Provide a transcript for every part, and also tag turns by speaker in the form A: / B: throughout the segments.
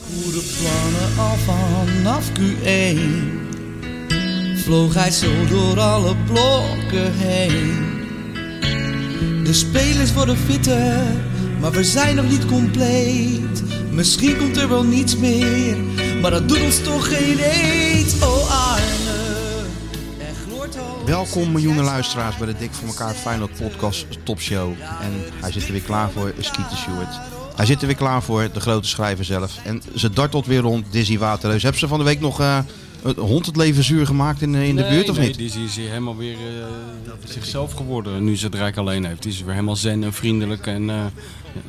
A: goede plannen al vanaf Q1 Vloog hij zo door alle blokken heen De spelers worden fitter, maar we zijn nog niet compleet Misschien komt er wel niets meer, maar dat doet ons toch geen eet Oh Arne, er gloort al
B: Welkom miljoenen luisteraars bij de Dik voor elkaar Feyenoord podcast topshow. En hij zit er weer klaar voor, Skeeter Stewart. Hij zit er weer klaar voor, de grote schrijver zelf. En ze dartelt weer rond, Dizzy Waterreus. Heb ze van de week nog eh, het hond het leven zuur gemaakt in, in de
C: Nee,
B: buurt of
C: nee,
B: niet?
C: Dizzy is hier helemaal weer eh, zichzelf geworden nu ze het Rijk alleen heeft. Die is weer helemaal zen en vriendelijk en eh,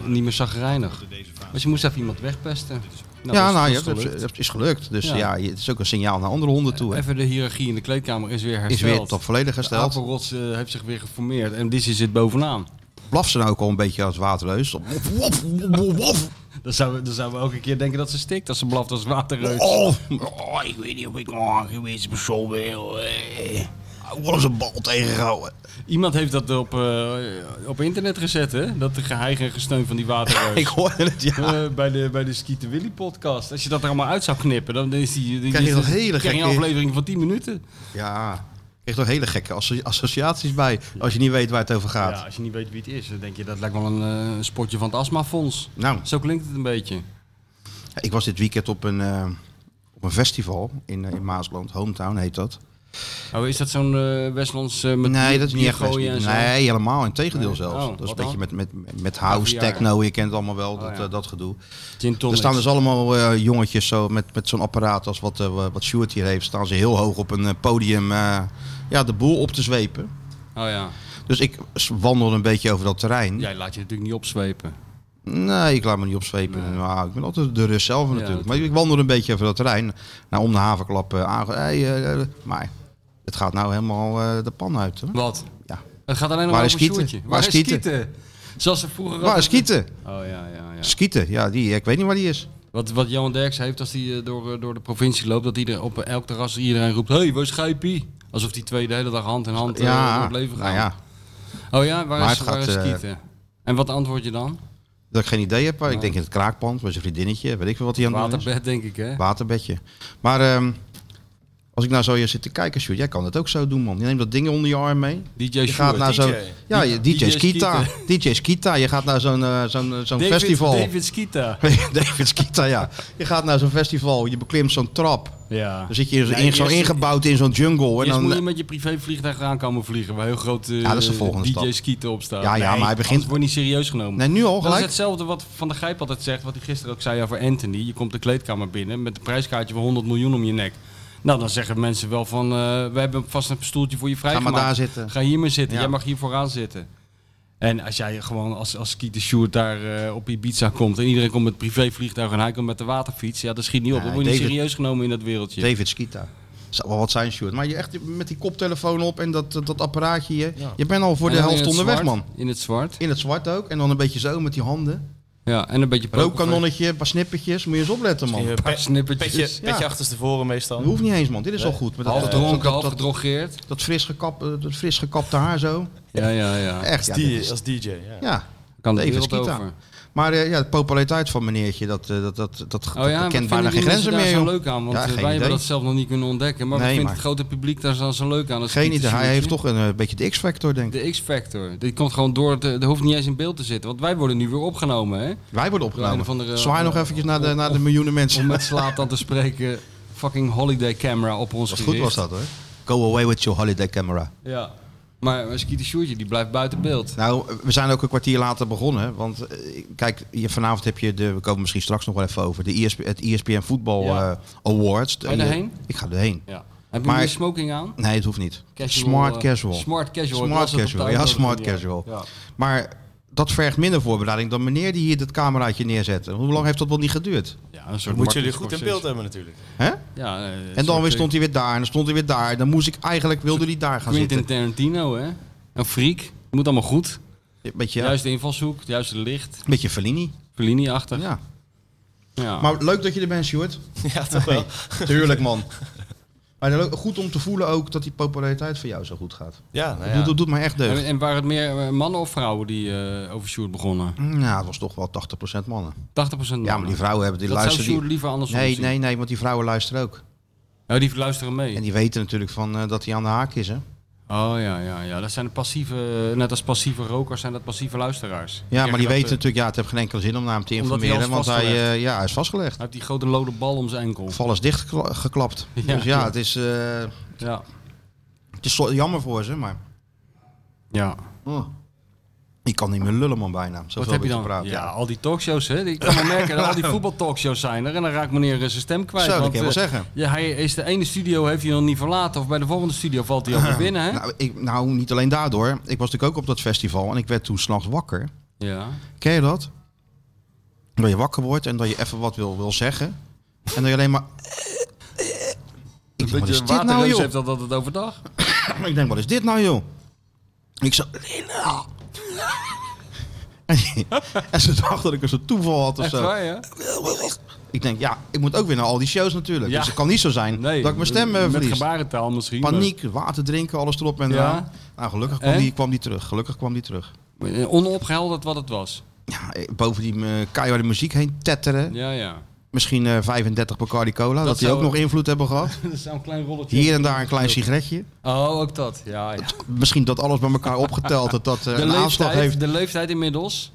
C: niet meer zagrijnig. Maar ze moest even iemand wegpesten. Nou,
B: ja, nou,
C: dat is- dat
B: ja,
C: is
B: het
C: gelukt.
B: het is gelukt. Dus ja.
C: Ja.
B: je- het is ook een signaal naar andere honden toe. hè.
C: Even de hiërarchie in de kleedkamer is weer
B: Is
C: hersteld.
B: weer tot volledig hersteld.
C: De Apenrots eh, heeft zich weer geformeerd en Dizzy zit bovenaan.
B: Blaft ze nou ook al een beetje als Waterreus? Wof, wof, wof, wof.
C: Dan zouden, we, dan zouden we elke keer denken dat ze stikt als ze blaft als waterreus.
B: Oh,
C: Oh, ik weet niet of ik nog een beetje persoon wil. eh.
B: wat is een bal tegengehouden.
C: Iemand heeft dat op, eh, op internet gezet, hè? Dat geheig en gesteun van die waterreus.
B: Ik hoorde het, ja.
C: Eh, bij de, bij de Skeeter Willy podcast. Als je dat er allemaal uit zou knippen, dan is die, die
B: Krijg je
C: die-
B: nog hele
C: krijg je
B: gekke-
C: een aflevering van 10 minuten.
B: Ja, ik kreeg toch hele gekke asso- associaties bij als je niet weet waar het over gaat.
C: Ja, als je niet weet wie het is, dan denk je dat lijkt wel een eh, sportje van het astmafonds.
B: Nou,
C: Zo klinkt het een beetje.
B: ik was dit weekend op een, eh, op een festival in, eh, in Maasland, Hometown heet dat.
C: Oh, is dat zo'n eh, Westlands eh, met
B: nee,
C: bier-
B: dat is niet echt
C: biergooien
B: festival.
C: en zo?
B: Nee, helemaal. Integendeel
C: Nee?
B: zelfs.
C: Oh,
B: dat is een
C: wat
B: beetje met,
C: dan?
B: met, met house,
C: Caviar.
B: techno, je kent het allemaal wel, dat,
C: ja.
B: eh, dat gedoe.
C: Gin
B: Er
C: tonics.
B: staan dus allemaal eh, jongetjes zo met, met zo'n apparaat als wat, eh, wat Stuart hier heeft. Staan ze heel hoog op een eh, podium eh, ja, de boel op te zwepen.
C: Oh ja,
B: Dus ik s- wandelde een beetje over dat terrein.
C: jij laat je natuurlijk niet opzwepen.
B: Nee, ik laat me niet opzwepen.
C: Nee.
B: Nou, ik ben altijd de rust zelf natuurlijk. maar ik wandel een beetje over dat terrein. Nou, om de havenklap eh, aange... Hey, eh, eh, maar het gaat nou helemaal eh, de pan uit. Hoor.
C: Wat?
B: Ja.
C: Het gaat alleen nog
B: Waar
C: maar
B: is
C: over
B: Skeeter?
C: Sjoerdje.
B: Waar
C: Waar
B: is
C: is
B: Skeeter?
C: Skeeter? Zoals ze vroeger
B: Waar
C: altijd-
B: is Skieten?
C: Oh ja, ja, ja.
B: Skieten, ja, die, ik weet niet waar die is.
C: Wat, wat Johan Derks heeft als hij eh, door, eh, door de provincie loopt, dat ieder, op eh, elk terras iedereen roept: Hé, hey, waar is Gijpie? Alsof die twee de hele dag hand in hand eh,
B: ja,
C: door het leven gaan.
B: nou ja,
C: Oh ja, waar
B: Maar
C: is,
B: het
C: waar
B: gaat,
C: is
B: eh,
C: Kieten? En wat antwoord je dan?
B: dat ik geen idee heb. maar Ik
C: Ja.
B: denk in het kraakpand, bij zijn vriendinnetje. Weet ik veel wat hij aan het doen is.
C: Waterbed, denk ik, hè?
B: Waterbedje. Maar ehm, als ik nou zo hier zit te kijken, Sjoerd, jij kan dat ook zo doen, man. Je neemt dat ding onder je arm mee.
C: DJ
B: Je gaat
C: Sjoerd.
B: naar zo'n... Ja, je- DJ,
C: DJ
B: Skita. DJ Skita. Je gaat naar zo'n eh, zo'n zo'n festival.
C: David Skita.
B: David Skita, ja. Je gaat naar zo'n festival, je beklimt zo'n trap.
C: Ja.
B: Dan zit je in,
C: Ah. Nee,
B: zo
C: eerst-
B: ingebouwd in zo'n jungle. En
C: Eerst moet je
B: Dus dan, eh,
C: met je privévliegtuig aankomen vliegen, waar heel groot eh,
B: Ja, dat is de volgende
C: DJ
B: stap.
C: Skita op staat.
B: Ja, ja, maar hij begint-
C: anders wordt niet serieus genomen.
B: nee, nu al
C: Dat is
B: gelijk.
C: hetzelfde wat Van der Gijp altijd zegt, wat hij gisteren ook zei over Anthony. Je komt de kleedkamer binnen met een prijskaartje van 100 miljoen om je nek. Nou, dan zeggen mensen wel van, eh, we hebben vast een stoeltje voor je
B: Ga
C: vrijgemaakt.
B: maar daar zitten.
C: Ga hier maar zitten,
B: Ja.
C: jij mag hier vooraan zitten. En als jij gewoon als, als Skeeter Sjoerd daar eh, op Ibiza komt en iedereen komt met privévliegtuig en hij komt met de waterfiets, ja, dat schiet niet op.
B: Nee,
C: Dan word je niet
B: David-
C: serieus genomen in dat wereldje.
B: David Skita. Zou wel wat zijn, Sjoerd. Maar je echt met die koptelefoon op en dat, dat apparaatje. Je, je bent al voor
C: En
B: de
C: dan in
B: helft
C: het
B: onderweg,
C: zwart,
B: man.
C: In het zwart.
B: In het zwart ook. En dan een beetje zo met die handen.
C: Ja, en een beetje pokerface.
B: Rookkanonnetje, een paar snippertjes. Moet je eens opletten, man.
D: Een
B: Dat
C: paar
D: pe-
C: snippertjes.
D: Petje,
B: Ja.
D: petje achterstevoren meestal.
B: hoeft niet eens, man. Dit is al goed. Met dat,
C: Half
B: dat-
C: dronken,
B: dat, dat,
C: half
B: dat,
C: gedrogeerd.
B: fris gekap- eh, dat fris gekapte haar zo.
C: Ja, ja, ja.
B: Echt, ja.
D: Als,
B: dit
D: die,
B: is-
D: als DJ, ja.
B: ja.
C: Kan de
B: David
C: wereld
B: Skita.
C: over.
B: Maar eh, ja, de populariteit van meneertje, dat, eh, dat, dat, dat,
C: Oh ja,
B: dat
C: wat
B: kent
C: vinden
B: bijna
C: die
B: geen grenzen
C: mensen daar
B: meer,
C: zo
B: joh.
C: leuk aan, want
B: Ja,
C: eh,
B: geen
C: wij hebben
B: idee.
C: dat zelf nog niet kunnen ontdekken. Maar
B: Nee,
C: we vinden
B: maar-
C: het grote publiek daar zo, zo leuk aan. Dat
B: Geen
C: Skeeter
B: idee, hij heeft
C: Sjoerdje.
B: toch een eh, beetje de X-factor, denk ik.
C: De X-Factor. Die komt gewoon door, de, de hoeft niet eens in beeld te zitten. Want wij worden nu weer opgenomen, hè?
B: Wij worden
C: Door een of
B: opgenomen.
C: andere- Oh,
B: Zwaai nog eventjes naar de, naar de miljoenen
C: Om
B: mensen.
C: met slaap dan te spreken, fucking holiday camera op ons
B: Was goed was
C: gericht.
B: dat, hoor. Go away with your holiday camera.
C: Ja. Maar eh, Skeeter Sjoerdje, die blijft buiten beeld.
B: Nou, we zijn ook een kwartier later begonnen. Want eh, kijk, je, vanavond heb je de, we komen misschien straks nog wel even over, de ISP, het E ESPN Voetbal
C: Ja.
B: eh, Awards.
C: Ga je daarheen?
B: Ik ga erheen.
C: Ja. Heb je
B: Maar-
C: weer smoking aan?
B: Nee, het hoeft niet.
C: Casual,
B: smart
C: eh,
B: casual.
C: Smart casual.
B: Smart
C: ik las het op de
B: casual, ja,
C: uitnodiging,
B: smart casual.
C: Ja.
B: Maar dat vergt minder voorbereiding dan meneer die hier dat cameraatje neerzet. Hoe lang heeft dat wel niet geduurd?
C: Ja, een soort
D: Moet
C: Martin
D: jullie goed in
C: Scorsese.
D: beeld hebben natuurlijk.
B: Hè?
C: Ja, eh, een
B: En
C: soort,
B: dan weer
C: eh,
B: stond hij weer daar en dan stond hij weer daar. Dan moest ik eigenlijk, wilde hij daar gaan
C: Quentin
B: zitten.
C: Tarantino, hè? Een freak. Moet allemaal goed.
B: Een beetje,
C: De juiste invalshoek, het juiste licht.
B: een beetje Fellini.
C: Fellini-achtig. Ja.
B: Ja. Maar leuk dat je er bent, Stuart.
D: Ja, toch wel.
B: Tuurlijk, man. Maar dan ook goed om te voelen ook dat die populariteit van jou zo goed gaat.
D: Ja, nou
B: Dat, doet-
D: ja.
B: dat doet mij echt deugd.
C: En, en waren het meer eh, mannen of vrouwen die eh over Sjoerd begonnen? 80%
B: Nou, het was toch wel 80% mannen.
C: mannen.
B: Ja, maar die vrouwen hebben die
C: Dat zou
B: luisteren. die-
C: Sjoerd liever andersom
B: Nee,
C: zien.
B: nee, nee, want die vrouwen luisteren ook.
C: Oh, die luisteren mee.
B: En die weten natuurlijk van eh, dat hij aan de haak is, hè?
C: Oh ja, ja, ja. Dat zijn de passieve, eh, net als passieve rokers zijn dat passieve luisteren.
B: Ja, maar die weten
C: het.
B: natuurlijk, ja, het heeft geen enkele zin om naar hem te
C: eh, Omdat hij
B: informeren,
C: al is
B: want hij,
C: vastgelegd.
B: eh, ja, hij is vastgelegd.
C: Hij heeft die grote lode bal om zijn enkel.
B: Val is dichtgeklapt.
C: Ja.
B: dus ja, het is, eh,
C: Ja.
B: het is zo- jammer voor ze, maar
C: ja.
B: oh, ik kan niet meer lullen man bijna. Zoveel
C: Wat heb je dan? Ja,
B: gepraat. Ja.
C: al die talkshows, hè. Ik kan wel merken dat al die voetbaltalkshows zijn er. En dan raakt meneer eh, zijn stem kwijt.
B: Zo, dat
C: want,
B: kan je wel
C: eh,
B: zeggen.
C: Ja, hij is de ene studio heeft hij nog niet verlaten. Of bij de volgende studio valt hij alweer binnen, hè.
B: Nou, ik, nou, niet alleen daardoor. Ik was natuurlijk ook op dat festival en ik werd toen s'nachts wakker.
C: Ja.
B: Ken je dat? Dat je wakker wordt en dat je even wat wil, wil zeggen. En dat je alleen maar... Ik denk, wat is dit nou,
C: waterreus
B: joh?
C: heeft dat altijd overdag.
B: Ik denk, wat is dit nou, joh? Ik zo... Linda. En, die- en ze dacht dat ik een soort toeval had of
C: Echt
B: zo.
C: waar, ja?
B: Ik denk, ja, ik moet ook weer naar al die shows natuurlijk.
C: Ja.
B: Dus het kan niet zo zijn
C: Nee.
B: dat ik mijn stem eh,
C: Met
B: verlies.
C: gebarentaal misschien. maar-
B: Paniek, water drinken, alles erop en
C: Ja.
B: eraan. Nou, gelukkig kwam
C: En?
B: die, kwam die terug. Gelukkig kwam die terug.
C: Eh, Onopgehelderd wat het was.
B: Ja, eh, boven die eh, keiharde muziek heen tetteren.
C: Ja, ja.
B: Misschien eh 35 Bacardi Cola, dat, die
C: zou-
B: ook nog invloed hebben gehad.
C: Dat zou een klein rolletje.
B: Hier en daar een klein sigaretje.
C: Oh, ook dat. Ja, ja.
B: Misschien dat alles bij elkaar opgeteld dat dat eh,
C: De
B: een aanslag
C: leeftijd,
B: heeft.
C: de leeftijd inmiddels.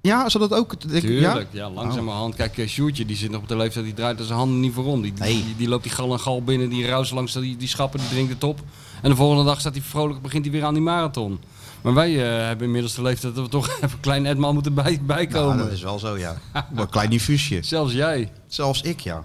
B: Ja, zou dat ook... ik- ja? Oh.
C: Tuurlijk, ja, langzamerhand. Kijk, eh, Sjoerdje die zit nog op de leeftijd, die draait zijn handen niet voor om. Die, die-
B: Nee.
C: die, die loopt die gal en gal binnen, die ruist langs die, die schappen, die drinkt het op. En de volgende dag staat hij vrolijk, begint hij weer aan die marathon. Maar wij eh, hebben inmiddels de leeftijd dat we toch even klein Edman moeten bij,
B: Nou,
C: bijkomen.
B: dat is wel zo, ja. Maar een klein infuusje.
C: Zelfs jij.
B: Zelfs ik, ja.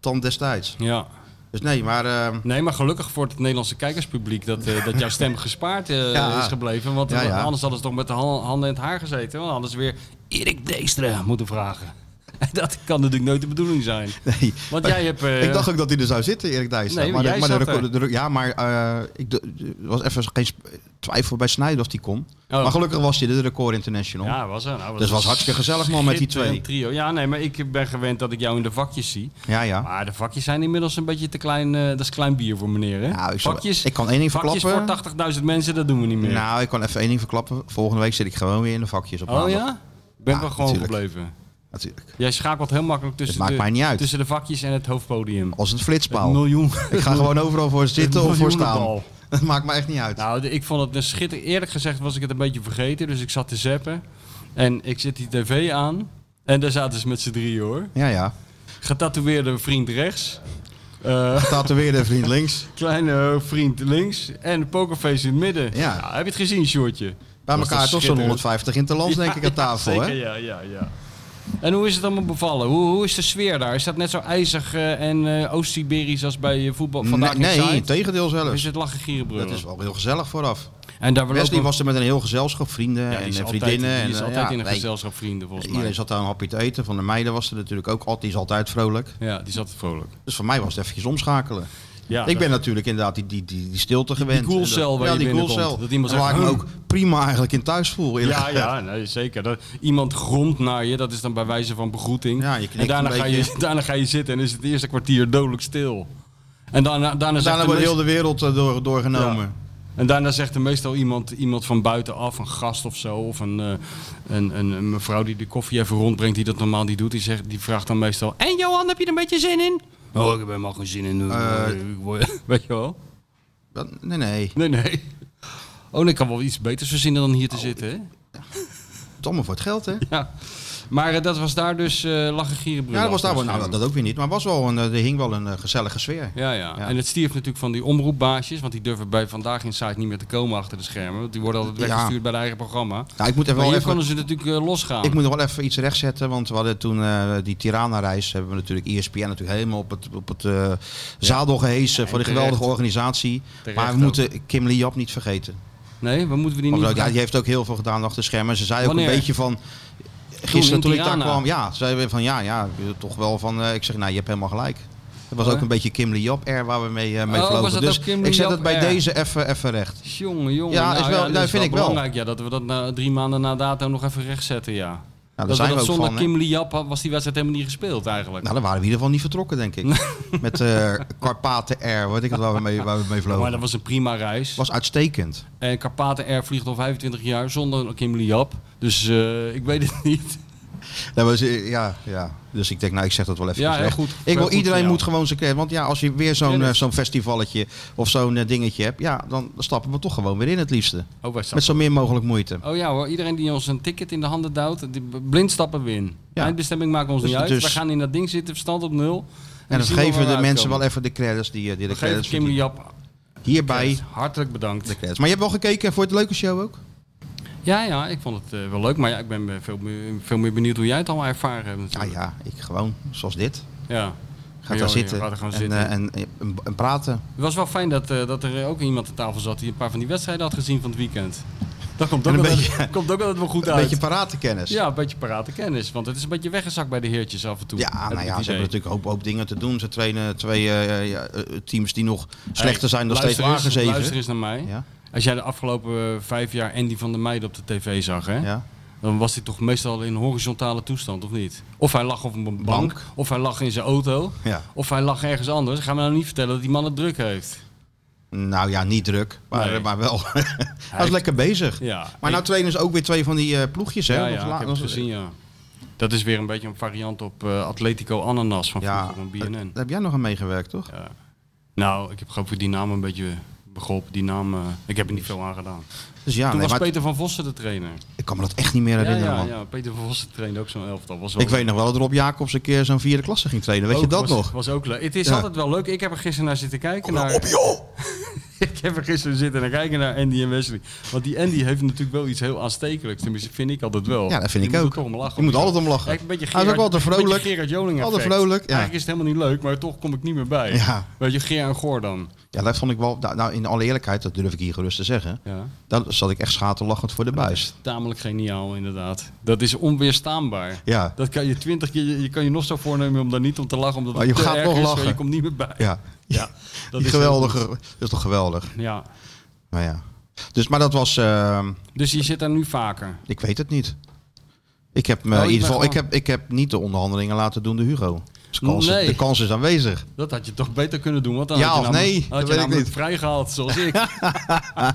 B: Tand destijds.
C: Ja.
B: Dus nee, maar eh,
C: Nee, maar gelukkig voor het Nederlandse kijkerspubliek dat, eh, dat jouw stem gespaard eh,
B: Ja.
C: is gebleven. Want
B: Ja, ja.
C: anders hadden ze toch met de han- handen in het haar gezeten. Want anders weer Erik Deestra moeten vragen. En dat kan natuurlijk nooit de bedoeling zijn.
B: nee.
C: Want jij hebt... eh,
B: ik dacht ook dat hij er zou zitten, Erik Dijssel.
C: Nee,
B: maar
C: jij
B: de- maar de
C: zat
B: record-
C: er.
B: de re- ja, maar eh, ik d- d- er was even geen sp- twijfel bij Snijder of die kon.
C: Oh.
B: Maar gelukkig was hij de Record International.
C: Ja, was er. Nou, dat
B: Dus het was
C: is
B: hartstikke gezellig, man, met die twee.
C: schitterend Trio. Ja, nee, maar ik ben gewend dat ik jou in de vakjes zie.
B: ja. ja.
C: Maar de vakjes zijn inmiddels een beetje te klein. eh, dat is klein bier voor meneer, hè?
B: Nou, ik, zal-
C: vakjes,
B: ik kan één ding
C: vakjes voor
B: verklappen.
C: 80.000 mensen, dat doen we niet meer.
B: Nou, ik kan even één ding verklappen. Volgende week zit ik gewoon weer in de vakjes op
C: oh
B: maandag.
C: ja? Ik ben
B: nou, Ja,
C: wel gewoon
B: natuurlijk.
C: gebleven.
B: Natuurlijk.
C: Jij schakelt heel makkelijk tussen,
B: maakt
C: de,
B: mij niet uit.
C: tussen de vakjes en het hoofdpodium.
B: Als een
C: Een
B: flitspaal.
C: miljoen.
B: ik ga gewoon overal voor zitten of voor staan.
C: miljoenenbal.
B: Dat maakt me echt niet uit.
C: Nou, de- ik vond het een schitter. Eerlijk gezegd was ik het een beetje vergeten. Dus ik zat te zappen. En ik zet die tv aan. En daar zaten ze met z'n drieën hoor.
B: Ja, ja.
C: Getatoeëerde vriend rechts. Eh,
B: Staat er weer een vriend links.
C: kleine vriend links. En pokerface in het midden.
B: Ja.
C: Nou, heb je het gezien, Sjoerdje?
B: Bij
C: Dat is
B: elkaar toch zo'n
C: schitterend.
B: 150 interlands, denk ik, aan tafel,
C: Zeker,
B: hè?
C: ja, ja, ja. En hoe is het allemaal bevallen? Hoe, hoe is de sfeer daar? Is dat net zo ijzig eh, en eh, Oost-Siberisch als bij eh, voetbal vandaag
B: Mm, nee,
C: in
B: nee,
C: Zuid?
B: integendeel
C: Of Is
B: zelfs.
C: het lachen gierenbrullen?
B: Dat is wel heel gezellig vooraf.
C: En daar
B: Wesley
C: lopen-
B: was er met een heel gezelschap, vrienden
C: Ja, die
B: en
C: is
B: eh,
C: altijd-
B: vriendinnen.
C: Die is
B: en, eh,
C: altijd
B: ja,
C: in een
B: nee,
C: gezelschap vrienden, volgens mij.
B: Iedereen zat daar een hapje te eten. Van de meiden was er natuurlijk ook altijd. Die is altijd vrolijk.
C: Ja, die zat vrolijk.
B: Dus voor mij was het eventjes omschakelen.
C: Ja,
B: ik ben natuurlijk inderdaad die, die, die, die stilte gewend.
C: die koelcel
B: En dat-
C: waar
B: ja,
C: je
B: die
C: binnenkomt.
B: koelcel.
C: Dat iemand
B: En waar ik
C: zegt,
B: me
C: "Hm."
B: ook prima eigenlijk in thuis voel. eerlijk
C: Ja,
B: gezegd.
C: ja nee, zeker. Dat, iemand grond naar je, dat is dan bij wijze van begroeting.
B: Ja, je knikt
C: en daarna
B: een
C: ga, je,
B: beetje.
C: daarna ga je zitten en is het eerste kwartier dodelijk stil. En daarna, daarna, zegt
B: Daarna
C: de
B: wordt heel
C: meest-
B: de wereld eh, door, doorgenomen.
C: en daarna zegt er meestal iemand, iemand van buitenaf, een gast of zo, of een, eh, een, een, een mevrouw die de koffie even rondbrengt, die dat normaal niet doet, die, zegt, die vraagt dan meestal: En Johan, heb je er een beetje zin in? Oh, ik heb helemaal geen zin in.
B: Eh.
C: Ik word- Weet je wel?
B: Dat- Nee, nee.
C: Nee, nee. Oh, nee, ik kan wel iets beters verzinnen dan
B: Oh.
C: hier te zitten, hè?
B: Het is allemaal voor het geld, hè?
C: Ja. Maar eh, dat was daar dus eh lachen gieren
B: Ja,
C: brullen
B: dat was daar wel. Nou, dat-
C: afgeschermd.
B: dat ook weer niet. Maar was wel een, eh, er hing wel een eh, gezellige sfeer.
C: Ja, ja, En het stierf natuurlijk van die omroepbaasjes, want die durven bij Vandaag in Site niet meer te komen achter de schermen. Want die worden altijd
B: Ja.
C: weggestuurd bij de eigen programma.
B: Nou, ik moet even
C: Maar
B: wel
C: hier
B: even
C: konden ze natuurlijk eh, losgaan.
B: Ik moet nog wel even iets rechtzetten, want we hadden toen eh, die Tirana-reis, hebben we natuurlijk E ESPN natuurlijk helemaal op het, op het eh, zadel gehesen voor die
C: terecht.
B: geweldige organisatie.
C: Terecht
B: maar we
C: ook.
B: moeten Kim Lee Jap niet vergeten.
C: Nee, we moeten we die
B: Want
C: niet...
B: ook, Oh, ja, die heeft ook heel veel gedaan achter de schermen. Ze zei ook
C: Wanneer?
B: een beetje van, gisteren
C: in
B: toen ik daar
C: Tirana?
B: kwam, ja, ze zei weer van ja, ja, toch wel van, eh, ik zeg nou, je hebt helemaal gelijk. Het was
C: Oh,
B: ook
C: hè?
B: een beetje Kim Lee Jap air waar we mee, eh, mee
C: Oh,
B: vlogen.
C: was dat
B: dus
C: ook Kim Lee
B: ik zet
C: Jap
B: het bij
C: air?
B: deze even even recht.
C: Jongen, jongen.
B: Ja, is wel-
C: dat
B: nee, vind ik wel.
C: belangrijk ja, dat we dat na, drie maanden na dato nog even rechtzetten, ja.
B: Nou, daar
C: dat we
B: zijn we
C: dat
B: ook
C: zonder
B: van, hè?
C: Kim Liap had- was die wedstrijd helemaal niet gespeeld eigenlijk.
B: Nou, dan waren we in ieder geval niet vertrokken, denk ik. Met eh Karpaten Air, weet ik het waar we mee, waar we mee vlogen.
C: maar dat was een prima reis.
B: was uitstekend.
C: En Karpaten Air vliegt al 25 jaar zonder Kim Liap. Dus eh, ik weet het niet.
B: Dat was, eh, ja, ja. Dus ik denk, nou, ik zeg dat wel even
C: Ja,
B: slecht.
C: heel goed.
B: Ik
C: Heel
B: wil,
C: goed
B: iedereen
C: van jou.
B: moet gewoon zijn credit. Want ja, als je weer zo'n
C: Ja, dus- dat-
B: eh, zo'n festivalletje of zo'n eh, dingetje hebt, ja, dan stappen we toch gewoon weer in het liefste.
C: Oh, wij
B: Met
C: stappen.
B: zo min mogelijk moeite.
C: Oh ja hoor, iedereen die ons een ticket in de handen duwt, die b- blind stappen we in.
B: Ja.
C: Eindbestemming maakt ons
B: Dus-
C: niet uit.
B: dus-
C: we gaan in dat ding zitten, verstand op nul.
B: En
C: we
B: dan
C: zien wel
B: geven
C: waar
B: de
C: we
B: mensen wel
C: uitkomen.
B: even de credits die, eh, die de
C: We geven
B: credits
C: Kim
B: verdienen.
C: Liap
B: Hierbij
C: hartelijk bedankt.
B: de credits. Maar je hebt wel gekeken voor het leuke show ook?
C: Ja, ja, ik vond het eh, wel leuk, maar ja, ik ben eh, veel meer, veel meer benieuwd hoe jij het allemaal ervaren hebt.
B: Ja,
C: natuurlijk.
B: Ah, ja, ik gewoon, zoals dit.
C: Ja.
B: Ga
C: Ja,
B: daar
C: ja,
B: zitten,
C: Ga er gewoon
B: en,
C: zitten.
B: eh, en, en- en praten.
C: Het was wel fijn dat, eh, dat er ook iemand aan tafel zat die een paar van die wedstrijden had gezien van het weekend. Dat komt ook,
B: En een
C: altijd,
B: beetje-
C: komt ook altijd wel goed
B: Een
C: uit.
B: beetje paratenkennis.
C: ja, een beetje parate kennis, want het is een beetje weggezakt bij de heertjes af en toe.
B: Ja,
C: heb
B: nou
C: ik
B: ja, ze
C: het idee.
B: hebben natuurlijk een hoop, hoop dingen te doen. Ze trainen twee eh, ja, eh, teams die nog slechter zijn dan
C: Hey,
B: steeds
C: luister
B: lager
C: eens- Luister
B: zeven.
C: eens naar mij.
B: Ja,
C: Als jij de afgelopen eh, vijf jaar Andy van der Meijden op de tv zag, hè,
B: ja.
C: dan was hij toch meestal in horizontale toestand, of niet? Of hij lag op een bank,
B: Bank.
C: of hij lag in zijn auto,
B: ja.
C: of hij lag ergens anders. Ga me nou niet vertellen dat die man het druk heeft.
B: Nou ja, niet druk, maar,
C: Nee.
B: maar wel. Hij was
C: heeft-
B: lekker bezig.
C: Ja.
B: Maar nou trainen ze ook weer twee van die eh, ploegjes, hè?
C: ja,
B: Want
C: ja,
B: la-
C: ik heb het gezien, ja. Dat is weer een beetje een variant op eh, Atletico Ananas van
B: Ja,
C: vroeger, een
B: daar
C: BNN.
B: daar heb jij nog aan meegewerkt, toch?
C: Ja. Nou, ik heb gewoon voor die naam een beetje beholpen. Die naam, eh, ik heb er niet veel aan gedaan.
B: Dus ja,
C: Toen
B: nee,
C: was
B: maar
C: Peter van Vossen de trainer.
B: ik kan me dat echt niet meer
C: Ja,
B: herinneren,
C: ja,
B: man.
C: ja, Peter van Vossen trainde ook zo'n elftal. Was wel
B: Ik weet nog wel dat Rob Jacobs een keer zo'n vierde klasse ging trainen. Weet je
C: Ook
B: dat
C: was,
B: nog?
C: Was ook leuk. Het is
B: Ja. nou
C: altijd wel leuk. Ik heb er gisteren naar zitten kijken. naar... ik heb er gisteren zitten naar kijken naar Andy en Wesley. Want die Andy heeft natuurlijk wel iets heel aanstekelijks. Tenminste, vind ik altijd wel.
B: Ja, dat vind
C: Die
B: ik
C: moet
B: ook.
C: er Toch om lachen.
B: Je moet altijd om
C: Ja,
B: lachen.
C: ik- een beetje
B: Hij is ook
C: Gerard-
B: altijd vrolijk.
C: een beetje Gerard Joling
B: Altijd
C: effect.
B: vrolijk, ja.
C: Eigenlijk is het helemaal niet leuk, maar toch kom ik niet meer bij.
B: Ja.
C: Weet je, Geer en Goor dan.
B: Ja, dat vond ik wel. Nou, in alle eerlijkheid, dat durf ik hier gerust te zeggen.
C: Ja.
B: Dan zat ik echt schaterlachend voor de buis.
C: Tamelijk geniaal, inderdaad. Dat is onweerstaanbaar.
B: Ja.
C: Dat kan je twintig keer, je kan je nog zo voornemen om daar niet om te lachen, omdat
B: Maar
C: het
B: je
C: te
B: gaat
C: erg
B: nog
C: is, maar
B: lachen.
C: je komt niet meer bij.
B: Ja.
C: Ja,
B: Dat is
C: heel
B: geweldige.
C: goed.
B: Dat is toch geweldig.
C: Ja,
B: Nou ja. Dus, maar dat was. ehm,
C: dus je zit daar nu vaker.
B: ik weet het niet. Ik heb me
C: Oh, je
B: in ieder
C: bent
B: geval. Ik
C: gewoon-
B: heb, ik heb niet de onderhandelingen laten doen de Hugo. Dus kans-
C: Nee.
B: De kans is aanwezig.
C: Dat had je toch beter kunnen doen, want dan
B: Ja
C: had je
B: of
C: namelijk,
B: nee,
C: had
B: dat
C: je
B: weet ik
C: namelijk
B: niet.
C: vrijgehaald, zoals ik.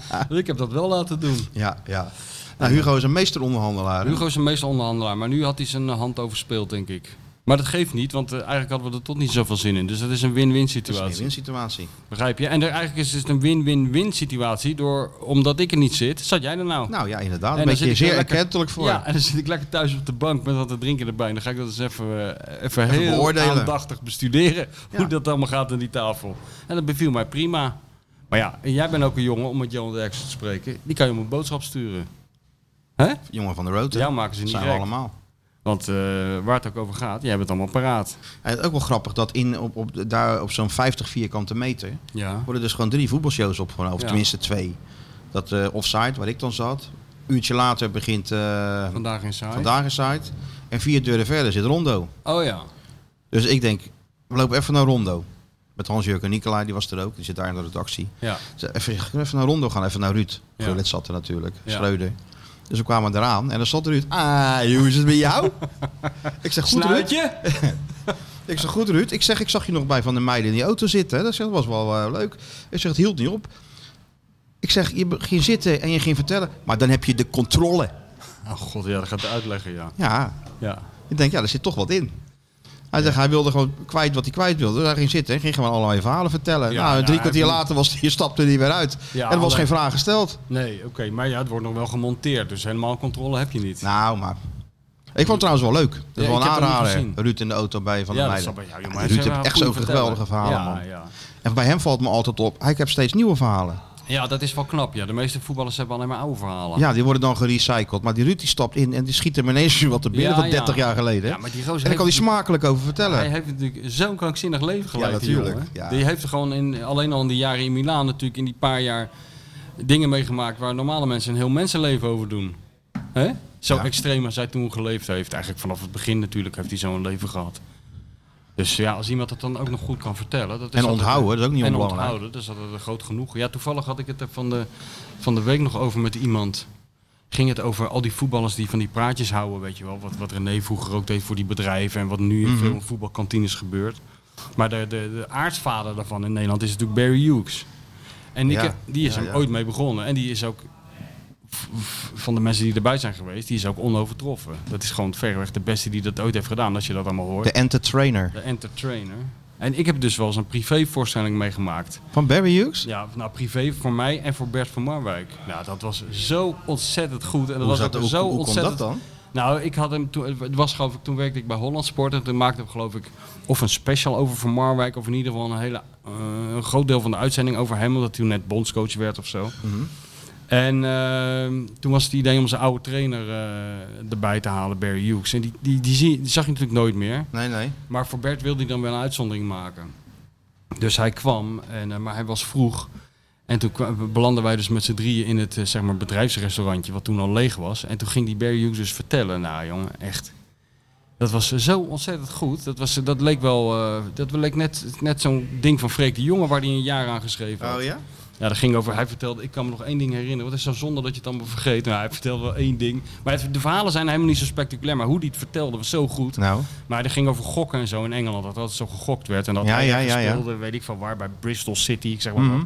C: Want ik heb dat wel laten doen.
B: Ja, ja. Nou, Hugo is een meesteronderhandelaar. hè?
C: Hugo is een meeste onderhandelaar, maar nu had hij zijn eh, hand overspeeld, denk ik. Maar dat geeft niet, want eh, eigenlijk hadden we er toch niet zoveel zin in. Dus dat is een win-win
B: Dat is een
C: situatie.
B: win situatie.
C: Begrijp je? En er, eigenlijk is het een win-win-win situatie. Door, omdat ik er niet zit, zat jij er nou.
B: Nou ja, inderdaad.
C: En
B: Daar
C: dan
B: ben
C: zit
B: je
C: ik
B: zeer
C: weer lekker-
B: erkentelijk voor.
C: Ja, en dan zit ik lekker thuis op de bank met wat te drinken erbij. En dan ga ik dat eens even, eh, even, heel
B: beoordelen.
C: aandachtig bestuderen.
B: Ja.
C: Hoe dat allemaal gaat aan die tafel. En dat beviel mij prima. Maar ja, en jij bent ook een jongen, om met Johan Derksen te spreken. Die kan je om een boodschap sturen. Hè?
B: Jongen van de road. hè?
C: Jou maken ze
B: Dat
C: niet
B: zijn
C: gek.
B: we allemaal.
C: Want eh, waar het ook over gaat, jij bent allemaal paraat.
B: En het is ook wel grappig dat in, op, op, daar op zo'n 50 vierkante meter
C: Ja.
B: worden dus gewoon drie voetbalshows opgenomen. Of
C: Ja.
B: tenminste twee. Dat eh offside, waar ik dan zat. Een uurtje later begint eh,
C: Vandaag in Saai.
B: vandaag site. En vier deuren verder zit Rondo.
C: Oh ja.
B: Dus ik denk, we lopen even naar Rondo. Met Hans-Jurgen Nicolai, die was er ook. Die zit daar in de redactie.
C: ja.
B: Ze- Even, kunnen we even naar Rondo gaan, even naar Ruud.
C: Ja.
B: Gullit zat er natuurlijk,
C: Ja.
B: Schreuder. Dus we kwamen eraan en dan zat Ruud. Ah, hoe is het bij jou? ik zeg, goed Ruud.
C: Snuitje?
B: Ik zeg, goed Ruud. Ik zeg, ik zag je nog bij Van der Meijden in die auto zitten. hè. Dat zeg, dat was wel eh, leuk. Ik zeg, het hield niet op. Ik zeg, je be- ging zitten en je ging vertellen. Maar dan heb je de controle.
C: Oh god, ja, dat gaat hij uitleggen, ja.
B: Ja,
C: Ja.
B: ik denk, ja, daar zit toch wat in. Hij zegt, hij wilde gewoon kwijt wat hij kwijt wilde. Dus hij ging zitten en ging gewoon allerlei verhalen vertellen.
C: Ja,
B: nou,
C: ja,
B: en drie
C: hij
B: kwartier
C: vond-
B: later was, je stapte hij weer uit.
C: Ja,
B: en er was
C: alleen-
B: geen vraag gesteld.
C: Nee, oké, maar ja, het wordt nog wel gemonteerd. Dus helemaal controle heb je niet.
B: Nou, maar. Ik vond het trouwens wel leuk. Dat is
C: Ja,
B: wel
C: ik
B: een
C: heb hem niet
B: aanrader.
C: gezien.
B: Ruud in de auto bij Van
C: ja,
B: der
C: dat
B: Meijden.
C: snap ik. Ja, joh,
B: Ja,
C: maar
B: Ruud
C: ze
B: heeft
C: hebben
B: echt
C: eh, goede
B: zo'n
C: vertellen.
B: geweldige verhalen,
C: ja,
B: man.
C: Ja.
B: En bij hem valt me altijd op. Hij heeft steeds nieuwe verhalen.
C: ja, dat is wel knap. Ja. De meeste voetballers hebben alleen maar oude verhalen.
B: Ja, die worden dan gerecycled. Maar die Ruud die stapt in en die schiet hem ineens weer wat te binnen
C: Ja,
B: van
C: ja.
B: 30 jaar geleden.
C: Ja, maar die gozer
B: en daar kan hij
C: heeft-
B: smakelijk over
C: Hij
B: vertellen.
C: heeft natuurlijk zo'n krankzinnig leven geleid.
B: Ja,
C: die
B: natuurlijk,
C: jongen.
B: ja.
C: Die heeft er gewoon in, alleen al in die jaren in Milaan natuurlijk in die paar jaar dingen meegemaakt waar normale mensen een heel mensenleven over doen. Hè? Zo
B: Ja.
C: extreem als hij toen geleefd heeft. Eigenlijk vanaf het begin natuurlijk heeft hij zo'n leven gehad. Dus ja, als iemand dat dan ook nog goed kan vertellen. Dat
B: En
C: is altijd-
B: onthouden, dat is ook niet
C: en
B: onbelangrijk.
C: onthouden, dus dat is een groot genoeg. Ja, toevallig had ik het er van de, van de week nog over met iemand. ging het over al die voetballers die van die praatjes houden, weet je wel. Wat, wat René vroeger ook deed voor die bedrijven en wat nu
B: Mhm.
C: in veel voetbalkantines gebeurt. Maar de, de, de aartsvader daarvan in Nederland is natuurlijk Barry Hughes. En ik
B: Ja,
C: heb- die is
B: ja,
C: er
B: ja.
C: ooit mee begonnen. En die is ook, v- v- van de mensen die erbij zijn geweest, die is ook onovertroffen. Dat is gewoon verreweg de beste die dat ooit heeft gedaan, als je dat allemaal hoort.
B: De entertainer
C: De entertainer. En ik heb dus wel eens een privévoorstelling meegemaakt.
B: van Barry Hughes.
C: Ja, nou privé voor mij en voor Bert van Marwijk. Nou, dat was zo ontzettend goed. En dat
B: Hoe,
C: was
B: zat,
C: ook
B: hoe,
C: zo
B: hoe kon
C: ontzettend...
B: dat dan?
C: Nou, ik had hem toen, het was geloof ik, toen werkte ik bij Holland Sport en toen maakte ik geloof ik of een special over Van Marwijk of in ieder geval een hele eh, een groot deel van de uitzending over hem, omdat hij toen net bondscoach werd of zo.
B: Mhm.
C: En ehm, toen was het idee om zijn oude trainer eh, erbij te halen, Barry Hughes. En die, die, die, zie- die zag je natuurlijk nooit meer.
B: Nee, nee.
C: Maar voor Bert wilde hij dan wel een uitzondering maken. Dus hij kwam, en, eh, maar hij was vroeg. En toen kwa- belanden wij dus met z'n drieën in het eh, zeg maar bedrijfsrestaurantje, wat toen al leeg was. En toen ging die Barry Hughes dus vertellen, nou jongen, echt. Dat was eh, zo ontzettend goed. Dat, was, dat leek wel, eh, dat leek net, net zo'n ding van Freek de Jonge waar hij een jaar aan geschreven had.
B: Oh ja?
C: Ja, dat ging over. Hij vertelde. Ik kan me nog één ding herinneren. Wat is zo zonde dat je het allemaal vergeet? Nou, hij vertelde wel één ding. Maar het- de verhalen zijn helemaal niet zo spectaculair. Maar hoe hij het vertelde was zo goed.
B: Nou,
C: Maar dat ging over gokken en zo in Engeland. Dat altijd zo gegokt werd. En dat
B: Ja,
C: hij
B: ja,
C: ergens
B: ja, Mhm. ja.
C: speelde, weet ik van waar, bij Bristol City, ik zeg maar wat.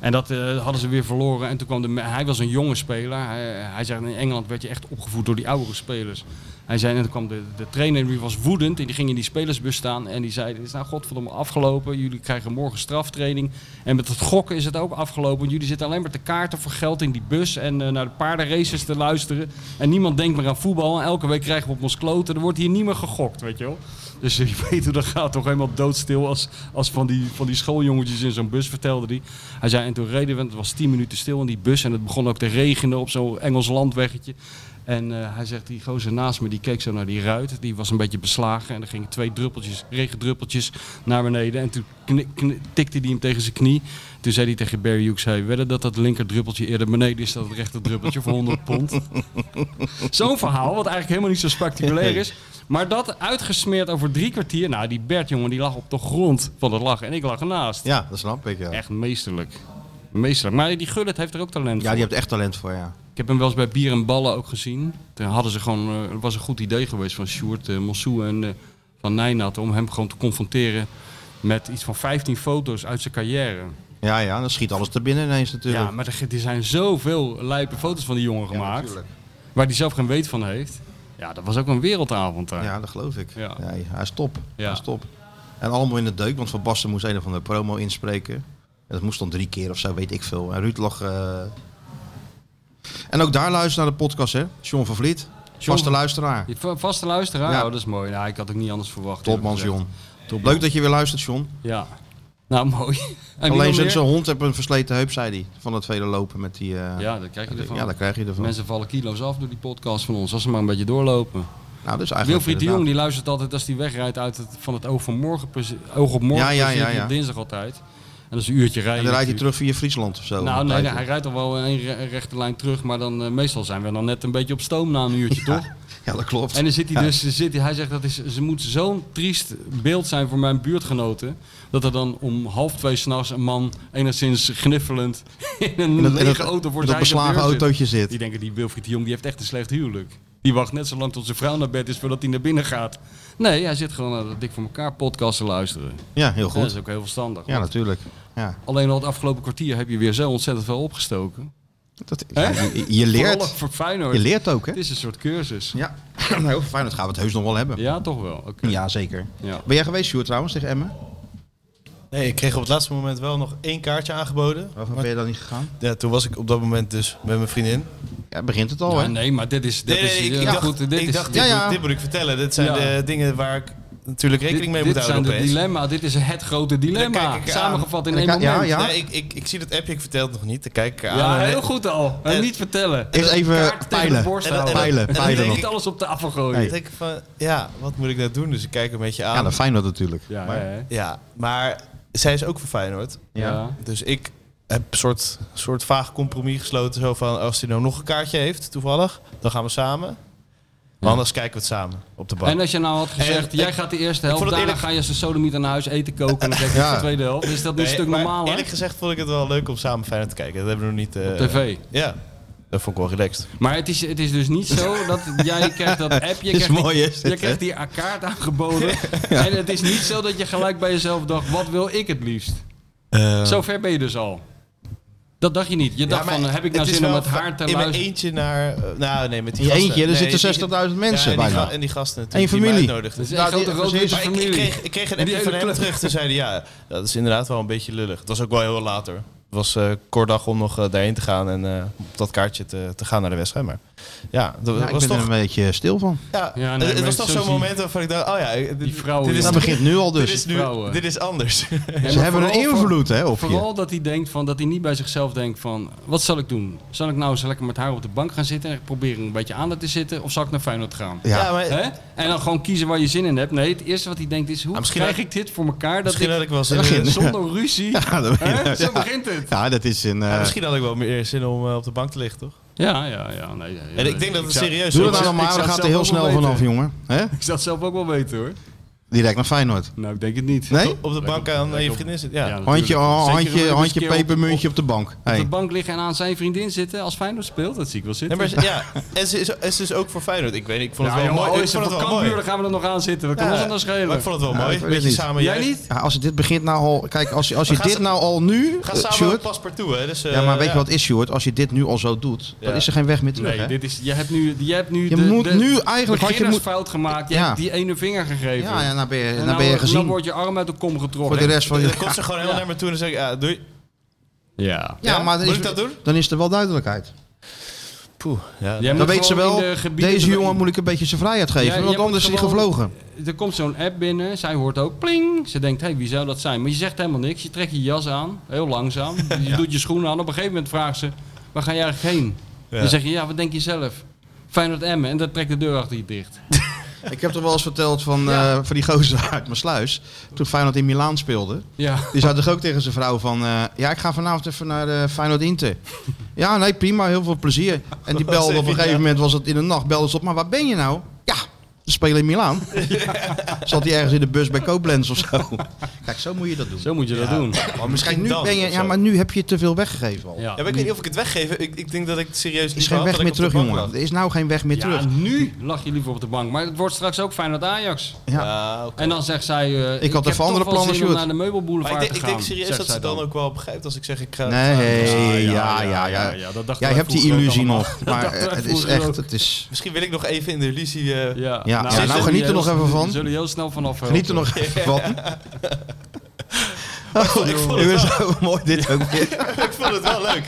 C: En dat eh, hadden ze weer verloren. En toen kwam de, me- hij was een jonge speler. Hij, hij zei, in Engeland werd je echt opgevoed door die oudere spelers. Hij zei, en toen kwam de, de trainer, en die was woedend. En die ging in die spelersbus staan. En die zei, het is nou godverdomme afgelopen. Jullie krijgen morgen straftraining. En met het gokken is het ook afgelopen. Jullie zitten alleen maar te kaarten voor geld in die bus. En eh, naar de paardenraces te luisteren. En niemand denkt meer aan voetbal. En elke week krijgen we op ons kloten. Er wordt hier niet meer gegokt, weet je wel. Dus je weet hoe dat gaat, toch helemaal doodstil als, als van, die, van die schooljongetjes in zo'n bus, vertelde hij. Hij zei, en toen reden we, het was tien minuten stil in die bus en het begon ook te regenen op zo'n Engels landweggetje. En eh, hij zegt, die gozer naast me, die keek zo naar die ruit, die was een beetje beslagen en er gingen twee druppeltjes, regendruppeltjes naar beneden. En toen kni- kni- tikte hij hem tegen zijn knie. Toen zei hij tegen Barry Hughes, hey, wedden dat dat linker druppeltje eerder beneden is dan het rechter druppeltje voor 100 pond. Zo'n verhaal, wat eigenlijk helemaal niet zo spectaculair is. Maar dat uitgesmeerd over drie kwartier. Nou, die Bert, jongen, die lag op de grond van het lachen. En ik lag ernaast.
B: ja, dat snap ik. Ja,
C: Echt meesterlijk. Meesterlijk. Maar die Gullit heeft er ook talent
B: ja
C: voor.
B: die hebt echt talent voor, ja.
C: Ik heb hem wel eens bij Bier en Ballen ook gezien. Toen hadden ze gewoon, eh, het was een goed idee geweest van Sjoerd, eh Mossou en eh, Van Nijnat... om hem gewoon te confronteren met iets van 15 foto's uit zijn carrière.
B: Ja, ja, dan schiet alles er binnen ineens natuurlijk.
C: Ja, maar er, er zijn zoveel lijpe foto's van die jongen gemaakt...
B: natuurlijk.
C: waar hij zelf geen weet van heeft. Ja, dat was ook een wereldavond daar.
B: Ja, dat geloof ik.
C: Ja.
B: Nee, hij is top.
C: Ja.
B: Hij is top. En allemaal in de deuk, want Van Basten moest een of andere promo inspreken. En dat moest dan drie keer of zo, weet ik veel. En Ruud lag... eh, En ook daar luisteren naar de podcast, hè? John van Vliet. Vaste luisteraar.
C: Je va- vaste luisteraar?
B: Ja.
C: Oh, dat is mooi. Nou, ik had ook niet anders verwacht.
B: Topman,
C: eerlijk
B: John.
C: gezegd.
B: Leuk dat je weer luistert, John.
C: Ja. Nou, mooi. En wie
B: Alleen
C: nog
B: zijn
C: meer?
B: zijn hond heeft een versleten heup, zei hij. Van het vele lopen met die... eh,
C: Ja, dat krijg je ervan.
B: ja, daar krijg je ervan.
C: Mensen vallen kilo's af door die podcast van ons, als ze maar een beetje doorlopen.
B: Nou, dus eigenlijk
C: Wilfried de Jong
B: inderdaad-
C: die luistert altijd als hij wegrijdt uit het, van het oog, van morgen, presi- oog op morgen,
B: Ja, ja,
C: precies,
B: ja, ja.
C: op dinsdag altijd. En dat is een uurtje rijden.
B: En dan rijdt hij
C: natuurlijk.
B: terug via Friesland of zo.
C: Nou,
B: Op een
C: nee, nee,
B: tijdje.
C: hij rijdt al wel een re- rechte lijn terug, maar dan eh, meestal zijn we dan net een beetje op stoom na een uurtje, toch?
B: Ja, dat klopt.
C: En dan zit hij
B: Ja.
C: dus, dan zit hij, hij zegt dat is, ze moet zo'n triest beeld zijn voor mijn buurtgenoten. Dat er dan om half twee s'nachts een man enigszins gniffelend in een
B: In dat- in
C: lege
B: dat-
C: auto voor
B: in dat
C: zijn
B: beslagen
C: deur zit.
B: autootje zit.
C: Die denken, die Wilfried de Jong die heeft echt een slecht huwelijk. Die wacht net zo lang tot zijn vrouw naar bed is voordat hij naar binnen gaat. Nee, hij zit gewoon naar dat Dik voor elkaar podcast te luisteren.
B: Ja, heel
C: Dat
B: goed.
C: is ook heel verstandig.
B: Ja,
C: want
B: natuurlijk. Ja.
C: Alleen al het afgelopen kwartier heb je weer zo ontzettend veel opgestoken.
B: Dat,
C: Hè?
B: je, je
C: Vooral
B: leert.
C: Voor Feyenoord.
B: Je leert ook, hè?
C: Het is een soort cursus.
B: Ja. Nou, over Feyenoord gaan we het heus nog wel hebben.
C: Ja, toch wel. Oké.
B: Ja, zeker.
C: Ja.
B: Ben jij geweest, Sjoerd, trouwens, tegen Emmen?
D: Nee, ik kreeg op het laatste moment wel nog één kaartje aangeboden.
B: Waarvan
D: Maar-
B: ben je dan niet gegaan?
D: ja, toen was ik op dat moment dus met mijn vriendin.
B: Ja, begint het al,
C: Ja,
B: hè?
C: nee, maar dit is. Dit
D: Oh, Nee, nee,
C: is
D: ik,
C: ja,
D: ik dacht,
C: goed, dit
D: ik
C: is,
D: dacht,
C: dit-
D: dit,
B: Ja, ja.
D: Moet, dit moet ik vertellen. Dit zijn
C: Ja.
D: de dingen waar ik natuurlijk rekening mee
C: dit
D: moet
C: zijn
D: houden
C: de
D: opeens.
C: dilemma. Dit is het grote
D: Dan
C: dilemma.
D: kijk ik aan.
C: Samengevat in
B: En
C: één
B: dan
C: moment.
B: kijk- ja,
C: Ja,
D: Ja, ik, ik, ik zie dat appje, ik vertel het nog niet. Dan kijk ik aan. En-
C: heel goed al. En
D: en-
C: niet vertellen.
B: Eerst even
C: Kaart tegen de
B: peilen.
C: borst
D: En- en-
C: houden.
B: Peilen,
D: en- en-
B: peilen
D: en-
B: nog.
C: Niet alles op tafel gooien.
D: Dan denk ik van, ja, wat moet ik nou doen? Dus ik kijk een beetje aan.
B: Ja, dat Feyenoord natuurlijk.
C: Ja,
B: Maar-
C: hè?
D: Ja, maar zij is ook van Feyenoord.
C: ja.
D: Dus ik heb een soort, soort vaag compromis gesloten. Zo van, als hij nou nog een kaartje heeft, toevallig, dan gaan we samen. Maar anders kijken we het samen op de bank.
C: En als je nou had gezegd,
D: En-
C: jij
D: ik-
C: gaat de eerste
D: vond
C: helft,
D: het
C: daarna
D: eerlijk-
C: ga je ze sodomiet aan huis eten koken en dan kijk je
B: Ja.
C: de tweede helft. Is dat nu
D: Nee,
C: een stuk
D: maar
C: normaler?
D: Eerlijk gezegd vond ik het wel leuk om samen Feyenoord te kijken. Dat hebben we nog niet... eh,
C: TV.
D: Ja. Dat vond ik wel relaxed.
C: Maar het is, het is dus niet zo dat jij krijgt dat app. Je
B: Is
C: krijgt
B: mooi,
C: die,
B: hè, is dit,
C: je krijgt die kaart aangeboden. En het is niet zo dat je gelijk bij jezelf dacht, wat wil ik het liefst?
B: Ehm.
C: Zover ben je dus al. Dat dacht je niet. Je dacht
D: Ja, maar
C: van, heb ik nou
D: is
C: zin om
D: wel
C: met haar te
D: in mijn
C: luisteren?
D: eentje naar... eh, nou, nee, met die
B: In je
D: gasten.
B: eentje, er
D: Nee,
B: zitten
D: die-
B: 60.000 mensen
D: ja, en die
B: bijna.
D: ga- en die gasten
B: Eén
D: natuurlijk. die
B: familie.
D: mij uitnodigden.
C: Dat is
B: Nou,
C: een grote
B: die-
C: rood
B: ze is-
D: Maar ik,
C: familie.
D: ik kreeg, ik kreeg een
C: En die
D: appje van
C: hele club.
D: hem terug. Toen zei hij, ja, dat is inderdaad wel een beetje lullig. Dat was ook wel heel later. Het was eh kort dag om nog eh, daarheen te gaan en eh, op dat kaartje te, te gaan naar de wedstrijd. Maar ja, dat
B: Ja, ik eh,
D: was
B: ben
D: toch...
B: er een beetje stil van.
D: Ja,
C: Ja, nee,
D: het- het
C: maar
D: was toch
C: zo
D: zo'n
C: zie-
D: moment waarvan ik dacht, oh ja, dit,
C: Die Nou, vrouwen,
D: dit is,
C: ja.
B: Dat begint nu al
D: dit
B: dus.
D: is nu,
C: vrouwen.
D: dit is anders.
C: Nee,
B: Ze
C: maar
B: hebben een
C: vooral voor-
B: invloed hè, op je.
C: Vooral dat hij denkt van dat hij niet bij zichzelf denkt van wat zal ik doen? Zal ik nou eens lekker met haar op de bank gaan zitten en proberen een beetje aan te zitten of zal ik naar Feyenoord gaan?
B: Ja.
D: maar
C: Hè? En dan gewoon kiezen waar je zin in hebt. Nee, het eerste wat hij denkt is hoe
D: Ah, misschien
C: krijg
D: had-
C: ik dit voor elkaar dat
D: misschien
C: ik
D: had ik wel zin,
B: begin.
D: in-
C: zonder ruzie.
B: Ja, dat
C: Hè?
B: ja.
C: Zo begint het.
B: Ja, dat is een... eh,
D: Ja, misschien had ik wel meer zin om eh, op de bank te liggen, toch?
C: Ja, ja, ja. Nee, ja, ja.
D: En ik denk dat het
C: zou-
D: serieus
B: doe
D: is.
B: dat nou
C: ik
B: maar, dan
C: zou het
B: gaat er
C: zelf
B: heel
C: ook wel
B: snel vanaf,
C: weten.
B: jongen. hè?
C: Ik zou het zelf ook wel weten hoor.
B: Direct naar Feyenoord.
C: Nou, ik denk het niet.
B: Nee?
D: Op de bank aan eh, je vriendin zitten. Ja.
C: natuurlijk.
B: Handje, oh,
C: Zet je
B: handje,
C: rug eens
B: handje
C: een keer op-
B: pepermuntje op de bank.
C: Op de
B: Hey.
C: bank liggen en aan zijn vriendin zitten als Feyenoord speelt. Dat zie ik wel zitten.
D: Nee, maar ze- ja, en ze is, en ze is ook voor Feyenoord. Ik weet niet, ik vond het
C: ja,
D: wel
C: jongen,
D: mooi.
C: oh,
D: Ik
C: is
D: vond
C: het
D: het wel
C: voor
D: mooi.
C: Cambuur, dan gaan we er nog aan zitten. We kunnen
D: Ja,
C: ons dan
D: Maar
C: schelen.
D: ik vond het wel
B: Ja,
D: mooi.
B: ik weet
D: Beetje
B: het niet.
D: samen
C: Jij
D: juichen.
C: niet?
B: Ja, als het dit begint nou al... Kijk, als, je- als je
D: gaan
B: dit
D: ze-
B: nou al nu...
D: Ga
B: eh,
D: samen
B: Sjoerd,
D: op paspartout, hè. Dus, eh,
B: ja, maar weet
D: ja.
B: je wat is, Sjoerd? Als je dit nu al zo doet, dan
D: Ja.
B: is er geen weg meer terug,
C: Nee,
B: hè?
C: dit is, je hebt nu, je hebt nu
B: Je moet nu eigenlijk- had je moet-
C: fout gemaakt. Je
B: Ja.
C: hebt die ene vinger gegeven.
B: Ja, ja, nou ben je,
C: En
B: nou
C: nou-
B: ben je
C: Dan
B: gezien
C: wordt je arm uit de kom getrokken.
B: voor de rest van je...
D: Dan komt ze gewoon heel
C: Ja.
D: naar me toe en dan zeg ik, ja, doei.
C: Ja.
B: Ja, maar dan
D: Moet
B: is,
D: ik dat doen?
B: dan is er wel duidelijkheid.
D: Poeh, ja.
C: Jij
B: Dan
C: moet
B: weet ze
C: gewoon
B: wel,
C: in de gebieden
B: deze
C: erbij-
B: jongen moet ik een beetje zijn vrijheid geven,
C: Ja, jij
B: want
C: moet
B: anders is hij
C: gewoon-
B: gevlogen.
C: Er komt zo'n app binnen, zij hoort ook pling. Ze denkt, hé, hey, wie zou dat zijn? Maar je zegt helemaal niks. Je trekt je jas aan, heel langzaam. Je doet je schoenen aan. Op een gegeven moment vraagt ze, waar ga je eigenlijk heen?
D: Ja.
C: Dan zeg je, ja, wat denk je zelf? Feyenoord Emmen. En dan trekt de deur achter je dicht.
B: Ik heb toch wel eens verteld van, eh, van die gozer uit mijn sluis, toen Feyenoord in Milaan speelde.
C: Ja.
B: Die zei toch ook tegen zijn vrouw van... eh, ja, ik ga vanavond even naar eh Feyenoord Inter. Ja, nee, prima. Heel veel plezier. En die belde op een gegeven moment, was het in de nacht, belde ze op. Maar waar ben je nou? Ja, we spelen in Milaan. Zat hij ergens in de bus bij Koblenz of zo. Kijk, zo moet je dat doen.
C: Zo moet je dat doen.
D: maar
B: Kijk, nu Oh, ben je, ja, maar nu heb je te veel weggegeven al.
D: Ja, maar ik weet niet of ik het weggeef. Ik, ik denk dat ik het serieus
B: Er
D: niet
B: is geen
D: wou,
B: weg
D: dat
B: meer
D: ik op
B: terug,
D: de bank
B: jongen.
D: lag.
B: Er is nou geen weg meer
C: Ja,
B: terug.
C: nu lag je liever op de bank. Maar het wordt straks ook Feyenoord Ajax.
B: Ja.
D: Ah, oké.
C: En dan zegt zij...
B: even
C: eh, heb
B: andere
C: toch wel
B: plannen,
C: zin om
B: Sjoerd.
C: naar de meubelboulevard
D: Maar ik denk,
C: te
D: ik
C: gaan.
D: denk serieus
C: zegt
D: dat
C: zij
D: ze dan ook wel begrijpt als ik zeg, ik ga... dus
B: Nee, Eh, Ah, ja,
C: ja,
B: ja,
C: ja,
B: ja.
C: ja, dat dachten
B: Jij
C: wij
B: hebt die
C: vroeger ook
B: illusie
C: allemaal.
B: nog.
C: dachten
B: Maar
C: wij
B: eh, het is
C: vroeger ook.
B: echt, het is...
D: Misschien wil ik nog even in de illusie... eh,
C: Ja,
B: Ja, nou,
C: daar
B: nou,
C: zullen
B: geniet
C: we
B: er nog
C: heel-
B: even van.
C: Zullen we heel snel vanaf eh,
B: Geniet er nog even van. Oh, ik vond het zo mooi dit ook weer.
D: ik vond het wel leuk.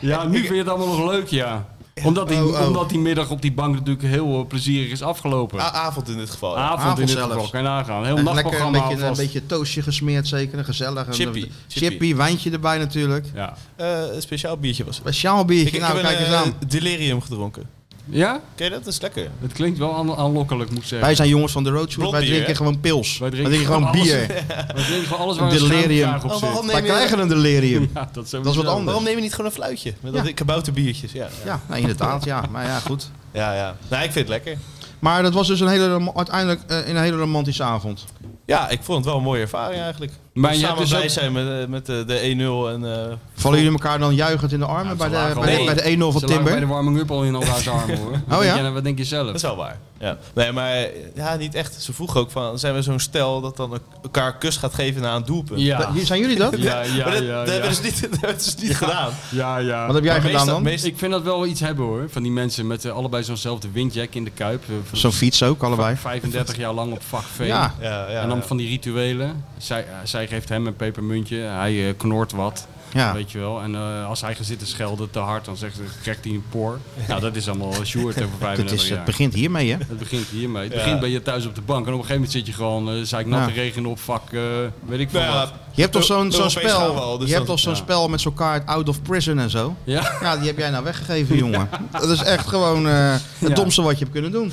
C: Ja, nu vind je het allemaal nog leuk, ja. Omdat die,
B: Oh, oh.
C: Omdat die middag op die bank natuurlijk heel eh, plezierig is afgelopen.
D: A- avond in dit geval. ja.
C: Avond,
B: Ah, avond
C: in dit
B: zelfs.
C: geval, kan je nagaan. Heel
B: En lekker een
C: nachtprogramma
B: beetje, eh, een
C: alvast.
B: beetje toastje gesmeerd zeker, een gezellig. Een-
D: Chippy,
B: een-
D: chippy.
B: chippy, wijntje erbij natuurlijk.
C: Ja.
D: Eh, een speciaal biertje was het.
B: Speciaal biertje,
D: Ik,
B: nou
D: ik heb
B: kijk
D: een
B: eens aan.
D: eh, delirium gedronken.
C: ja,
D: Ken je dat? Dat is lekker.
C: het klinkt wel aan- aanlokkelijk, moet ik zeggen.
B: Wij zijn jongens van de roadshow, dus
D: Blond
B: wij
D: bier,
B: drinken
D: hè?
B: gewoon pils. Wij
C: Wij
B: drinken,
C: drinken
B: gewoon
C: alles.
B: bier.
C: We drinken van alles
B: Een
C: waar een
B: delirium.
C: schuimkraag op
D: Oh,
C: zit.
D: waarom
B: wij
D: neem je-
B: krijgen een delirium.
C: Ja, dat,
B: Dat is wat
C: sowieso.
B: anders.
D: Waarom neem je niet gewoon een fluitje? Met
B: Ja.
D: dat kabouterbiertjes. Ja, ja.
B: Ja, nou, inderdaad, ja. Maar ja, goed.
D: ja, ja. Nou, ik vind het lekker.
B: Maar dat was dus een hele, rom- uiteindelijk eh, een hele romantische avond.
D: Ja, ik vond het wel een mooie ervaring eigenlijk.
C: Maar je
D: Samen
C: hebt dus
D: blij
C: ook-
D: zijn met, eh, met de, de 1-0 en... eh,
B: Vallen jullie elkaar dan juichend in de armen bij,
C: ze lagen
B: de,
C: al-
B: bij, de-
D: Nee.
B: bij de 1-0
C: Ze
B: van
C: lagen bij de
B: Timber?
C: warming-up al in elkaars armen, hoor. Wat
B: Oh,
C: denk
B: ja?
C: jij nou- wat denk je zelf?
D: Dat is wel waar. Ja. Nee, maar eh, ja, niet echt. Ze vroeg ook van, zijn we zo'n stel dat dan elk- elkaar een kus gaat geven na een doelpunt?
C: Ja,
B: Hier Zijn jullie dat?
C: ja, ja,
D: maar dat,
C: ja,
D: dat
C: ja.
D: hebben ze niet, dat hebben ze niet gedaan.
C: ja, ja.
B: Wat heb jij
D: Maar
B: gedaan
D: meestal-
B: dan?
D: meestal-
C: Ik vind dat wel iets hebben, hoor. Van die mensen met eh, allebei zo'nzelfde windjack in de kuip. eh, van
B: Zo'n fiets ook, allebei.
C: 35 jaar lang op vak V.
B: Ja,
D: Ja, ja,
C: en dan
D: ja.
C: van die rituelen. Zij, eh, zij geeft hem een pepermuntje, hij eh, knort wat.
B: ja.
C: Weet je wel. En eh, als hij gaat zitten schelden te hard, dan zegt ze, krijgt hij een por. Nou, dat is allemaal Sjoerd over
B: Het, is,
C: 35
B: het
C: jaar.
B: begint hiermee, hè?
C: Het begint hiermee. Het
D: Ja.
C: begint bij je thuis op de bank. En op een gegeven moment zit je gewoon, eh zei ik, natte
B: Ja.
C: regen op, vak, eh, weet ik veel
D: Nou ja,
C: wat.
B: Je hebt toch zo'n
D: Europees
B: zo'n
D: gaan we al,
B: spel,
D: dus
B: je hebt
D: dan-
B: toch zo'n
C: ja.
B: spel met zo'n kaart out of prison en zo?
C: Ja.
B: Ja, die heb jij nou weggegeven, jongen. Dat is echt gewoon eh, het
C: Ja.
B: domste wat je hebt kunnen doen.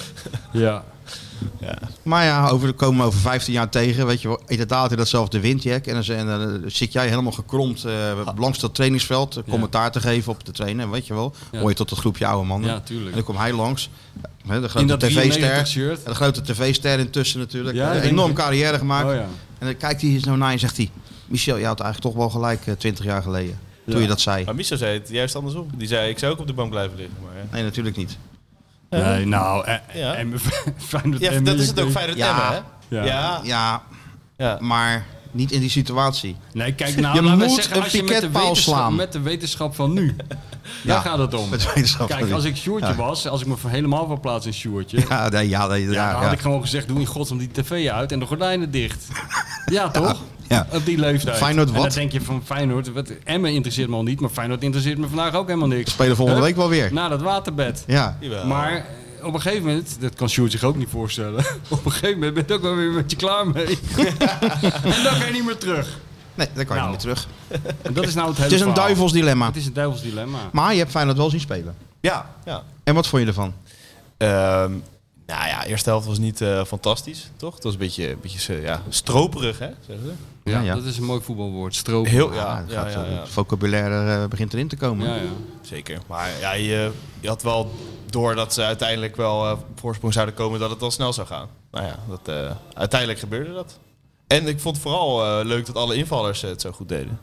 C: ja.
B: Maar ja, over, komen we over 15 jaar tegen, weet je wel, inderdaad in datzelfde windjack. En dan, z- en dan eh, zit jij helemaal gekromd eh, langs dat trainingsveld, eh,
C: Ja.
B: commentaar te geven op de trainer, weet je wel.
C: Ja.
B: Hoor je tot het groepje oude mannen.
C: Ja,
B: en
C: tuurlijk.
B: dan komt hij langs, hè, de
C: In
B: grote
C: dat 93
B: tv-ster.
C: shirt.
B: En de grote tv-ster intussen natuurlijk.
C: Ja,
B: Een
C: ik denk
B: enorm
C: het.
B: carrière gemaakt.
C: Oh ja.
B: En dan kijkt hij eens nou naar je en zegt hij... Michel, je had eigenlijk toch wel gelijk eh, 20 jaar geleden. Toen je dat zei.
D: Maar Miso zei het juist andersom. Die zei, ik zou ook op de bank blijven liggen. Maar, ja.
B: Nee, natuurlijk niet.
C: Nee, nou, eh,
D: Ja.
C: Emmen- Feyenoord
D: Ja,
C: Emmen,
D: dat is
C: ik
D: het ook
C: denk-
D: Feyenoord
B: Ja.
D: Emmen, hè?
C: Ja.
D: Ja. ja.
B: Ja, maar niet in die situatie.
C: Nee, kijk nou,
B: Je
C: laten we
B: moet
C: zeggen,
B: een
C: als je met de,
B: piketpaal
C: wetenschap,
B: slaan.
C: met de wetenschap van nu, daar gaat het om.
B: Met wetenschap van
C: Kijk,
B: nu.
C: als ik Sjoertje
B: Oh, Ja.
C: was, als ik me helemaal verplaats in Sjoertje,
B: Ja, nee, ja, nee, ja,
C: ja, dan had
B: ja.
C: ik gewoon gezegd, doe in godsnaam die tv uit en de gordijnen dicht. Ja, toch?
B: ja.
C: Op die leeftijd.
B: Feyenoord
C: En
B: wat?
C: dan denk je van Feyenoord, wat, Emmen interesseert me al niet, maar Feyenoord interesseert me vandaag ook helemaal niks.
B: Spelen volgende
C: Hup,
B: week wel weer.
C: Na dat waterbed.
B: Ja.
D: Jawel.
C: Maar eh, op een gegeven moment, dat kan Sjoerd zich ook niet voorstellen, op een gegeven moment ben je ook wel weer met je klaar mee. en dan ga je niet meer terug.
B: Nee, daar kan je
C: Nou,
B: niet meer terug.
C: En dat is nou het hele
B: Het is een
C: verhaal.
B: duivels dilemma.
C: Het is een duivels dilemma.
B: Maar je hebt Feyenoord wel zien spelen.
D: ja. ja.
B: En wat vond je ervan?
D: Ehm, nou ja, eerste helft was niet eh, fantastisch, toch? Het was een beetje, een beetje eh, ja, stroperig, hè? Zeggen ze.
B: Ja, ja.
C: Dat is een mooi voetbalwoord, stroop.
D: Heel,
B: Ah,
D: ja,
B: het
D: ja,
B: gaat,
D: ja,
B: eh,
D: ja.
B: Het vocabulaire eh, begint erin te komen.
C: Ja, ja.
D: zeker. Maar ja, je, je had wel door dat ze uiteindelijk wel eh, op voorsprong zouden komen dat het al snel zou gaan. Nou ja, dat, eh, uiteindelijk gebeurde dat. En ik vond vooral eh, leuk dat alle invallers eh, het zo goed deden.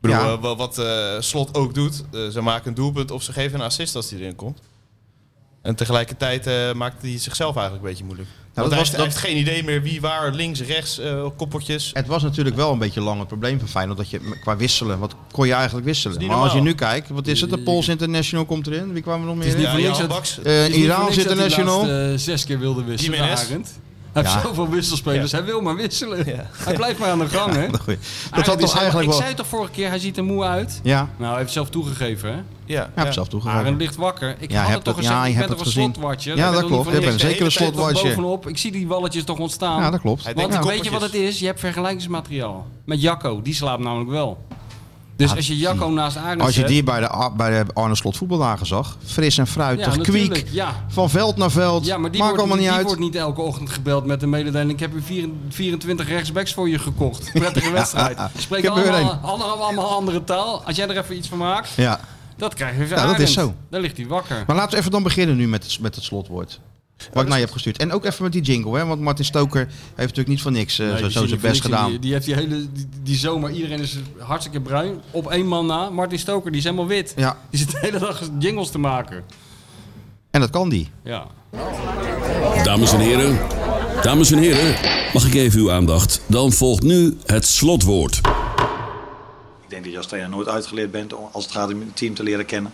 D: Ik bedoel,
B: Ja.
D: eh, wa- wat eh, Slot ook doet, eh, ze maken een doelpunt of ze geven een assist als die erin komt. En tegelijkertijd eh maakt hij zichzelf eigenlijk een beetje moeilijk.
B: Nou, dat
D: Want hij,
B: was-
D: heeft,
B: dat-
D: hij heeft geen idee meer wie waar, links, rechts, eh, koppeltjes.
B: Het was natuurlijk wel een beetje lang het probleem van Feyenoord. Dat je qua wisselen, wat kon je eigenlijk wisselen?
D: Dat is
B: Maar
D: niet
B: als je nu
D: normaal.
B: kijkt, wat is het? De Poolse International komt erin. Wie kwamen er nog meer
C: niet
B: in?
D: Ja,
C: voor niks
D: Jan
C: dat-
D: Baks,
B: Eh,
C: Het is niet voor
B: Iraans
C: niks dat hij
B: International.
C: laatst, eh, zes keer wilde wisselen.
D: Jiménez.
C: Arend. Hij heeft
B: Ja.
C: zoveel wisselspelers, hij wil maar wisselen. Hij blijft maar aan de gang, hè?
B: Goeie. Dat
C: Arend
B: had
C: is
B: toch
C: helemaal-
B: eigenlijk
C: Ik
B: wel...
C: Ah, zei het toch vorige keer, hij ziet er moe uit.
B: Ja,
C: Nou, hij heeft zelf toegegeven, hè?
D: ja,
B: ja, heb zelf toegegeven.
C: Arend ligt wakker. Ik
B: Ja,
C: had
B: heb
C: het toch
B: het-
C: gezegd,
B: ja,
C: ik
B: je
C: ben
B: hebt
C: toch een
B: het gezien. Ja,
C: slotwatcher? Ik ben
B: dat
C: toch niet
B: klopt.
C: voor
B: Je
C: niks
B: bent
D: de
B: zeker
D: hele
B: een
D: tijd op
B: slotwatcher.
C: bovenop. Ik zie die walletjes toch ontstaan.
B: Ja, dat klopt.
D: Hij denkt
C: Want
D: die
B: Ja.
C: weet je wat het
D: koppeltjes.
C: is? Je hebt vergelijkingsmateriaal. Met Jacco, die slaapt namelijk wel. Dus
B: Ah,
C: als je Jacco naast Arend
B: Als je
C: zet-
B: die bij de, bij de Arne Slot voetbaldagen zag, fris en fruitig,
C: natuurlijk,
B: kwiek,
C: Ja.
B: van veld naar veld,
C: Ja, maar die,
B: maakt
C: wordt,
B: allemaal
C: die,
B: niet
C: die
B: uit.
C: wordt niet elke ochtend gebeld met de mededeling. Ik heb u 24 rechtsbacks voor je gekocht. Prettige wedstrijd. Spreek
B: Ik heb er weer
C: allemaal, allemaal, allemaal andere taal. Als jij er even iets van maakt,
B: Ja.
C: dat krijg je van
B: Ja, dat
C: Arend.
B: is zo.
C: Daar ligt hij wakker.
B: Maar laten we even dan beginnen nu met het, met het slotwoord. Wat ik naar je heb gestuurd. En ook even met die jingle, hè? want Martin Stoker heeft natuurlijk niet voor niks eh,
C: Nee,
B: zo,
C: die
B: zo
C: zie
B: zijn
C: je
B: best
C: niks in.
B: gedaan.
C: Die, die heeft die hele die, die zomer, iedereen is hartstikke bruin. Op één man na, Martin Stoker, die is helemaal wit.
B: Ja,
C: Die zit de hele dag jingles te maken.
B: en dat kan die.
C: Ja.
E: Dames en heren, dames en heren, mag ik even uw aandacht? Dan volgt nu het slotwoord.
F: Ik denk dat je als trainer nooit uitgeleerd bent om- als het gaat om het team te leren kennen.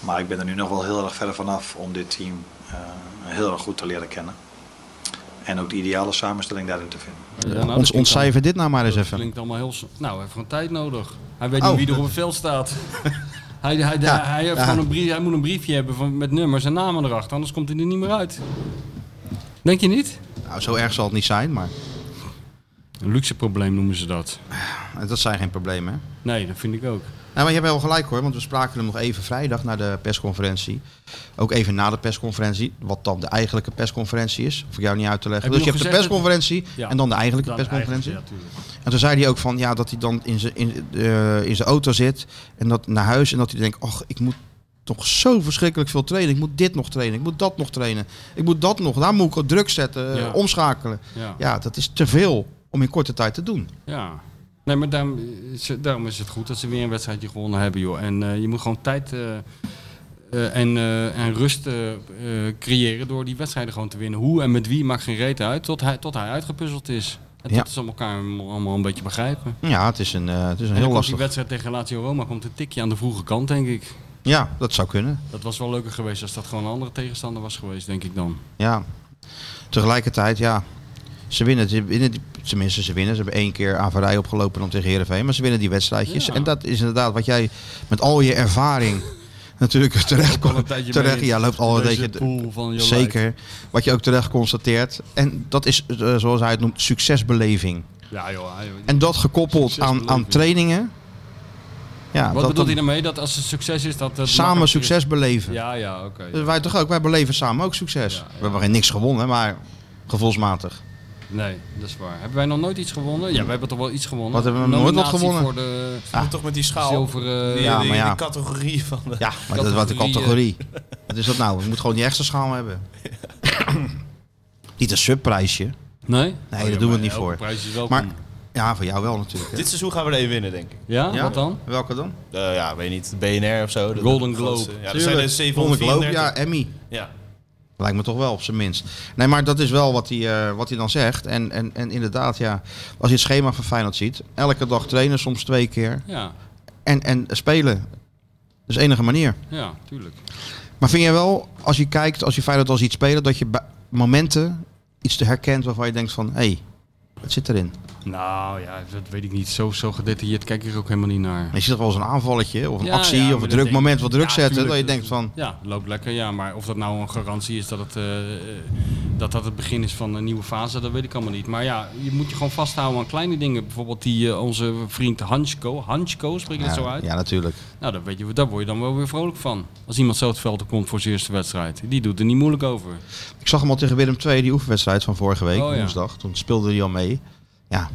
F: Maar ik ben er nu nog wel heel erg verder vanaf om dit team eh, heel erg goed te leren kennen. En ook de ideale samenstelling daarin te vinden.
C: Ja, nou, dat
B: Ons,
C: klinkt
B: ons cijfer dit nou maar eens
C: Dat
B: even.
C: klinkt allemaal heel... s- Nou, hij heeft gewoon tijd nodig. Hij weet
B: Oh.
C: niet wie er op het veld staat. hij, hij,
B: Ja,
C: hij, heeft
B: ja.
C: gewoon een brief, hij moet een briefje hebben van, met nummers en namen erachter. Anders komt hij er niet meer uit. Denk je niet?
B: Nou, zo erg zal het niet zijn, maar
C: Een luxe probleem noemen ze dat.
B: eh, dat zijn geen problemen. Hè?
C: Nee, dat vind ik ook.
B: Nou, maar je hebt wel gelijk hoor, want we spraken hem nog even vrijdag na de persconferentie. Ook even na de persconferentie, wat dan de eigenlijke persconferentie is. Hoef ik jou niet uit te leggen.
C: Heb je
B: dus je
C: nog
B: hebt de
C: gezegd dat-
B: persconferentie
C: Ja.
B: en dan de eigenlijke
C: Dan
B: persconferentie.
C: eigenlijk, ja, tuurlijk.
B: En toen zei hij ook van ja, dat hij dan in zijn in, eh, in zijn auto zit en dat naar huis en dat hij denkt, ach, ik moet toch zo verschrikkelijk veel trainen. Ik moet dit nog trainen, ik moet dat nog trainen, ik moet dat nog. Daar moet ik op druk zetten, eh,
C: Ja.
B: omschakelen.
C: ja. Ja.
B: Ja, dat is te veel om in korte tijd te doen.
C: Nee, maar daarom, is- daarom is het goed dat ze weer een wedstrijdje gewonnen hebben, joh. En eh, je moet gewoon tijd eh, eh, en, eh, en rust eh, eh, creëren door die wedstrijden gewoon te winnen. Hoe en met wie maakt geen reet uit, tot hij, tot hij uitgepuzzeld is. En
B: Ja.
C: tot ze elkaar allemaal een beetje begrijpen.
B: Ja, het is een, eh, het is een
C: En dan
B: heel
C: komt die
B: lastig.
C: wedstrijd tegen Lazio Roma komt een tikje aan de vroege kant, denk ik.
B: Ja, dat zou kunnen.
C: Dat was wel leuker geweest als dat gewoon een andere tegenstander was geweest, denk ik dan.
B: Ja. Tegelijkertijd, ja. Ze winnen, ze winnen, die- tenminste ze winnen. Ze hebben één keer averij opgelopen om tegen Heerenveen. Maar ze winnen die wedstrijdjes.
C: Ja.
B: En dat is inderdaad wat jij met al je ervaring natuurlijk terecht
C: Al een
B: komt.
C: tijdje
B: Terecht,
C: mee
B: ja, loopt al een
C: deze
B: beetje...
C: pool van Jolijt.
B: Zeker. Wat je ook terecht constateert. En dat is, eh, zoals hij het noemt, succesbeleving.
C: Ja joh. hij-
B: En dat gekoppeld aan, aan
C: Succesbeleving.
B: trainingen. Ja, dat
C: Wat bedoelt
B: dan
C: hij nou daarmee? Dat als het succes is, dat... dat
B: samen
C: makkelijk-
B: succes beleven.
C: Ja, ja, oké.
B: Dus wij toch ook, wij beleven samen ook succes.
C: Ja, ja.
B: We hebben geen niks gewonnen, maar gevoelsmatig.
C: Nee, dat is waar. Hebben wij nog nooit iets gewonnen? Ja, we hebben toch wel iets gewonnen.
B: Wat hebben we
C: Een
B: nooit wat
C: nominatie
B: gewonnen?
C: voor de
B: Ah.
D: Moet toch met die schaal.
C: zilveren...
D: Die,
B: Ja,
D: die-
B: maar ja.
D: die categorie van de...
B: Ja, maar dat was de
C: Categorie, eh.
B: categorie. Wat is dat nou? Je moet gewoon die extra schaal hebben. Niet een subprijsje.
C: Nee? Oh,
B: daar doen we het niet voor.
C: Prijs is wel
B: Maar Ja, voor jou wel natuurlijk. hè.
D: Dit seizoen gaan we er één winnen, denk ik.
C: Ja,
B: Ja?
C: wat dan?
B: Welke dan?
D: Eh, ja, weet niet. BNR of zo. de-
C: Golden
D: de
C: Globe.
D: grootste. Ja, er zijn
B: Tuurlijk.
D: er
B: Golden Globe,
D: 734.
B: ja, Emmy.
D: ja.
B: Lijkt me toch wel, op zijn minst. Nee, maar dat is wel wat hij, eh, wat hij dan zegt. En, en, en inderdaad, ja, als je het schema van Feyenoord ziet... elke dag trainen, soms twee keer.
C: Ja,
B: En, en spelen. Dat is de enige manier.
C: ja, tuurlijk.
B: Maar vind je wel, als je kijkt, als je Feyenoord al ziet spelen... dat je bij momenten iets te herkent waarvan je denkt van... hé, hey, wat zit erin?
C: Nou ja, dat weet ik niet. Zo, zo gedetailleerd kijk ik er ook helemaal niet naar.
B: Je ziet er wel eens een aanvalletje of een
C: Ja,
B: actie...
C: ja, maar
B: of een
C: dat
B: druk
C: denk-
B: moment wat druk
C: Ja,
B: zetten...
C: tuurlijk,
B: dat je
C: dat-
B: denkt van...
C: Ja, loopt lekker, ja. Maar of dat nou een garantie is dat het, eh, eh, dat, dat het begin is van een nieuwe fase, dat weet ik allemaal niet. Maar ja, je moet je gewoon vasthouden aan kleine dingen. Bijvoorbeeld die, eh, onze vriend Hansko, Hansko spreek je dat zo
B: Ja,
C: uit?
B: ja, natuurlijk.
C: Nou, daar, weet je, daar word je dan wel weer vrolijk van. Als iemand zo het veld op komt voor zijn eerste wedstrijd. Die doet er niet moeilijk over.
B: Ik zag hem al tegen Willem II, die oefenwedstrijd van vorige week,
C: Oh, ja.
B: woensdag. Toen speelde hij al mee. Ja,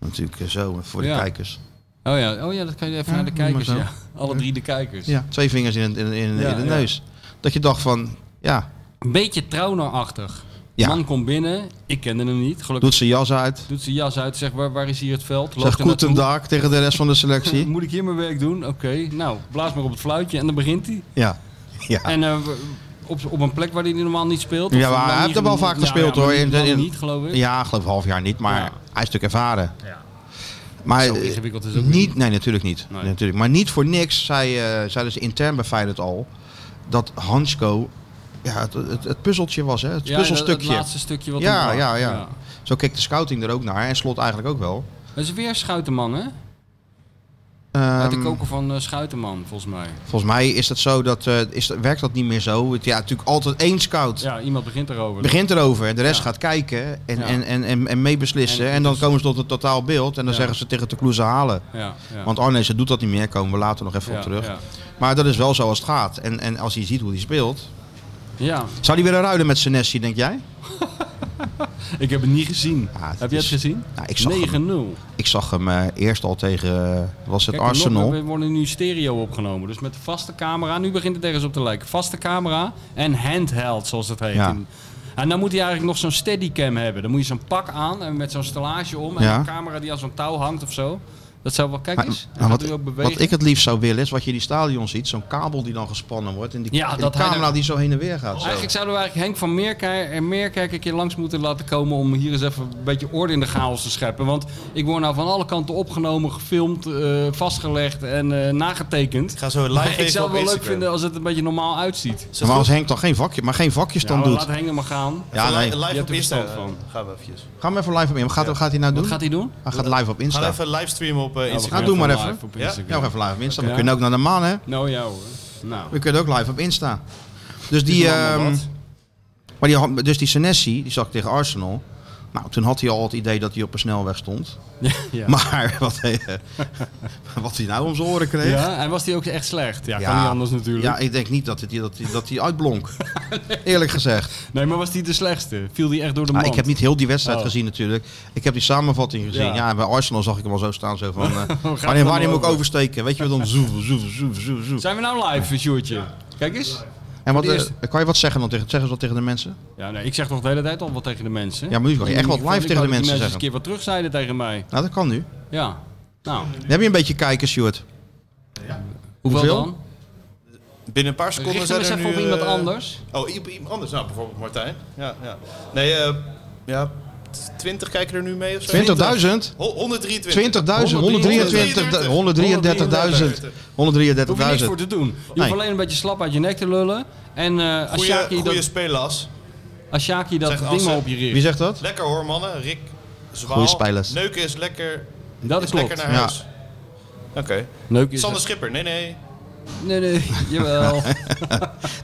B: natuurlijk eh, zo voor de
C: Ja.
B: kijkers.
C: Oh ja, oh ja dat kan je even
B: Ja,
C: naar de
B: noem maar
C: kijkers.
B: zo.
C: Ja. Alle drie de kijkers.
B: Ja. Twee vingers in, in, in,
C: Ja,
B: in de
C: ja.
B: neus. Dat je dacht van, ja,
C: Een beetje trouwnerachtig.
B: Ja.
C: Man komt binnen, ik kende hem niet. Gelukkig
B: doet zijn jas uit.
C: doet zijn jas uit, zegt waar, waar is hier het veld? Loopt
B: Zegt
C: er naartoe.
B: goedendag tegen de rest van de selectie.
C: Moet ik hier mijn werk doen? Oké, nou, blaas maar op het fluitje en dan begint hij.
B: Ja, ja.
C: En eh, op, op een plek waar hij normaal niet speelt. of
B: Ja, maar
C: waar
B: hij
C: niet
B: heeft er wel
C: geno-
B: vaak
C: Ja,
B: gespeeld,
C: ja, maar
B: hoor. In-
C: Niet, lang
B: in-
C: niet, geloof ik.
B: ja, ik geloof een half jaar niet, maar
C: Ja.
B: hij is natuurlijk ervaren.
C: Ja.
B: Maar
C: Zo
B: eh,
C: ingewikkeld is het ook
B: niet.
C: niet.
B: Nee, natuurlijk niet.
C: Nee.
B: Natuurlijk. Maar niet voor niks zei, eh, zeiden ze intern bij Feyenoord al dat Hansko ja, het, het, het puzzeltje was, hè? het
C: Ja,
B: puzzelstukje.
C: dat- Het laatste stukje wat
B: Ja,
C: ontbrak.
B: ja, ja, Zo keek de scouting er ook naar en slot eigenlijk ook wel.
C: Dat is weer Schuitenman, hè? Uit de
B: Ehm,
C: koker van eh, Schuitenman, volgens mij.
B: volgens mij is dat zo dat, eh, is, dat- werkt dat niet meer zo. Het, ja, natuurlijk altijd één scout
C: Ja, iemand begint erover.
B: begint erover en de rest
C: Ja.
B: gaat kijken en,
C: Ja.
B: en, en, en, en meebeslissen. En,
C: En-
B: dan
C: dus-
B: komen ze tot een totaal beeld en dan
C: Ja.
B: zeggen ze tegen de Kloeze halen.
C: Ja, ja.
B: Want Arnees doet dat niet meer, komen we later nog even
C: ja,
B: op terug.
C: Ja.
B: Maar dat is wel zo als het gaat. En, en als je ziet hoe die speelt.
C: Ja,
B: Zou die willen ruilen met Senesi, denk jij?
C: ik heb het niet gezien.
B: Ja, Ah, het
C: heb je
B: is-
C: het gezien?
B: Ja, Nou, ik zag hem.
C: 9-0.
B: Ik zag hem eh, eerst al tegen, eh, was het
C: Kijk,
B: Arsenal?
C: We worden nu stereo opgenomen. Dus met de vaste camera. Nu begint het ergens op te lijken. Vaste camera en handheld, zoals dat heet.
B: Ja.
C: In- En dan moet hij eigenlijk nog zo'n steadycam hebben. Dan moet je zo'n pak aan en met zo'n stellage om. En
B: Ja.
C: een camera die aan zo'n touw hangt of zo. Dat zou wel... Kijk
B: Maar-
C: eens. Hij
B: maar
C: gaat
B: Nou, wat,
C: nu ook bewegen.
B: wat ik het liefst zou willen is wat je in die stadion ziet, zo'n kabel die dan gespannen wordt en die,
C: Ja,
B: en die
C: dat hij
B: camera
C: daar- Oh,
B: die zo heen en weer gaat. zo.
C: Dus Eigenlijk zouden we eigenlijk Henk van Meerkerk, en Meerkerk een keer langs moeten laten komen om hier eens even een beetje orde in de chaos te scheppen. Want ik word nou van alle kanten opgenomen, gefilmd, eh, vastgelegd en eh, nagetekend.
D: Ik ga zo live
C: Maar
D: even
C: ik zou
D: op
C: het wel leuk
D: Instagram.
C: vinden als het een beetje normaal uitziet.
D: Is dat
B: maar als
D: goed?
B: Henk dan geen vakje, maar geen vakjes
C: Ja,
B: dan
C: maar
B: doet.
C: laat Henk dan maar gaan.
B: Ja,
D: Even li-
B: nee.
D: live
C: Je
D: op
C: hebt er
D: Insta.
C: verstand van.
D: eh, Gaan we eventjes.
B: Ga hem even live op in. Wat gaat, wat gaat hij nou doen?
C: Wat gaat hij doen?
B: hij gaat live op
D: Gaan
B: Insta.
D: we even live streamen op eh,
C: we
D: Instagram.
B: gaan
C: gaan
B: doe maar
C: live
B: even.
C: op
D: Ja?
B: Ja,
C: Instagram.
B: we gaan even live op Insta. We
C: Ja.
B: kunnen ook naar de maan, hè?
C: Nou ja hoor. Nou.
B: We kunnen ook live op Insta. Dus die,
C: Is er allemaal
B: ehm,
C: wat?
B: maar die, had- dus die Senesi, die zag ik tegen Arsenal. Nou, toen had hij al het idee dat hij op een snelweg stond.
C: Ja, ja.
B: Maar wat, hij, eh, wat hij nou om zijn oren kreeg.
C: Ja, en was die ook echt slecht? Ja,
B: Ja.
C: kan niet anders natuurlijk.
B: Ja, ik denk niet dat hij dat, hij- dat hij uitblonk. Eerlijk gezegd.
C: Nee, maar was die de slechtste? Viel die echt door de
B: Ah,
C: mand?
B: ik heb niet heel die wedstrijd
C: Oh.
B: gezien natuurlijk. Ik heb die samenvatting gezien. Ja.
C: Ja.
B: en bij Arsenal zag ik hem al zo staan. Zo van, eh,
C: het
B: wanneer wanneer
C: dan
B: moet ik
C: over?
B: oversteken? Weet je wat dan? Zoef, zoef, zoef, zoef, zoef.
C: Zijn we nou live, Sjoerdje? Kijk eens.
B: En wat,
C: voor
B: eh,
C: het
B: kan je wat zeggen dan tegen, zeggen ze wat tegen de mensen?
C: Ja, nee, ik zeg toch de hele tijd al wat tegen de mensen.
B: Ja, maar nu kan je echt wat
C: Ik
B: live
C: wou dat
B: tegen de
C: die
B: mensen
C: eens
B: zeggen.
C: een keer wat terug zeiden tegen mij.
B: Nou, dat kan nu.
C: Ja. Nou,
B: Dan heb je een beetje kijkers, Stuart. Hoeveel?
C: hoeveel dan?
D: Binnen een paar seconden
C: Richt hem
D: zijn
C: eens
D: er
C: even
D: nu...
C: op iemand
D: eh,
C: anders.
D: Oh, i- op iemand anders. Nou, bijvoorbeeld Martijn. Ja, ja. Nee, eh, ja, t- 20 kijken er nu mee of zo?
B: 20.000?
D: 100 123.
B: 20.000, 123, 133.000. 133.000.
C: Hoef je niks voor te doen. Je
B: Nee.
C: hoeft alleen een beetje slap uit je nek te lullen. En eh als Sjaki
D: Goeie, goeie
C: dat,
D: spelers.
C: als Sjaki dat
D: Zeg,
C: ding
D: als
C: maar
D: ze-
C: op je richt.
B: Wie zegt dat?
D: Lekker hoor, mannen. Rick, Zwaal.
B: Goeie spelers.
D: Neuken is lekker,
C: Dat
D: is
C: is
D: lekker
C: klopt.
D: naar
B: Ja.
D: huis. Oké.
C: Leuk is
D: Sander Schipper. Nee, nee.
C: Nee, nee, jawel.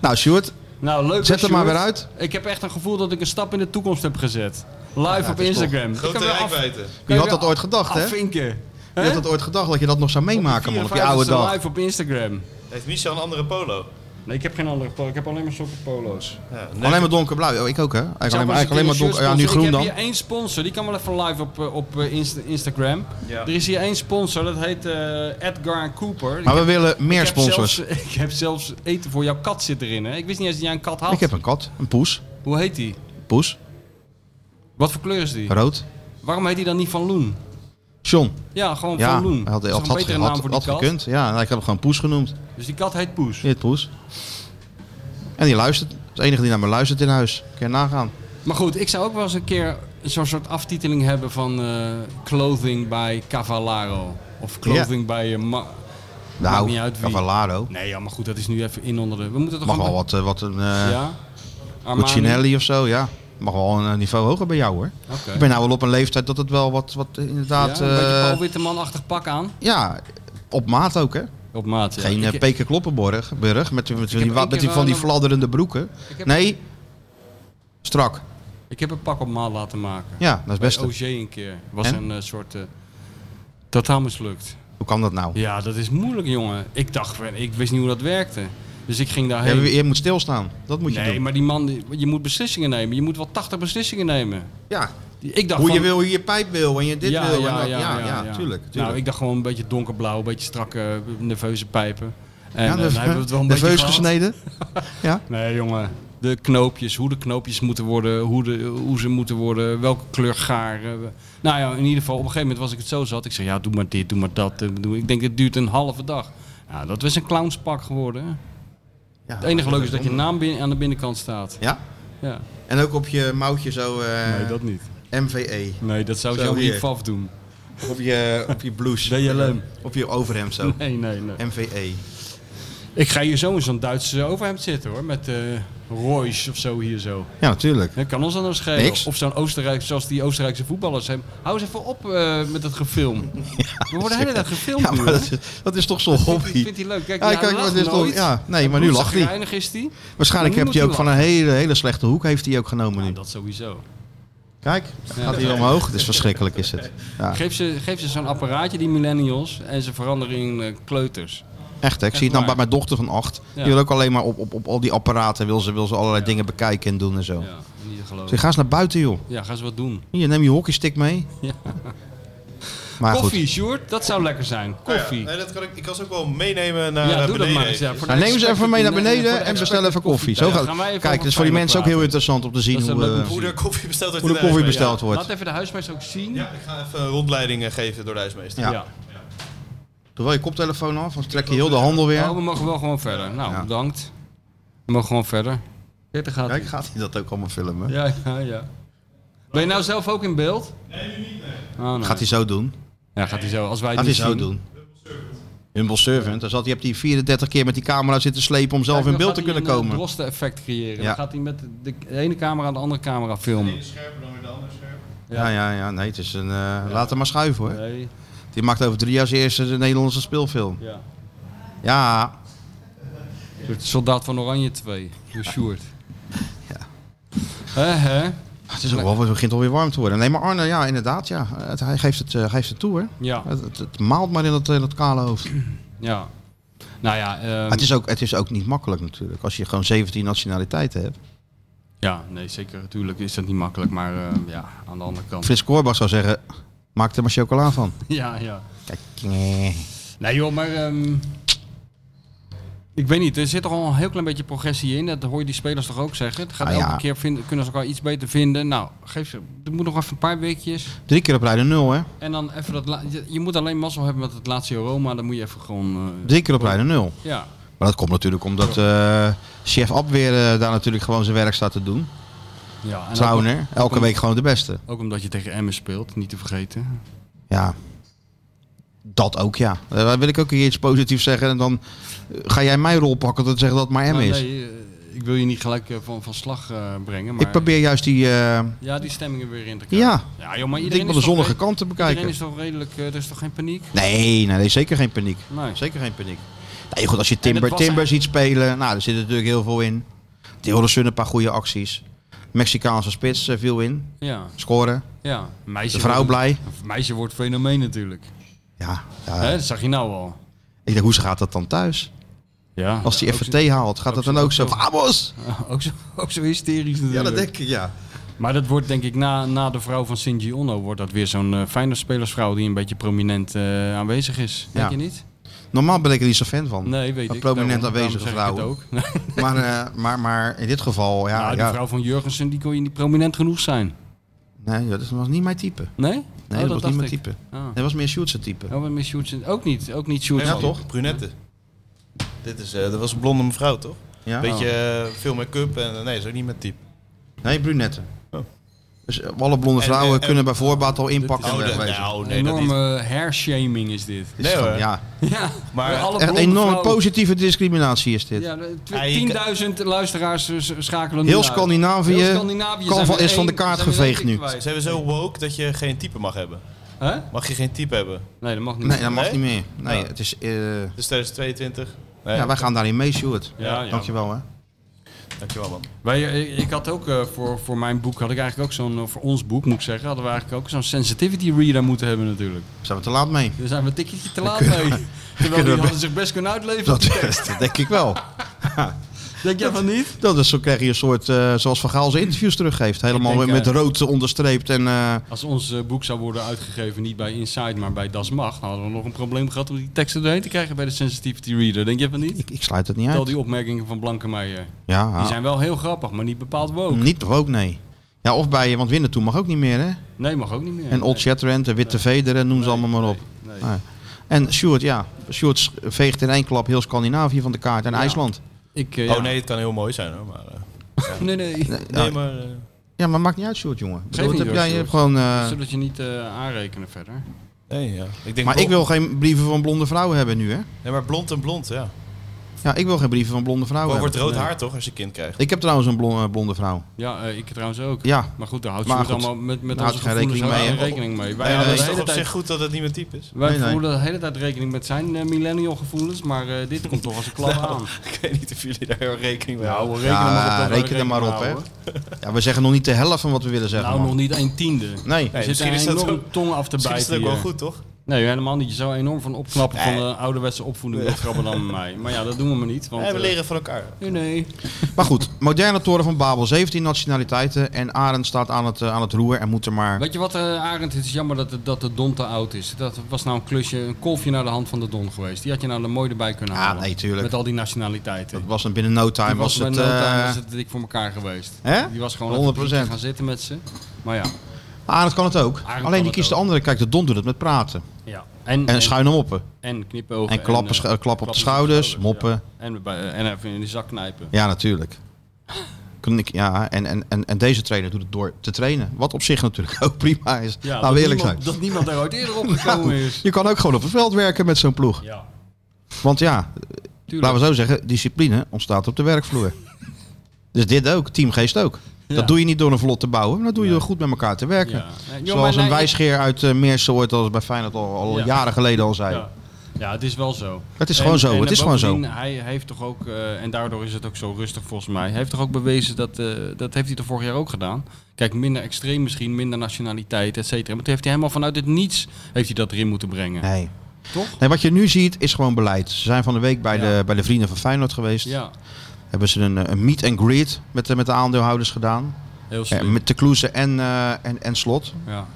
B: Nou, Stuart,
C: nou, leuk
B: zet hem
C: hoor,
B: maar weer
C: Sjoerd.
B: uit.
C: Ik heb echt een gevoel dat ik een stap in de toekomst heb gezet. Live
B: het
C: op
B: is
C: Instagram. Ik
D: Grote
C: kan weer af-
D: rijkwijde.
B: Wie had
C: weer
B: dat ooit gedacht,
C: Ah,
B: hè?
C: Afvinken.
B: Je had het ooit gedacht dat je dat nog zou meemaken, man, op je oude dag.
C: live op Instagram.
D: Heeft Michel een andere polo?
C: Nee, ik heb geen andere polo. Ik heb alleen maar sokkenpolo's.
D: Ja, Neuken-
B: Alleen maar donkerblauw. Oh, ik ook, hè? Eigenlijk alleen maar, eigenlijk alleen maar donker. Ja, nu
C: Ik
B: groen
C: heb
B: dan.
C: hier één sponsor. Die kan wel even live op, eh, op eh, Insta- Instagram.
D: Ja.
C: Er is hier één sponsor. Dat heet eh, Edgar Cooper.
B: Maar we willen meer
C: Ik heb
B: sponsors.
C: zelfs- ik heb zelfs eten voor jouw kat zit erin. Hè? Ik wist niet eens dat jij een kat had.
B: Ik heb een kat, een poes.
C: Hoe heet die?
B: Poes,
C: Wat voor kleur is die?
B: rood.
C: Waarom heet die dan niet Van Loen?
B: John.
C: Ja, gewoon
B: Ja,
C: Van Loen.
B: hij had,
C: Dat is
B: had,
C: een
B: had,
C: betere naam
B: had,
C: voor
B: had
C: die kat.
B: gekund. Ja, en ik heb hem gewoon Poes genoemd.
C: Dus die kat heet Poes.
B: Dit Poes. En die luistert. Dat is de enige die naar me luistert in huis. Kun je nagaan.
C: Maar goed, ik zou ook wel eens een keer zo'n soort aftiteling hebben van eh, Clothing bij Cavallaro. Of Clothing bij... eh, Ma- Maakt niet
B: Nou,
C: uit wie.
B: Cavallaro.
C: nee, ja, maar goed, dat is nu even in onder de... We moeten toch
B: Mag wel
C: gewoon
B: wat, eh, wat een
C: bij-
B: eh
C: Ja? Armani.
B: Cucinelli of zo, ja. Mag wel een eh, niveau hoger bij jou hoor.
C: Oké.
B: Ik ben nou wel op een leeftijd dat het wel wat, wat eh, inderdaad...
C: ja, een beetje
B: eh,
C: Paul Witteman-achtig pak aan.
B: ja, op maat ook hè.
C: Op maat, ja.
B: Geen
C: Ik-
B: eh, Peker Kloppenborg Burg, met, die- met, die,
C: heb
B: wa-
C: één
B: met die
C: keer
B: van die
C: wel-
B: fladderende broeken.
C: Ik heb-
B: Nee, strak.
C: Ik heb een pak op maat laten maken.
B: Ja, dat is best.
C: Bij OG een keer. Was
B: En?
C: een eh, soort... eh, totaal mislukt.
B: Hoe kan dat nou?
C: Ja, dat is moeilijk, jongen. Ik dacht, ik wist niet hoe dat werkte. Dus ik ging
B: Ja,
C: daarheen.
B: je, je moet stilstaan. Dat moet je
C: nee,
B: doen.
C: maar die man, die- je moet beslissingen nemen. Je moet wel 80 beslissingen nemen.
B: Ja.
C: Die- Ik dacht
B: Hoe je
C: van-
B: wil, hoe je pijp wil en je dit
C: ja,
B: wil.
C: ja,
B: en dat.
C: ja, ja, ja.
B: tuurlijk.
C: Nou,
B: tuurlijk.
C: ik dacht gewoon een beetje donkerblauw, een beetje strakke, nerveuze pijpen. En eh,
B: ja,
C: dan hebben we het wel een beetje
B: nerveus
C: gehad.
B: gesneden. ja.
C: Nee, jongen. De knoopjes, hoe de knoopjes moeten worden, hoe, de, hoe ze moeten worden, welke kleur garen. we- Nou ja, in ieder geval, op een gegeven moment was ik het zo zat. Ik zei, ja, doe maar dit, doe maar dat. eh, doe- Ik denk, het duurt een halve dag. Nou, dat was een clownspak geworden. hè.
B: Ja,
C: Het enige leuke is dat je naam bin- aan de binnenkant staat.
B: Ja?
C: Ja.
B: En ook op je mouwtje zo eh,
C: niet.
B: MVE.
C: Nee, dat zou
B: Zo,
C: je ook
B: hier.
C: niet vaf doen.
B: Op je, op je blouse.
C: DLM.
B: Op je overhemd zo. E.
C: Nee, nee, nee.
B: MVE.
C: Ik ga hier zo in zo'n Duitse overhemd zitten hoor, met eh Royce of zo hier zo.
B: Ja, natuurlijk.
C: Dat kan ons dan nou schelen.
B: Niks.
C: Of zo'n Oostenrijk, zoals die Oostenrijkse voetballers hebben. Hou eens even op eh, met dat gefilm. We worden de hele dag gefilmd
B: Ja,
C: nu,
B: maar
C: hè?
B: dat is, dat is toch zo'n hobby.
C: Vindt hij leuk? Kijk,
B: Ja,
C: ja,
B: kijk,
C: lacht
B: wat is toch-
C: nooit.
B: ja, nee, maar nu
C: Hoe
B: lacht hij.
C: zagrijnig is hij.
B: Waarschijnlijk
C: Maar
B: heeft
C: nu
B: hij ook
C: moet
B: van
C: hij
B: een hele, hele slechte hoek heeft hij ook genomen nu.
C: Nou, Dat sowieso.
B: Kijk, gaat hij weer omhoog. Het is verschrikkelijk is het. Ja,
C: Geef ze, geef ze zo'n apparaatje, die millennials, en ze veranderen in eh, kleuters.
B: echt hè. Ik zie het nou bij
C: waar.
B: mijn dochter van acht. Die
C: Ja.
B: wil ook alleen maar op, op, op al die apparaten wil ze, wil ze allerlei dingen bekijken en doen en zo.
C: Ja, niet te geloven.
B: Zeg, ga eens naar buiten joh.
C: Ja, gaan ze wat doen.
B: Hier, neem je hockeystick mee.
C: Ja.
B: Maar
C: Koffie,
B: Ah, goed.
C: Sjoerd, dat zou lekker zijn.
D: Nou
C: Koffie.
D: Nee, dat kan ik, ik kan ze ook wel meenemen naar
C: Ja,
D: eh,
C: doe dat
D: beneden.
C: maar eens. Ja, voor de
B: Nou, neem ze
C: expert-
B: even mee naar
C: nee, voor de
B: beneden en
C: expert-
B: bestel even koffie. Zo
C: Ja,
B: gaat,
C: gaan wij even
B: kijk,
C: over
B: het is voor die
C: fijne
B: mensen ook heel
C: praten.
B: interessant om te zien
C: Dat is een
B: hoe,
C: leuk
B: eh,
C: boek.
D: Hoe de koffie besteld wordt.
B: hoe de
D: in
B: koffie
D: huismeester.
B: besteld wordt.
C: Laat even de huismeester ook zien.
D: Ja, ik ga even rondleidingen geven door de huismeester.
B: Ja.
C: Ja.
B: Doe wel je koptelefoon af, anders trek je heel de handel
C: Oh,
B: weer.
C: we mogen wel gewoon verder. Nou,
B: Ja.
C: bedankt. We mogen gewoon verder. Kijk, daar gaat
B: Kijk,
C: hij.
B: gaat hij dat ook allemaal filmen?
C: Ja, ja, ja. Ben je nou zelf ook in beeld? Oh, nee.
B: Gaat hij zo doen?
C: Ja, gaat hij zo. Als wij het
B: Gaat hij zo
C: niet zien.
B: doen? Humble servant. Dus had, je hebt die 34 keer met die camera zitten slepen om zelf
C: Kijk,
B: in
C: dan
B: beeld
C: gaat
B: te
C: hij
B: kunnen
C: een, eh,
B: komen.
C: droste effect creëren.
B: Ja.
C: Dan gaat hij met de ene camera en de andere camera filmen.
B: Ja, ja, ja. Nee, het is een. eh, Laat hem maar schuiven hoor.
C: Nee.
B: Die maakt over drie jaar zijn eerste Nederlandse speelfilm.
C: Ja.
B: Ja,
C: Een soort Soldaat van Oranje 2. De Sjoerd.
B: Ja.
C: Hè, hè?
B: Ah, het, is ook wel, het begint alweer warm te worden. Nee, maar Arne, ja, inderdaad. Ja. Het, hij geeft het, eh, geeft het toe hoor.
C: Ja.
B: Het, het, het maalt maar in dat, eh, in dat kale hoofd.
C: Ja. Nou ja, ehm,
B: Het is, ook, het is ook niet makkelijk natuurlijk. Als je gewoon 17 nationaliteiten hebt.
C: ja, nee, zeker. Natuurlijk is dat niet makkelijk, maar ehm, ja, aan de andere kant.
B: Frits Korbach zou zeggen: maak er maar chocola van.
C: Ja, ja.
B: Kijk, nee.
C: Nee joh, maar ehm, ik weet niet. Er zit toch al een heel klein beetje progressie in. Dat hoor je die spelers toch ook zeggen. Het gaat
B: Ah, ja.
C: elke keer vinden, kunnen ze elkaar iets beter vinden. Nou, geef ze. Er moet nog even een paar weekjes.
B: Drie keer op rij de nul, hè?
C: En dan even dat. la- je, je moet alleen mazzel hebben met het laatste Roma. Dan moet je even gewoon. eh,
B: Drie keer op rij de nul.
C: ja.
B: Maar dat komt natuurlijk omdat eh, chef Ab weer eh, daar natuurlijk gewoon zijn werk staat te doen.
C: ja en ook,
B: Trouwner, elke week gewoon de beste.
C: ook omdat je tegen Emmen speelt, niet te vergeten.
B: Ja, dat ook ja. Eh, Daar wil ik ook hier iets positiefs zeggen. En dan eh, ga jij mijn rol pakken dat zeggen dat het maar M
C: Nou,
B: is.
C: nee, eh, ik wil je niet gelijk eh, van, van slag eh, brengen. Maar
B: ik probeer juist die... eh,
C: Ja, die stemmingen weer in te krijgen.
B: Ja.
C: joh, maar
B: ik
C: iedereen
B: denk wel
C: is
B: de
C: toch
B: zonnige
C: re-
B: kant te bekijken.
C: Iedereen is toch redelijk. eh, er is toch geen paniek?
B: Nee, nee, nee, zeker geen paniek.
C: Nee.
B: Zeker geen paniek. Nee, goed, als je
C: En
B: Timber,
C: het was-
B: Timber ziet spelen, nou, daar zit natuurlijk heel veel in. Deeldersun een paar goede acties. Mexicaanse spits eh, viel in.
C: Ja.
B: Scoren.
C: Ja, meisje
B: De vrouw
C: wordt,
B: blij.
C: een meisje wordt fenomeen natuurlijk.
B: Ja,
C: Hè,
B: ja.
C: dat zag je nou al.
B: ik denk, hoe gaat dat dan thuis?
C: Ja.
B: Als die
C: ook
B: FT haalt, gaat dat dan ook zo? Vamos!
C: zo- Ook zo, ook zo hysterisch
B: Ja,
C: natuurlijk.
B: dat denk ik, ja.
C: Maar dat wordt denk ik na, na de vrouw van Sint Gionno wordt dat weer zo'n eh, fijne spelersvrouw die een beetje prominent eh, aanwezig is. Denk
B: Ja.
C: je niet?
B: Normaal ben ik er niet zo fan van.
C: Nee, weet
B: Een
C: ik.
B: prominent
C: daarom- daarom
B: aanwezige
C: zeg ik het
B: vrouwen.
C: ook. Nou,
B: Maar, eh, maar, maar in dit geval, ja,
C: de
B: ja.
C: vrouw van Jurgensen die kon je niet prominent genoeg zijn.
B: Nee, dat is- was niet mijn type. Nee,
C: Nee? Oh,
B: dat, was
C: dacht
B: niet mijn
C: ik.
B: type.
C: Ah.
B: Dat was meer Sjoerdse type.
C: Oh, maar met shoots en- ook niet. Ook niet shoots.
B: Ja, toch?
D: Brunette. Dit is, eh, dat was een blonde mevrouw, toch?
B: Ja?
D: Beetje eh, veel make-up en eh, nee, is ook niet met type.
B: Nee, brunette.
D: Oh.
B: Dus eh, alle blonde
D: En,
B: vrouwen
D: eh, en-
B: kunnen bij voorbaat al inpakken
D: Oh,
B: en
D: de-
B: wegwezen.
D: nou,
C: Een
D: nee, dat niet.
C: enorme hairshaming is dit.
B: Is het
D: Nee,
B: gewoon,
D: hoor.
B: ja.
C: Ja,
D: Maar
C: alle
B: Echt
C: blonde
B: enorme
C: vrouwen-
B: positieve discriminatie is dit.
C: Ja, de tw-
D: Ja, je
C: 10.000 luisteraars eh, s- schakelen nu
B: Heel
C: uit.
B: Scandinavië,
C: Heel Scandinavië
B: kan
C: zijn
B: van-
C: we
B: is van de
C: één-
B: kaart
C: zijn we
B: geveegd
C: één ding
B: nu.
C: kwijt.
D: Ze hebben zo woke dat je geen type mag hebben.
C: Hè?
D: Mag je geen type hebben?
C: Nee, Oh. dat mag niet.
B: Nee, dat mag
D: Nee?
B: niet meer. Nee,
D: Ja.
B: het is... eh,
D: Dus 2022? Nee,
B: ja, wij gaan daarin mee, Sjoerd.
C: Ja, ja.
B: Dankjewel, hè.
D: Dankjewel man.
C: Wij, eh, ik had ook eh, voor, voor mijn boek, had ik eigenlijk ook zo'n, eh, voor ons boek moet ik zeggen, hadden we eigenlijk ook zo'n sensitivity reader moeten hebben natuurlijk.
B: Zijn we te laat mee?
C: Daar zijn we een tikkeltje te laat mee. Terwijl die
B: we-
C: hadden zich best kunnen uitleven.
B: Dat, dat denk ik wel.
C: Denk jij van niet?
B: Dat is, zo krijg je een soort, eh, zoals Van Gaal zijn interviews teruggeeft. Helemaal
C: Ik denk,
B: met
C: eh,
B: rood onderstreept. En, eh,
C: Als ons eh, boek zou worden uitgegeven niet bij Inside, maar bij Das Mag, dan hadden we nog een probleem gehad om die teksten doorheen te krijgen bij de sensitivity reader. Denk jij van niet?
B: ik, ik sluit het niet
C: Tel
B: uit.
C: die opmerkingen van Blankenmeijer.
B: ja, Mm.
C: Die zijn wel heel grappig, maar niet bepaald woke.
B: niet ook, nee. Ja, of bij, want winnen toe mag ook niet meer, hè.
C: Nee, mag ook niet meer.
B: En Old Shatterhand en Witte Veder en noem ze allemaal maar op.
C: Nee.
B: Nee. En Sjoerd, ja. Sjoerd veegt in één klap heel Scandinavië van de kaart en
C: Ja.
B: IJsland.
C: Ik, eh,
D: Oh
C: ja.
D: nee, het kan heel mooi zijn hoor. Maar, eh,
C: nee, nee.
B: Ja,
D: Nee, maar... eh,
B: ja, maar maakt niet uit, Sjoerd, jongen. Ik bedoel,
C: niet
B: wat heb
C: hoor,
B: jij je hebt
C: Sjoerd.
B: gewoon... eh,
C: Zodat je niet eh, aanrekenen verder.
D: nee, ja. Ik denk
B: maar ik
D: blond-
B: wil geen brieven van blonde vrouwen hebben nu, hè.
D: Nee, maar blond en blond, ja.
B: Ja, ik wil geen brieven van blonde vrouwen
D: Maar
B: hebben.
D: wordt rood haar toch als je kind krijgt?
B: Ik heb trouwens een blonde, blonde vrouw.
C: Ja, eh, ik trouwens ook.
B: Ja.
C: Maar goed, daar houdt
B: Maar
C: Sjoerd
B: goed,
C: allemaal met, met
B: daar
C: onze
B: houdt geen
C: gevoelens
B: rekening
C: helemaal
B: mee,
C: geen rekening mee. Wij,
D: Nee,
C: houden
D: het
C: de
D: is toch
C: hele
D: op
C: tijd,
D: zich goed dat het niet mijn type is?
C: wij
B: Nee, nee.
C: voeren de hele tijd rekening met zijn eh, millennial gevoelens, maar eh, dit komt toch als een klap aan.
D: Ik weet niet of jullie daar heel rekening mee houden.
C: reken
B: Ja,
C: dat we
B: reken er maar op, hè.
C: houden.
B: Ja, we zeggen nog niet de helft van wat we willen zeggen.
C: Nou,
B: man.
C: nog niet een tiende.
B: Nee.
C: Er
D: Nee,
C: zit
D: misschien is
C: een
D: dat
C: Dus enorm
D: ook-
C: tong af te
D: Misschien
C: bijten
D: is het ook
C: hier.
D: wel goed, toch?
C: Nee, helemaal niet. Je zou enorm van opknappen van
D: Nee.
C: de ouderwetse opvoeding. Dat grappen dan met mij. Maar ja, dat doen we maar niet. Want,
D: Ja, we
C: eh,
D: leren van elkaar.
C: Nee, nee.
B: Maar goed, moderne Toren van Babel, 17 nationaliteiten. En Arend staat aan het, eh, aan het roer en moet er maar...
C: Weet je wat, eh Arend? Het is jammer dat de, dat de Don te oud is. Dat was nou een klusje, een kolfje naar de hand van de Don geweest. Die had je nou er mooi erbij kunnen
B: Ja,
C: halen.
B: nee, tuurlijk.
C: Met al die nationaliteiten.
B: Dat was een binnen no time.
C: Die
B: Was
C: bij
B: het,
C: no
B: eh,
C: time was het dik voor elkaar geweest.
B: Hè?
C: Die was gewoon
B: 100%.
C: even gaan zitten met ze. Maar ja.
B: Arend kan het ook.
C: Arend kan
B: Alleen die
C: het
B: kiest de
C: ook.
B: andere. Kijk, de Don doet het met praten.
C: ja. En,
B: En schuin hem op.
C: en knipogen.
B: En klappen,
C: eh,
B: sch- eh, klap op de
C: klappen
B: schouders,
C: schouders, ja.
B: moppen.
C: En, bij- eh, en even in de zak knijpen.
B: Ja, natuurlijk. Kan ik- Ja, en, en, en, en deze trainer doet het door te trainen. Wat op zich natuurlijk ook prima is.
C: Ja,
B: Laten we
C: dat,
B: eerlijk
C: niemand,
B: zijn. Nou,
C: dat niemand daar ooit eerder op gekomen is.
B: Je kan ook gewoon op het veld werken met zo'n ploeg.
C: Ja,
B: Want ja,
C: tuurlijk.
B: laten we zo zeggen, discipline ontstaat op de werkvloer. Dus dit ook, teamgeest ook.
C: Ja.
B: Dat doe je niet door een vlot te bouwen, maar dat doe je door goed met elkaar te werken.
C: Ja. Eh, joh, maar
B: Zoals een
C: nee,
B: wijsgeer uit eh Meersen ooit al bij Feyenoord al, al
C: Ja.
B: jaren geleden al zei.
C: Ja. ja, het is wel zo.
B: Het is gewoon zo, het is gewoon zo.
C: bovendien, Hij heeft toch ook, eh, en daardoor is het ook zo rustig volgens mij, hij heeft toch ook bewezen dat, eh, dat heeft hij toch vorig jaar ook gedaan. Kijk, minder extreem misschien, minder nationaliteit, et cetera. Maar toen heeft hij helemaal vanuit het niets heeft hij dat erin moeten brengen.
B: Nee.
C: Toch?
B: nee. Wat je nu ziet is gewoon beleid. Ze zijn van de week bij,
C: Ja.
B: de, bij de vrienden van Feyenoord geweest.
C: Ja,
B: Hebben ze een, eh, een meet and greet met, de- met de aandeelhouders gedaan.
C: heel slim.
B: Eh, met de Kloeze en, eh, en, en Slot.
C: ja.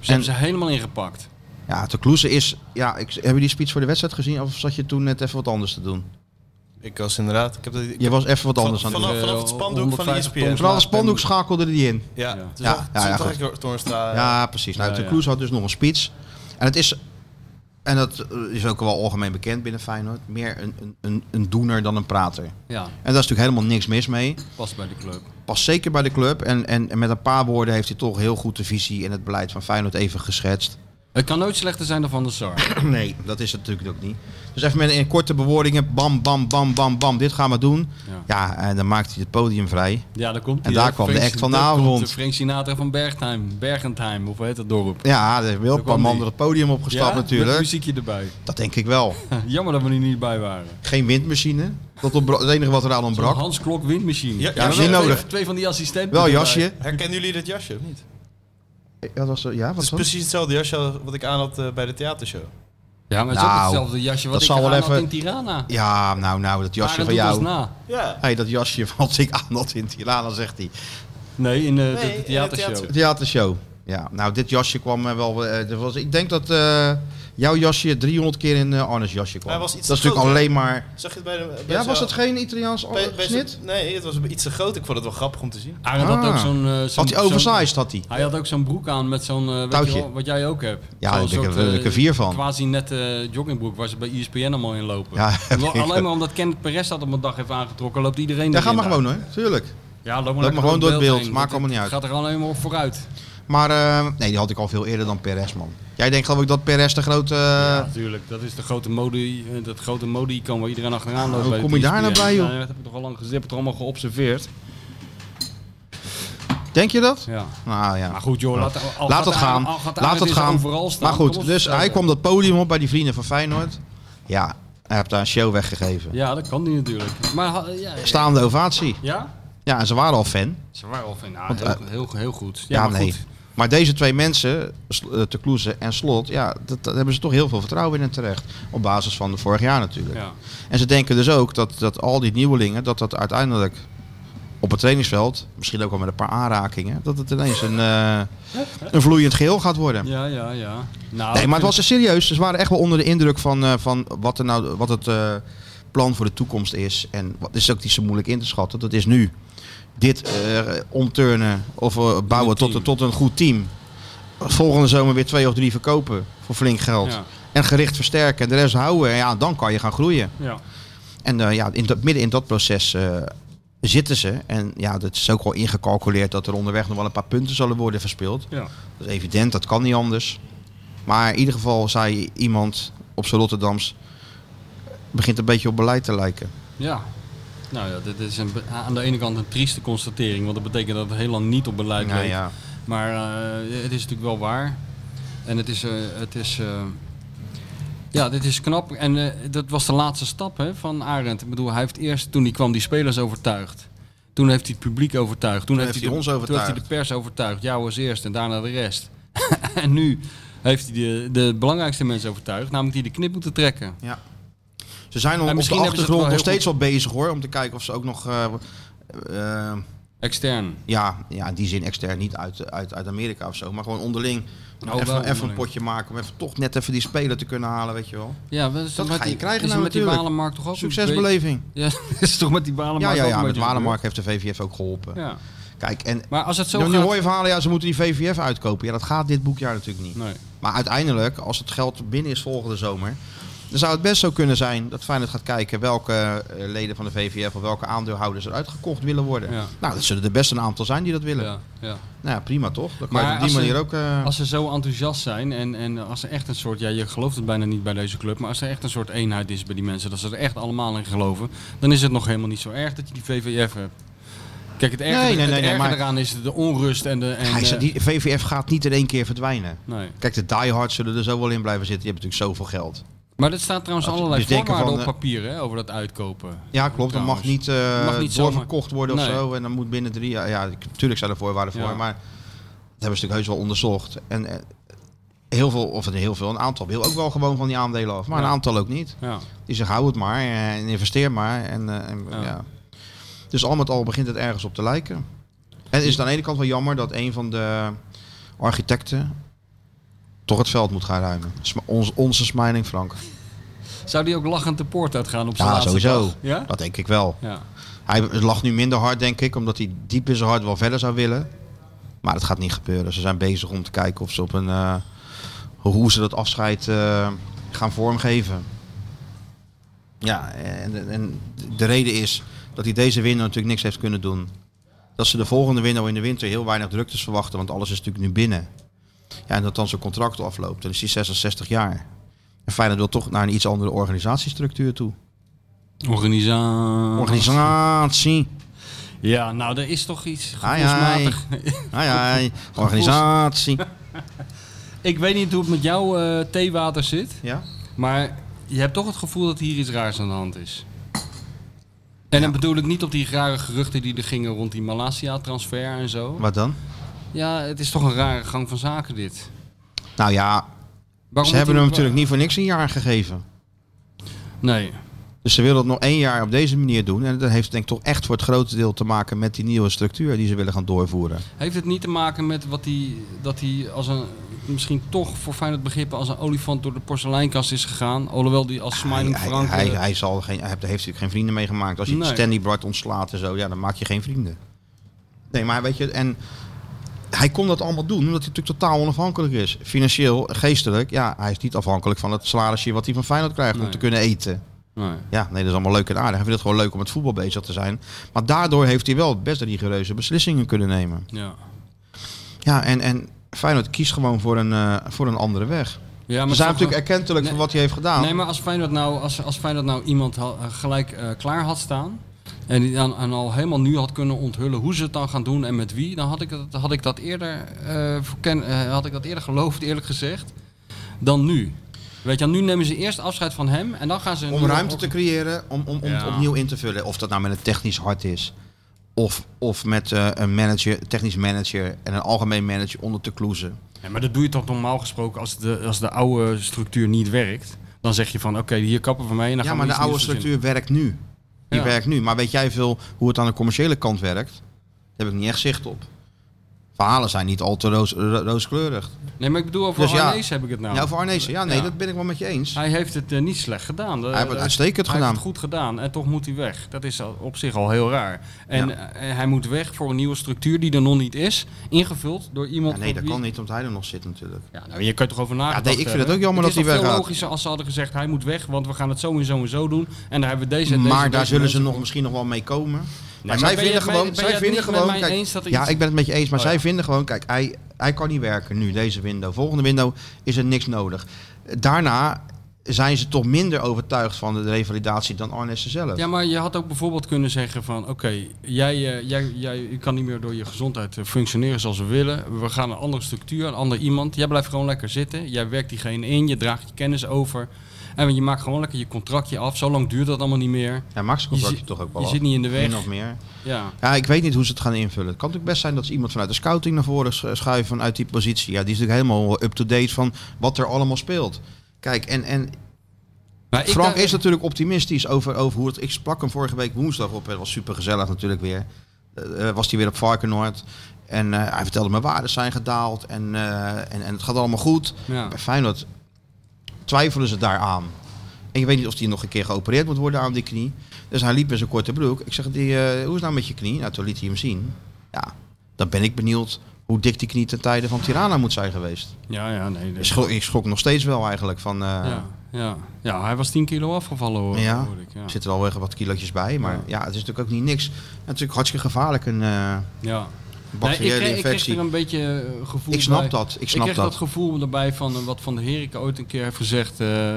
C: Ze hebben ze helemaal ingepakt.
B: Ja, de Kloeze is... Ja, ik, heb je die speech voor de wedstrijd gezien? Of zat je toen net even wat anders te doen?
D: Ik was inderdaad... Ik heb dat, ik
B: Je was even wat anders aan het doen.
D: vanaf, vanaf
C: Eh,
D: het spandoek van E
C: 150
D: ESPN.
C: ton.
B: Vooral het spandoek schakelde er die in.
D: Ja,
C: Ja.
D: het is wel-
B: Ja,
D: het
B: ja,
D: is
B: ja,
D: wel
B: goed.
D: gek, Toornstra. eh,
B: Ja, precies. Nou,
C: Ja,
B: de
C: ja.
B: Kloes had dus nog een speech. En het is, en dat eh, is ook wel algemeen bekend binnen Feyenoord, meer een, een- een, een doener dan een prater.
C: Ja,
B: En daar is natuurlijk helemaal niks mis mee.
C: past bij de club.
B: Pas zeker bij de club. En, en, en met een paar woorden heeft hij toch heel goed de visie en het beleid van Feyenoord even geschetst.
C: Het kan nooit slechter zijn dan Van der Sar.
B: Nee, dat is het natuurlijk ook niet. Dus even met in korte bewoordingen, bam, bam, bam, bam, bam, dit gaan we doen.
C: Ja.
B: Ja, en dan maakt hij het podium vrij.
C: Ja, daar komt
B: En
C: hij,
B: daar
C: hè.
B: kwam de
C: Frank-
B: act van de
C: daar komt
B: avond.
C: de Frank Sinatra van Bergheim, Bergentheim, of hoe heet dat dorp?
B: Ja, er is wel een paar
C: kwam
B: man
C: die.
B: door het podium opgestapt
C: Met
B: natuurlijk.
C: muziekje erbij.
B: Dat denk ik wel.
C: Jammer dat we er niet bij waren.
B: Geen windmachine. Dat ontbra- het enige wat eraan
C: Zo'n
B: ontbrak.
C: Hans Klok windmachine.
D: Ja, ja,
C: maar
B: is
C: wel
B: niet
C: twee-
B: nodig.
C: Twee van die assistenten.
B: Wel
C: erbij.
B: jasje.
D: Herkennen jullie dat jasje of niet?
B: Ja, dat was, ja,
D: Het
B: wat
D: is
B: dan?
D: precies hetzelfde jasje als wat ik aan had eh, bij de theatershow.
C: Ja, maar het is ook
B: Nou,
C: hetzelfde jasje wat
B: dat
C: ik
B: zal
C: aan
B: wel
C: had
B: even-
C: in Tirana.
B: Ja, nou, nou, dat jasje
C: Arend
B: van
C: doet ons
B: jou.
C: na.
D: Ja.
B: Hey, dat jasje wat ik aan had in Tirana, zegt hij.
C: Nee, in eh, de, de
D: in de
C: theatershow.
D: theater.
B: Theatershow. Ja, nou, dit jasje kwam eh, wel. eh, er was, ik denk dat eh, jouw jasje 300 keer in eh, Arne's jasje kwam.
D: Hij was iets
B: dat is
D: te
B: natuurlijk
D: groot, hè?
B: alleen maar.
D: Zag je het bij de... bij
B: Ja, was
D: zo'n-
B: het geen Italiaans
D: bij- bij zo'n-
B: snit?
D: Nee, het was iets te groot. Ik vond het wel grappig om te zien.
C: Arend had
B: Ah.
C: ook zo'n... eh, zo'n-
B: Had hij
C: zo'n-
B: oversized, had hij.
C: Hij had ook zo'n broek aan met zo'n... eh, weet
B: Touwtje.
C: je wel, wat jij ook hebt.
B: Ja,
C: Zo'n
B: daar heb ik
C: soort,
B: er-
C: eh,
B: heb ik er vier van.
C: Quasi nette eh, joggingbroek waar ze bij E ESPN allemaal in lopen.
B: Ja,
C: Wel, Alleen maar omdat Kenneth Perez dat op een dag heeft aangetrokken, loopt iedereen
B: Ja, ga
C: erin
B: maar
C: daar.
B: gewoon hoor, tuurlijk.
C: Ja, loop maar,
B: maar
C: lekker
B: gewoon door het beeld,
C: heen.
B: maakt
C: Dat-
B: allemaal niet uit.
C: Gaat er gewoon helemaal op vooruit.
B: Maar eh, nee, die had ik al veel eerder dan Perez, man. Jij denkt geloof ik dat Perez de grote... eh,
C: Natuurlijk, dat is de grote mode, eh, dat grote mode-icoon waar iedereen achteraan loopt.
B: Hoe
C: bij
B: kom
C: het E
B: je daar nou
C: ESPN.
B: bij, joh?
C: Ja, dat heb ik toch al lang gezien, heb ik toch allemaal geobserveerd.
B: Denk je dat?
C: Ja.
B: Nou ja.
C: Maar goed joh, laat, al
B: Laat
C: gaat
B: het
C: de-
B: gaan.
C: al gaat de
B: Laat
C: aarde
B: het
C: is
B: gaan.
C: overal staan,
B: Maar
C: kom
B: goed,
C: op,
B: dus
C: eh,
B: hij kwam dat podium op bij die vrienden van Feyenoord. Ja, hij heeft daar een show weggegeven.
C: Ja, dat kan die natuurlijk. Maar ha- ja, ja.
B: Staande ovatie.
C: ja?
B: Ja, en ze waren al fan.
C: Ze waren al van, nou,
B: Want, eh,
C: heel, heel, heel goed.
B: Ja,
C: Ja, maar
B: nee.
C: goed.
B: Maar deze twee mensen, Sl- eh, Te Kloeze en Slot, ja, dat, daar hebben ze toch heel veel vertrouwen in en terecht. Op basis van de vorig jaar natuurlijk.
C: Ja.
B: En ze denken dus ook dat, dat al die nieuwelingen, dat dat uiteindelijk op het trainingsveld, misschien ook wel met een paar aanrakingen, dat het ineens een, eh, een vloeiend geheel gaat worden.
C: ja, ja, ja. Nou,
B: Nee, maar het
C: ik
B: was er serieus. Ze waren echt wel onder de indruk van, eh, van wat, er nou, wat het eh, plan voor de toekomst is. En wat is ook niet zo moeilijk in te schatten. Dat is nu dit eh, omturnen of eh, bouwen tot, een-
C: team.
B: tot een goed team. Volgende zomer weer twee of drie verkopen voor flink geld.
C: Ja.
B: En gericht versterken en de rest houden. En ja, dan kan je gaan groeien.
C: vind- Ja.
B: En eh, ja, in dat, midden in dat proces eh, zitten ze. En ja, dat is ook al ingecalculeerd dat er onderweg nog wel een paar punten zullen worden verspeeld.
C: Ja.
B: Dat is evident, dat kan niet anders. Maar in ieder geval zei iemand op zijn Rotterdams... begint een beetje op beleid te lijken.
C: ja. Nou ja, dit is een, be- aan de ene kant een trieste constatering, want dat betekent dat het heel lang niet op beleid
B: Nou
C: leek.
B: ja.
C: Maar eh, het is natuurlijk wel waar. En het is. eh, het is eh, ja, dit is knap. En eh, dat was de laatste stap hè, van Arendt. Ik bedoel, hij heeft eerst, toen hij kwam, die spelers overtuigd. Toen heeft hij het publiek overtuigd. Toen,
B: heeft
C: de-
B: hij ons
C: Toen heeft
B: overtuigd.
C: hij de pers overtuigd. Jou als eerst en daarna de rest. en nu heeft hij de, de belangrijkste mensen overtuigd. Namelijk die de knip moeten trekken.
B: Ja. Ze zijn op- op de
C: misschien hebben ze het wel
B: achtergrond nog
C: heel
B: steeds wel bezig hoor. Om te kijken of ze ook nog... eh, eh,
C: Extern.
B: ja, ja, in die zin extern niet uit, uit, uit Amerika of zo. Maar gewoon onderling.
C: Nou, wel
B: even, even een
C: onderling.
B: potje maken. Om even, toch net even die speler te kunnen halen, weet je wel.
C: Ja, dat
B: Dat
C: is toch met
B: ga je
C: die-
B: krijgen
C: is er
B: nou
C: met die
B: natuurlijk.
C: balenmarkt toch ook een
B: Succesbeleving.
C: beetje- Ja, dat is toch met die
B: Ja,
C: balenmarkt
B: ja,
C: ook
B: ja.
C: een
B: Met
C: beetje gebeurd?
B: Walenmark heeft de VVF ook geholpen.
C: Ja.
B: Kijk, en
C: Maar als het zo
B: dan
C: gaat...
B: nu hoor je verhalen, ja, ze moeten die VVF uitkopen. Ja, dat gaat dit boekjaar natuurlijk niet.
C: Nee.
B: Maar uiteindelijk, als het geld binnen is volgende zomer, dan zou het best zo kunnen zijn dat Feyenoord gaat kijken welke eh, leden van de VVF of welke aandeelhouders er uitgekocht willen worden.
C: Ja.
B: Nou, dat zullen er best een aantal zijn die dat willen.
C: Ja, ja.
B: Nou ja, prima toch? Dan kan je op
C: Maar
B: die
C: als ze-
B: manier ook. eh,
C: Als ze zo enthousiast zijn en, en als er echt een soort, ja je gelooft het bijna niet bij deze club, maar als er echt een soort eenheid is bij die mensen, dat ze er echt allemaal in geloven, dan is het nog helemaal niet zo erg dat je die VVF hebt. Kijk, het erge,
B: Nee, nee, nee,
C: het
B: nee,
C: erge
B: maar-
C: eraan is de onrust en de... En
B: hij
C: de-
B: zegt, die VVF gaat niet in één keer verdwijnen.
C: Nee.
B: Kijk, de diehards zullen er zo wel in blijven zitten. Die hebben natuurlijk zoveel geld.
C: Maar er staat trouwens
B: Als je
C: allerlei
B: dus denken
C: voorwaarden
B: van,
C: op papier hè, over dat uitkopen.
B: Ja, klopt. Dat mag
C: Trouwens.
B: niet, eh
C: Mag niet zomaar.
B: doorverkocht worden of
C: Nee.
B: zo. En dan moet binnen drie jaar... Ja, natuurlijk zijn er voorwaarden voor.
C: Ja.
B: Maar dat hebben ze natuurlijk heus wel onderzocht. En eh, heel veel, of heel veel, een aantal wil ook wel gewoon van die aandelen af. Maar
C: Ja.
B: een aantal ook niet.
C: Ja.
B: Die zeggen, hou het maar eh, en investeer maar. En, eh, en, ja.
C: Ja.
B: Dus al met al begint het ergens op te lijken. En is het aan de ene kant wel jammer dat een van de architecten toch het veld moet gaan ruimen. Sm- Ons, onze Smiling Frank.
C: Zou die ook lachend de poort uitgaan op zijn
B: Ja,
C: laatste
B: sowieso.
C: dag? Ja?
B: Dat denk ik wel.
C: Ja.
B: Hij lag nu minder hard, denk ik, omdat hij diep in zijn hart wel verder zou willen. Maar dat gaat niet gebeuren. Ze zijn bezig om te kijken of ze op een, eh, hoe ze dat afscheid eh, gaan vormgeven. Ja, en, en de reden is dat hij deze winter natuurlijk niks heeft kunnen doen. Dat ze de volgende winter in de winter heel weinig druktes verwachten, want alles is natuurlijk nu binnen. Ja, en dat dan zijn contract afloopt. Dan is hij 66 jaar. En Feyenoord wil toch naar een iets andere organisatiestructuur toe.
C: Organisatie.
B: Organisatie.
C: Ja, nou, er is toch iets
B: Ai, ai.
C: gevoelsmatig.
B: Ai, ai. Nou Organisatie.
C: Ik weet niet hoe het met jouw eh, theewater zit.
B: Ja?
C: Maar je hebt toch het gevoel dat hier iets raars aan de hand is. En dan bedoel ik niet op die rare geruchten die er gingen rond die Malasia-transfer en zo.
B: Wat dan?
C: Ja, het is toch een rare gang van zaken dit.
B: Nou ja,
C: Waarom
B: ze hebben hem natuurlijk niet voor niks een jaar gegeven.
C: Nee.
B: Dus ze willen dat nog één jaar op deze manier doen. En dat heeft denk ik toch echt voor het grote deel te maken met die nieuwe structuur die ze willen gaan doorvoeren.
C: Heeft het niet te maken met wat die, dat hij als een, misschien toch voor Feyenoord begrippen, als een olifant door de porseleinkast is gegaan? Alhoewel die als
B: Hij,
C: smilend
B: hij,
C: Frank...
B: hij,
C: eh,
B: hij zal geen, hij heeft heeft natuurlijk geen vrienden meegemaakt. Als je
C: Nee.
B: Stanley Bright ontslaat en zo, ja, dan maak je geen vrienden. Nee, maar weet je, en hij kon dat allemaal doen omdat hij natuurlijk totaal onafhankelijk is. Financieel, geestelijk, ja, hij is niet afhankelijk van het salarisje wat hij van Feyenoord krijgt om
C: Nee.
B: te kunnen eten.
C: nee.
B: Ja, nee, dat is allemaal leuk en aardig. Hij vindt het gewoon leuk om met voetbal bezig te zijn. Maar daardoor heeft hij wel best rigoureuze beslissingen kunnen nemen.
C: Ja.
B: Ja, en, en Feyenoord kiest gewoon voor een, eh, voor een andere weg.
C: Ja,
B: Ze
C: maar
B: zijn
C: toch-
B: natuurlijk erkentelijk voor
C: Nee.
B: wat hij heeft gedaan.
C: Nee, maar als Feyenoord nou, als, als Feyenoord nou iemand ha- eh, gelijk eh, klaar had staan... en die dan en al helemaal nu had kunnen onthullen hoe ze het dan gaan doen en met wie... dan had ik, dat- had ik, dat, eerder, eh, verken- eh, had ik dat eerder geloofd, eerlijk gezegd, dan nu. Weet je, nu nemen ze eerst afscheid van hem en dan gaan ze...
B: om ruimte te creëren, om, om, om het
C: Ja.
B: opnieuw in te vullen. Of dat nou met een technisch hart is. Of, of met eh, een manager, technisch manager en een algemeen manager onder te kloezen.
C: Ja, maar dat doe je toch normaal gesproken als de, als de oude structuur niet werkt? Dan zeg je van, oké, hier kappen van mij en dan
B: Ja,
C: gaan we
B: maar de
C: iets
B: oude
C: nieuws verzinnen.
B: structuur werkt nu. Die
C: Ja.
B: werkt nu. Maar weet jij veel hoe het aan de commerciële kant werkt? Daar heb ik niet echt zicht op. Verhalen zijn niet al te roos, ro- rooskleurig.
C: Nee, maar ik bedoel, over
B: Dus ja.
C: Arnees heb ik het nou.
B: Ja, voor Arnezen. Ja, nee,
C: Ja.
B: dat ben ik wel met je eens.
C: Hij heeft het eh, niet slecht gedaan.
B: Hij heeft het uitstekend
C: hij
B: gedaan.
C: Heeft het goed gedaan en toch moet hij weg. Dat is al- op zich al heel raar. En eh, hij moet weg voor een nieuwe structuur die er nog niet is, ingevuld door iemand.
B: Ja, nee,
C: op
B: dat
C: wie-
B: kan niet, omdat hij er nog zit natuurlijk.
C: Ja, nou, je kunt toch over nagedacht
B: nee, ik vind het
C: hebben.
B: ook jammer
C: Het
B: dat
C: is
B: hij
C: toch veel
B: weggaat.
C: logischer als ze hadden gezegd hij moet weg, want we gaan het zo en zo en zo doen. En daar hebben we deze. en deze
B: maar
C: en
B: daar zullen
C: deze
B: ze
C: mensen
B: nog,
C: voor.
B: misschien nog wel mee komen. maar,
C: maar ben
B: zij
C: je
B: vinden
C: het mee-
B: gewoon.
C: ben je
B: zij
C: het
B: vinden
C: niet met
B: gewoon
C: mij
B: kijk,
C: eens dat er
B: ja,
C: iets-
B: ik ben het met je eens. Maar
C: Oh,
B: zij
C: ja.
B: vinden gewoon. Kijk, hij, hij kan niet werken nu, deze window. Volgende window is er niks nodig. Daarna zijn ze toch minder overtuigd van de revalidatie dan Arnessen zelf.
C: Ja, maar je had ook bijvoorbeeld kunnen zeggen van... oké, jij, eh, jij, jij je kan niet meer door je gezondheid eh, functioneren zoals we willen. We gaan een andere structuur, een ander iemand. Jij blijft gewoon lekker zitten. Jij werkt diegene in, je draagt je kennis over. En je maakt gewoon lekker je contractje af. Zo lang duurt dat allemaal niet meer.
B: Ja, Max
C: Je,
B: komt
C: zit-
B: toch ook wel
C: je
B: af.
C: zit niet in de weg.
B: Min of meer.
C: Ja.
B: Ja, ik weet niet hoe ze het gaan invullen. Het kan natuurlijk best zijn dat ze iemand vanuit de scouting naar voren sch- schuiven vanuit die positie. Ja, die is natuurlijk helemaal up-to-date van wat er allemaal speelt. Kijk, en, en
C: Maar ik eh,
B: Frank
C: dacht-
B: is natuurlijk optimistisch over, over hoe het... Ik sprak hem vorige week woensdag op. Het was supergezellig natuurlijk weer. Eh, eh, was hij weer op Varkenoord. En eh, hij vertelde me waarden zijn gedaald. En, eh, en, en het gaat allemaal goed.
C: Ja.
B: Bij Feyenoord twijfelen ze daaraan. En je weet niet of die nog een keer geopereerd moet worden aan die knie. Dus hij liep met zijn korte broek. Ik zeg, die, eh, hoe is het nou met je knie? Nou, toen liet hij hem zien. Ja, dan ben ik benieuwd hoe dik die knie ten tijde van Tirana moet zijn geweest.
C: Ja, ja, nee.
B: Ik
C: nee.
B: schrok, ik schrok nog steeds wel eigenlijk van... eh,
C: Ja, ja. ja, hij was 10 kilo afgevallen hoor,
B: Ja.
C: hoorde ik. Ja.
B: Er zitten wel weer wat kilootjes bij, maar ja.
C: Ja.
B: het is natuurlijk ook niet niks. Het is natuurlijk hartstikke gevaarlijk, een eh
C: ja. Nee, ik,
B: bacteriële
C: kreeg, ik kreeg
B: infectie.
C: er
B: Ik,
C: een beetje eh, gevoel
B: snap
C: bij.
B: dat, ik
C: Ik,
B: snap
C: kreeg dat.
B: dat.
C: gevoel erbij van eh, wat Van der Herik ooit een keer heeft gezegd. eh,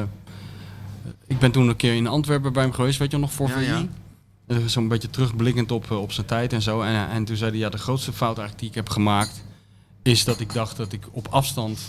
C: ik ben toen een keer in Antwerpen bij hem geweest, weet je nog, voor
B: Ja,
C: VI.
B: ja.
C: Eh, Zo'n beetje terugblikkend op, eh, op zijn tijd en zo. En, eh, en toen zei hij, ja, de grootste fout eigenlijk die ik heb gemaakt... is dat ik dacht dat ik op afstand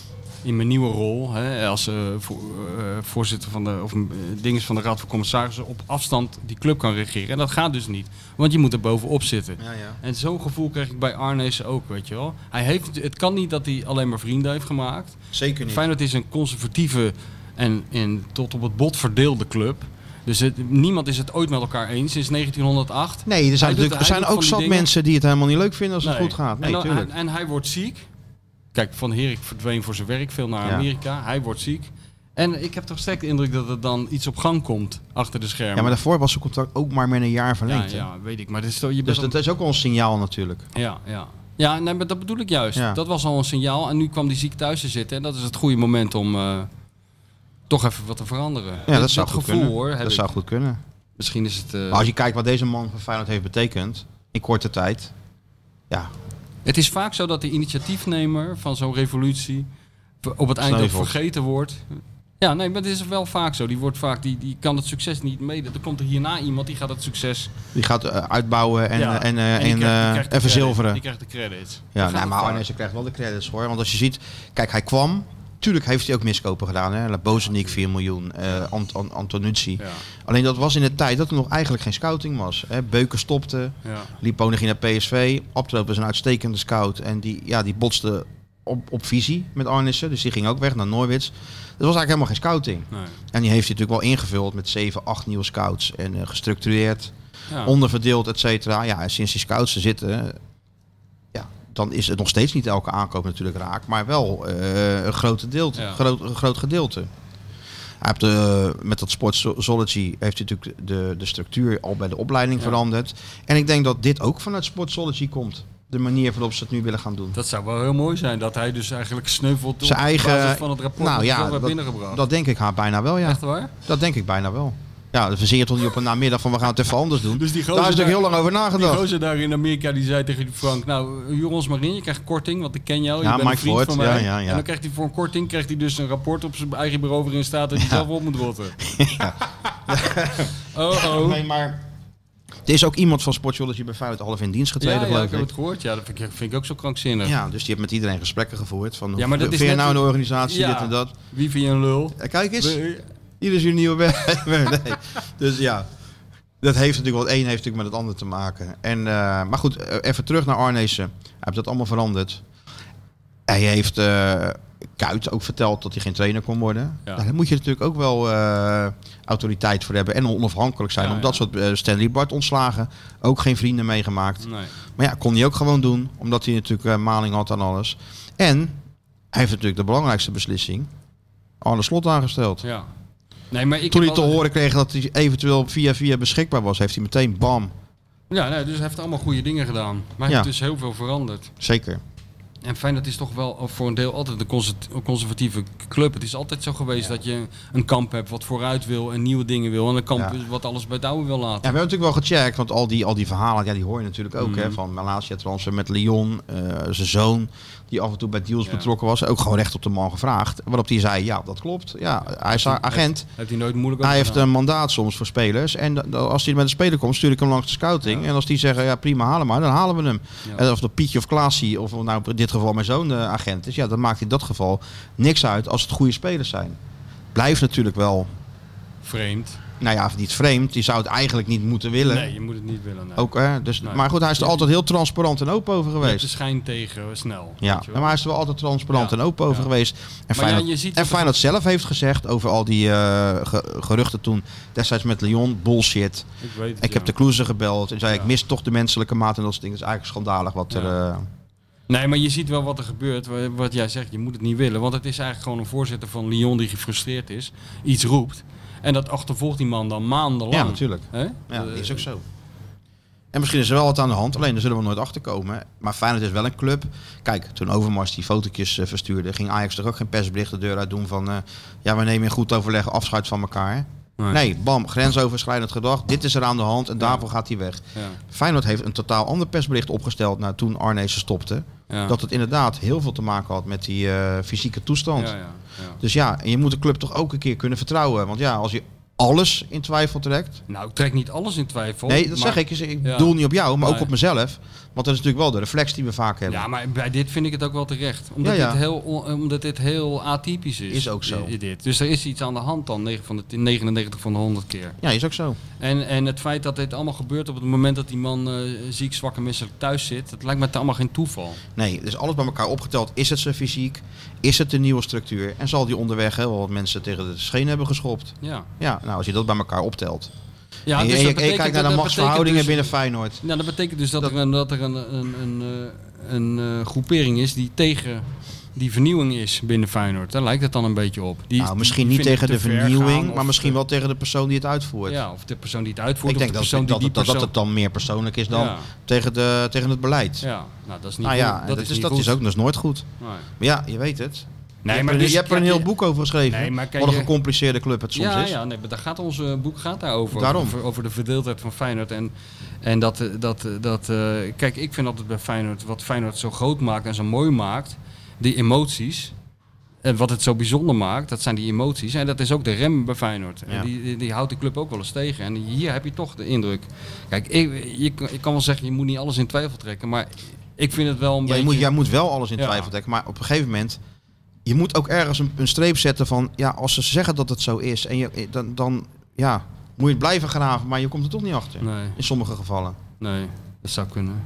C: in mijn nieuwe rol... Hè, als eh, voor- eh, voorzitter van de, of, eh, dinges van de Raad van Commissarissen... op afstand die club kan regeren. En dat gaat dus niet, want je moet er bovenop zitten.
B: Ja, ja.
C: En zo'n gevoel kreeg ik bij Arnees ook, weet je wel. Hij heeft, het kan niet dat hij alleen maar vrienden heeft gemaakt.
B: Zeker niet.
C: Feyenoord is een conservatieve en, en tot op het bot verdeelde club. Dus het- niemand is het ooit met elkaar eens sinds 1908.
B: Nee, er zijn,
C: Hij doet-
B: natuurlijk, er
C: hij
B: zijn
C: doet
B: ook
C: van die
B: zat
C: dingen.
B: mensen die het helemaal niet leuk vinden als het
C: Nee.
B: goed gaat.
C: en,
B: Nee,
C: dan- ah,
B: tuurlijk.
C: en, en hij wordt ziek. Kijk, Van Herik verdween voor zijn werk veel naar
B: Ja.
C: Amerika. Hij wordt ziek. En ik heb toch sterk de indruk dat er dan iets op gang komt achter de schermen.
B: Ja, maar daarvoor was zijn contract ook maar met een jaar
C: ja,
B: verlengd. hè?
C: ja, weet ik. Maar dit is toch, je bent
B: Dus
C: toch-
B: dat is ook wel een signaal natuurlijk.
C: Ja, ja. Ja, nee, maar dat bedoel ik juist.
B: Ja.
C: Dat was al een signaal. En nu kwam die ziek thuis te zitten. En dat is het goede moment om eh, toch even wat te veranderen.
B: Ja, dat zou goed
C: gevoel
B: kunnen.
C: hoor. heb
B: dat
C: ik.
B: zou goed kunnen.
C: Misschien is het. eh,
B: Maar als je kijkt wat deze man van Feyenoord heeft betekend, in korte tijd. Ja,
C: Het is vaak zo dat de initiatiefnemer van zo'n revolutie op het eind ook
B: Sneuvelt.
C: vergeten wordt. Ja, nee, maar het is wel vaak zo. Die, wordt vaak, die, die kan het succes niet mede. Er komt er hierna iemand die gaat het succes
B: die gaat eh, uitbouwen en,
C: Ja,
B: eh, en, eh,
C: die
B: en,
C: krijgt- die
B: eh,
C: krijgt de
B: en verzilveren.
C: credit. Die krijgt de credits.
B: Ja,
C: Daar
B: nee,
C: gaat
B: maar
C: het eh,
B: Arnezen krijgt wel de credits hoor. Want als je ziet, kijk, hij kwam. Tuurlijk heeft hij ook miskopen gedaan. hè. Bozeniek 4 miljoen, eh Ant Ant- Antonucci.
C: vaak.
B: Alleen dat was in de tijd dat er nog eigenlijk geen scouting was. Hè. Beuken stopte,
C: Ja, ja.
B: Lipone ging naar PSV. Abtroop is een uitstekende scout. En die, ja, die botste op, op visie met Arnissen. Dus die ging ook weg naar Norwitz. Dat was eigenlijk helemaal geen scouting.
C: Nee.
B: En die heeft hij natuurlijk wel ingevuld met 7, 8 nieuwe scouts. En eh, gestructureerd,
C: Ja.
B: onderverdeeld, et cetera. Ja, en sinds die scouts er zitten, ja, dan is het nog steeds niet elke aankoop natuurlijk raak. Maar wel eh, een, groot gedeelte,
C: Ja.
B: groot, een groot gedeelte. Hij heeft, eh, met dat Sportsology heeft hij natuurlijk de, de structuur al bij de opleiding
C: Ja.
B: veranderd. En ik denk dat dit ook vanuit Sportsology komt. De manier waarop ze het nu willen gaan doen.
C: Dat zou wel heel mooi zijn, dat hij dus eigenlijk sneuvelt op
B: Zijn eigen-
C: basis van het rapport
B: nou
C: dat hij
B: ja,
C: zelf heeft
B: dat-
C: binnengebracht.
B: Dat denk ik haar bijna wel, ja.
C: Echt waar?
B: Dat denk ik bijna wel. Ja, dan verzin je toch niet op een namiddag van we gaan het even anders doen.
C: Dus die gozer
B: Daar is natuurlijk heel
C: daar-
B: lang over
C: Die
B: nagedacht.
C: gozer daar in Amerika die zei tegen die Frank, nou huur ons maar in, je krijgt korting, want ik ken jou, je
B: Ja,
C: bent een
B: Mike
C: vriend
B: Ford,
C: van mij.
B: ja, ja, ja.
C: En dan krijgt hij voor een korting krijgt hij dus een rapport op zijn eigen bureau waarin staat dat hij zelf op moet rotten. oh oh.
B: Nee, maar er is ook iemand van Sportology bij Feyenoord half in dienst
C: Ja,
B: getreden,
C: ja,
B: geloof
C: ik
B: ik.
C: heb het gehoord. Ja, dat vind ik, vind ik ook zo krankzinnig.
B: Ja, dus die heeft met iedereen gesprekken gevoerd. Van,
C: Ja,
B: ja,
C: maar
B: maar
C: dat is
B: vind je
C: net
B: nou
C: een-
B: een organisatie,
C: Ja.
B: dit en dat?
C: Wie vind je een lul?
B: Eh, Kijk eens,
C: We-
B: hier is uw nieuwe werknemer. Nee. Dus ja, dat heeft natuurlijk wel het een heeft natuurlijk met het ander te maken. En, eh, maar goed, eh, even terug naar Arnezen. Hij heeft dat allemaal veranderd. Hij heeft eh Kuit ook verteld dat hij geen trainer kon worden.
C: Ja.
B: Nou, daar moet je natuurlijk ook wel eh, autoriteit voor hebben en onafhankelijk zijn.
C: Ja,
B: Omdat
C: ja.
B: soort eh, Stanley Bart ontslagen, ook geen vrienden meegemaakt.
C: Nee.
B: Maar ja, kon hij ook gewoon doen, omdat hij natuurlijk eh, maling had aan alles. En hij heeft natuurlijk de belangrijkste beslissing, Arne Slot aangesteld.
C: Ja. Nee, maar ik
B: Toen
C: heb
B: hij te
C: al-
B: horen kreeg dat hij eventueel via via beschikbaar was, heeft hij meteen bam.
C: Ja, nee, dus hij heeft allemaal goede dingen gedaan. Maar hij
B: Ja.
C: heeft dus heel veel veranderd.
B: Zeker.
C: En Feyenoord is toch wel voor een deel altijd een conser- een conservatieve club. Het is altijd zo geweest dat je een kamp hebt wat vooruit wil en nieuwe dingen wil. En een kamp
B: Ja.
C: is wat alles bij het oude wil laten.
B: Ja, we hebben natuurlijk wel gecheckt, want al die, al die verhalen, ja, die hoor je natuurlijk ook. Hè, van Malasia transfer met Lyon, eh, zijn zoon, die af en toe bij deals
C: Ja.
B: betrokken was. Ook gewoon recht op de man gevraagd. Waarop hij zei, ja, dat klopt. Ja, hij is agent.
C: Heeft hij nooit moeilijk
B: Hij
C: over
B: heeft
C: gedaan.
B: een mandaat soms voor spelers. En da- da- als hij met een speler komt, stuur ik hem langs de scouting. En als die zeggen, ja prima, haal hem maar, dan halen we hem.
C: Ja.
B: En of dat Pietje of Klaasie, of nou in dit geval mijn zoon eh, agent is. Ja, dat maakt in dat geval niks uit als het goede spelers zijn. Blijft natuurlijk wel,
C: Vreemd.
B: nou ja, niet vreemd. Je zou het eigenlijk niet moeten willen.
C: Nee, je moet het niet willen. nee.
B: Ook, hè, dus,
C: Nee.
B: Maar goed, hij is er altijd heel transparant en open over
C: Je hebt de
B: geweest.
C: schijn tegen snel.
B: Ja,
C: weet je wel.
B: maar hij is er wel altijd transparant
C: Ja.
B: en open over
C: Ja.
B: geweest. En
C: Maar ja,
B: Feyenoord,
C: je ziet
B: en
C: dat-
B: Feyenoord zelf heeft gezegd over al die eh, ge- geruchten toen destijds met Lyon, bullshit.
C: Ik weet het,
B: Ik heb
C: ja.
B: de Kloeze gebeld en zei
C: Ja.
B: ik mis toch de menselijke maat en dat soort dingen. Het is eigenlijk schandalig wat
C: Ja.
B: er... eh,
C: Nee, maar je ziet wel wat er gebeurt. wa- Wat jij zegt, je moet het niet willen. Want het is eigenlijk gewoon een voorzitter van Lyon die gefrustreerd is. Iets roept. En dat achtervolgt die man dan maandenlang.
B: ja, natuurlijk.
C: Hè?
B: Ja,
C: Eh,
B: dat is ook zo. En misschien is er wel wat aan de hand, alleen daar zullen we nooit achter komen. Maar Feyenoord is wel een club. Kijk, toen Overmars die fotootjes eh, verstuurde, ging Ajax toch ook geen persbericht de deur uit doen van... eh, ja, we nemen in goed overleg afscheid van elkaar.
C: Nee.
B: Nee. bam, grensoverschrijdend gedrag. Dit is er aan de hand en daarvoor gaat hij weg.
C: Ja.
B: Feyenoord heeft een totaal ander persbericht opgesteld na toen Arnezen stopte.
C: Ja.
B: Dat het inderdaad heel veel te maken had met die eh, fysieke toestand.
C: Ja, ja, ja.
B: Dus ja, en je moet de club toch ook een keer kunnen vertrouwen. Want ja, als je alles in twijfel trekt...
C: Nou, ik trek niet alles in twijfel.
B: Nee, dat
C: Oh, maar-
B: zeg ik. Dus Ik
C: Ja.
B: doel niet op jou, maar
C: Nee.
B: ook op mezelf. Want dat is natuurlijk wel de reflex die we vaak hebben.
C: Ja, maar bij dit vind ik het ook wel terecht. Omdat,
B: Ja, ja.
C: Dit, heel, on- omdat dit heel atypisch is.
B: Is ook zo.
C: I- Dit. Dus er is iets aan de hand dan, 9 van de, 99 van de 100 keer.
B: Ja, is ook zo.
C: En, en het feit dat dit allemaal gebeurt op het moment dat die man eh, ziek, zwak en misselijk thuis zit, dat lijkt me het allemaal geen toeval.
B: Nee, dus alles bij elkaar opgeteld. Is het zijn fysiek? Is het de nieuwe structuur? En zal die onderweg heel wat mensen tegen de scheen hebben geschopt?
C: Ja,
B: Ja, nou, als je dat bij elkaar optelt.
C: ja
B: en je, en je-
C: dus dat
B: en je
C: betekent-
B: kijkt
C: dat-
B: naar de
C: dat
B: machtsverhoudingen binnen
C: betekent dus-
B: Feyenoord.
C: Nou, dat betekent dus dat,
B: Dat-
C: er, een, dat er een, een, een, eh, een, eh, groepering is die tegen die vernieuwing is binnen Feyenoord. Daar lijkt het dan een beetje op. Die,
B: Nou, misschien
C: die
B: niet
C: vinden
B: tegen de
C: het te ver gaan
B: vernieuwing,
C: of
B: maar misschien
C: te-
B: wel tegen de persoon die het uitvoert.
C: Ja, of de persoon die het uitvoert,
B: Ik
C: of
B: denk
C: de
B: dat,
C: persoon
B: dat,
C: die
B: dat,
C: die persoon...
B: dat het dan meer persoonlijk is dan
C: Ja.
B: tegen, de, tegen het beleid.
C: Ja, nou dat is niet
B: Nou ja,
C: goed.
B: dat, is,
C: niet
B: dat
C: goed.
B: is ook dat is nooit goed.
C: Nee.
B: Maar ja, je weet het.
C: Nee,
B: je hebt,
C: maar
B: er-
C: dus-
B: je hebt er een
C: ja,
B: heel
C: ja.
B: boek over geschreven.
C: Nee, maar kijk,
B: Wat een
C: je-
B: gecompliceerde club het soms
C: ja,
B: is.
C: ja, nee, maar daar gaat ons eh, boek gaat daarover.
B: Daarom.
C: Over, over de verdeeldheid van Feyenoord. En, en dat, eh, dat, eh, dat eh, kijk, ik vind altijd bij Feyenoord, wat Feyenoord zo groot maakt en zo mooi maakt, die emoties. En wat het zo bijzonder maakt, dat zijn die emoties. En dat is ook de rem bij Feyenoord. En
B: Ja.
C: die, die, die houdt de club ook wel eens tegen. En hier heb je toch de indruk. Kijk, ik, je, ik kan wel zeggen, je moet niet alles in twijfel trekken. Maar ik vind het wel een
B: Ja, je
C: beetje...
B: moet, jij moet wel alles in
C: Ja.
B: twijfel trekken. Maar op een gegeven moment, je moet ook ergens een, een streep zetten van, ja, als ze zeggen dat het zo is, en je, eh, dan, dan ja, moet je het blijven graven, maar je komt er toch niet achter.
C: Nee.
B: In sommige gevallen.
C: Nee, dat zou kunnen.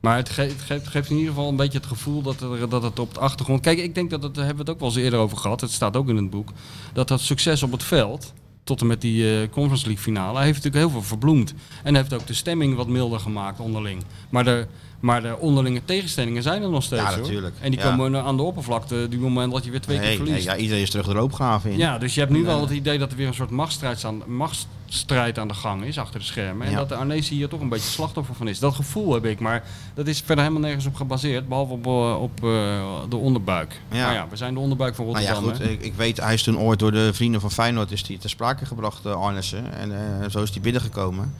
C: Maar het, ge- het ge- het geeft in ieder geval een beetje het gevoel dat, er, dat het op de achtergrond. Kijk, ik denk dat het, daar hebben we het ook wel eens eerder over gehad. Het staat ook in het boek. Dat dat succes op het veld. Tot en met die eh, Conference League finale. Heeft natuurlijk heel veel verbloemd. En heeft ook de stemming wat milder gemaakt onderling. Maar de, maar de onderlinge tegenstellingen zijn er nog steeds.
B: Ja,
C: hoor.
B: natuurlijk.
C: En die
B: Ja.
C: komen aan de oppervlakte. Die moment dat je weer twee keer
B: Nee, nee,
C: verliest.
B: ja, iedereen is terug de loopgraven in.
C: Ja, dus je hebt nu
B: eh,
C: wel het idee dat er weer een soort machtsstrijd aan, machtsstrijd aan de gang is achter de schermen. En
B: Ja.
C: dat de Arnezen hier toch een beetje slachtoffer van is. Dat gevoel heb ik, maar dat is verder helemaal nergens op gebaseerd. Behalve op, eh, op eh, de onderbuik.
B: Ja.
C: Maar ja, we zijn de onderbuik van
B: Nou ja,
C: Rotterdam.
B: goed,
C: hè?
B: ik, ik weet, hij is toen ooit door de vrienden van Feyenoord is die ter sprake gebracht, eh, Arnissen. En eh, zo is hij binnengekomen.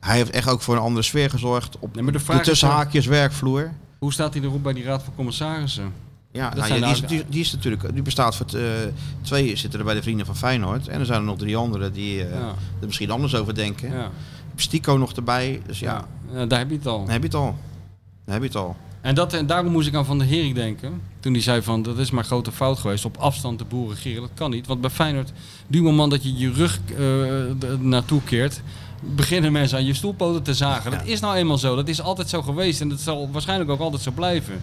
B: Hij heeft echt ook voor een andere sfeer gezorgd op
C: Nee, maar de
B: de,
C: vraag is
B: tussenhaakjes werkvloer.
C: Hoe staat hij erop bij die raad van commissarissen?
B: Ja,
C: Dat
B: nou,
C: zijn
B: ja, die, is,
C: nou-
B: die, die is natuurlijk, die bestaat voor t- eh, twee zitten er bij de vrienden van Feyenoord. En er zijn er nog drie anderen die eh,
C: Ja.
B: er misschien anders over denken.
C: Ja.
B: Stico nog erbij, dus ja,
C: Ja, daar heb je het al.
B: dan heb je het al. Dan heb je het al.
C: En, dat, en daarom moest ik aan Van der Hering denken. Toen hij zei van, dat is maar grote fout geweest. Op afstand de boeren gieren, dat kan niet. Want bij Feyenoord, die moment dat je je rug eh, d- naartoe keert... beginnen mensen aan je stoelpoten te zagen. Dat is nou eenmaal zo. Dat is altijd zo geweest. En dat zal waarschijnlijk ook altijd zo blijven.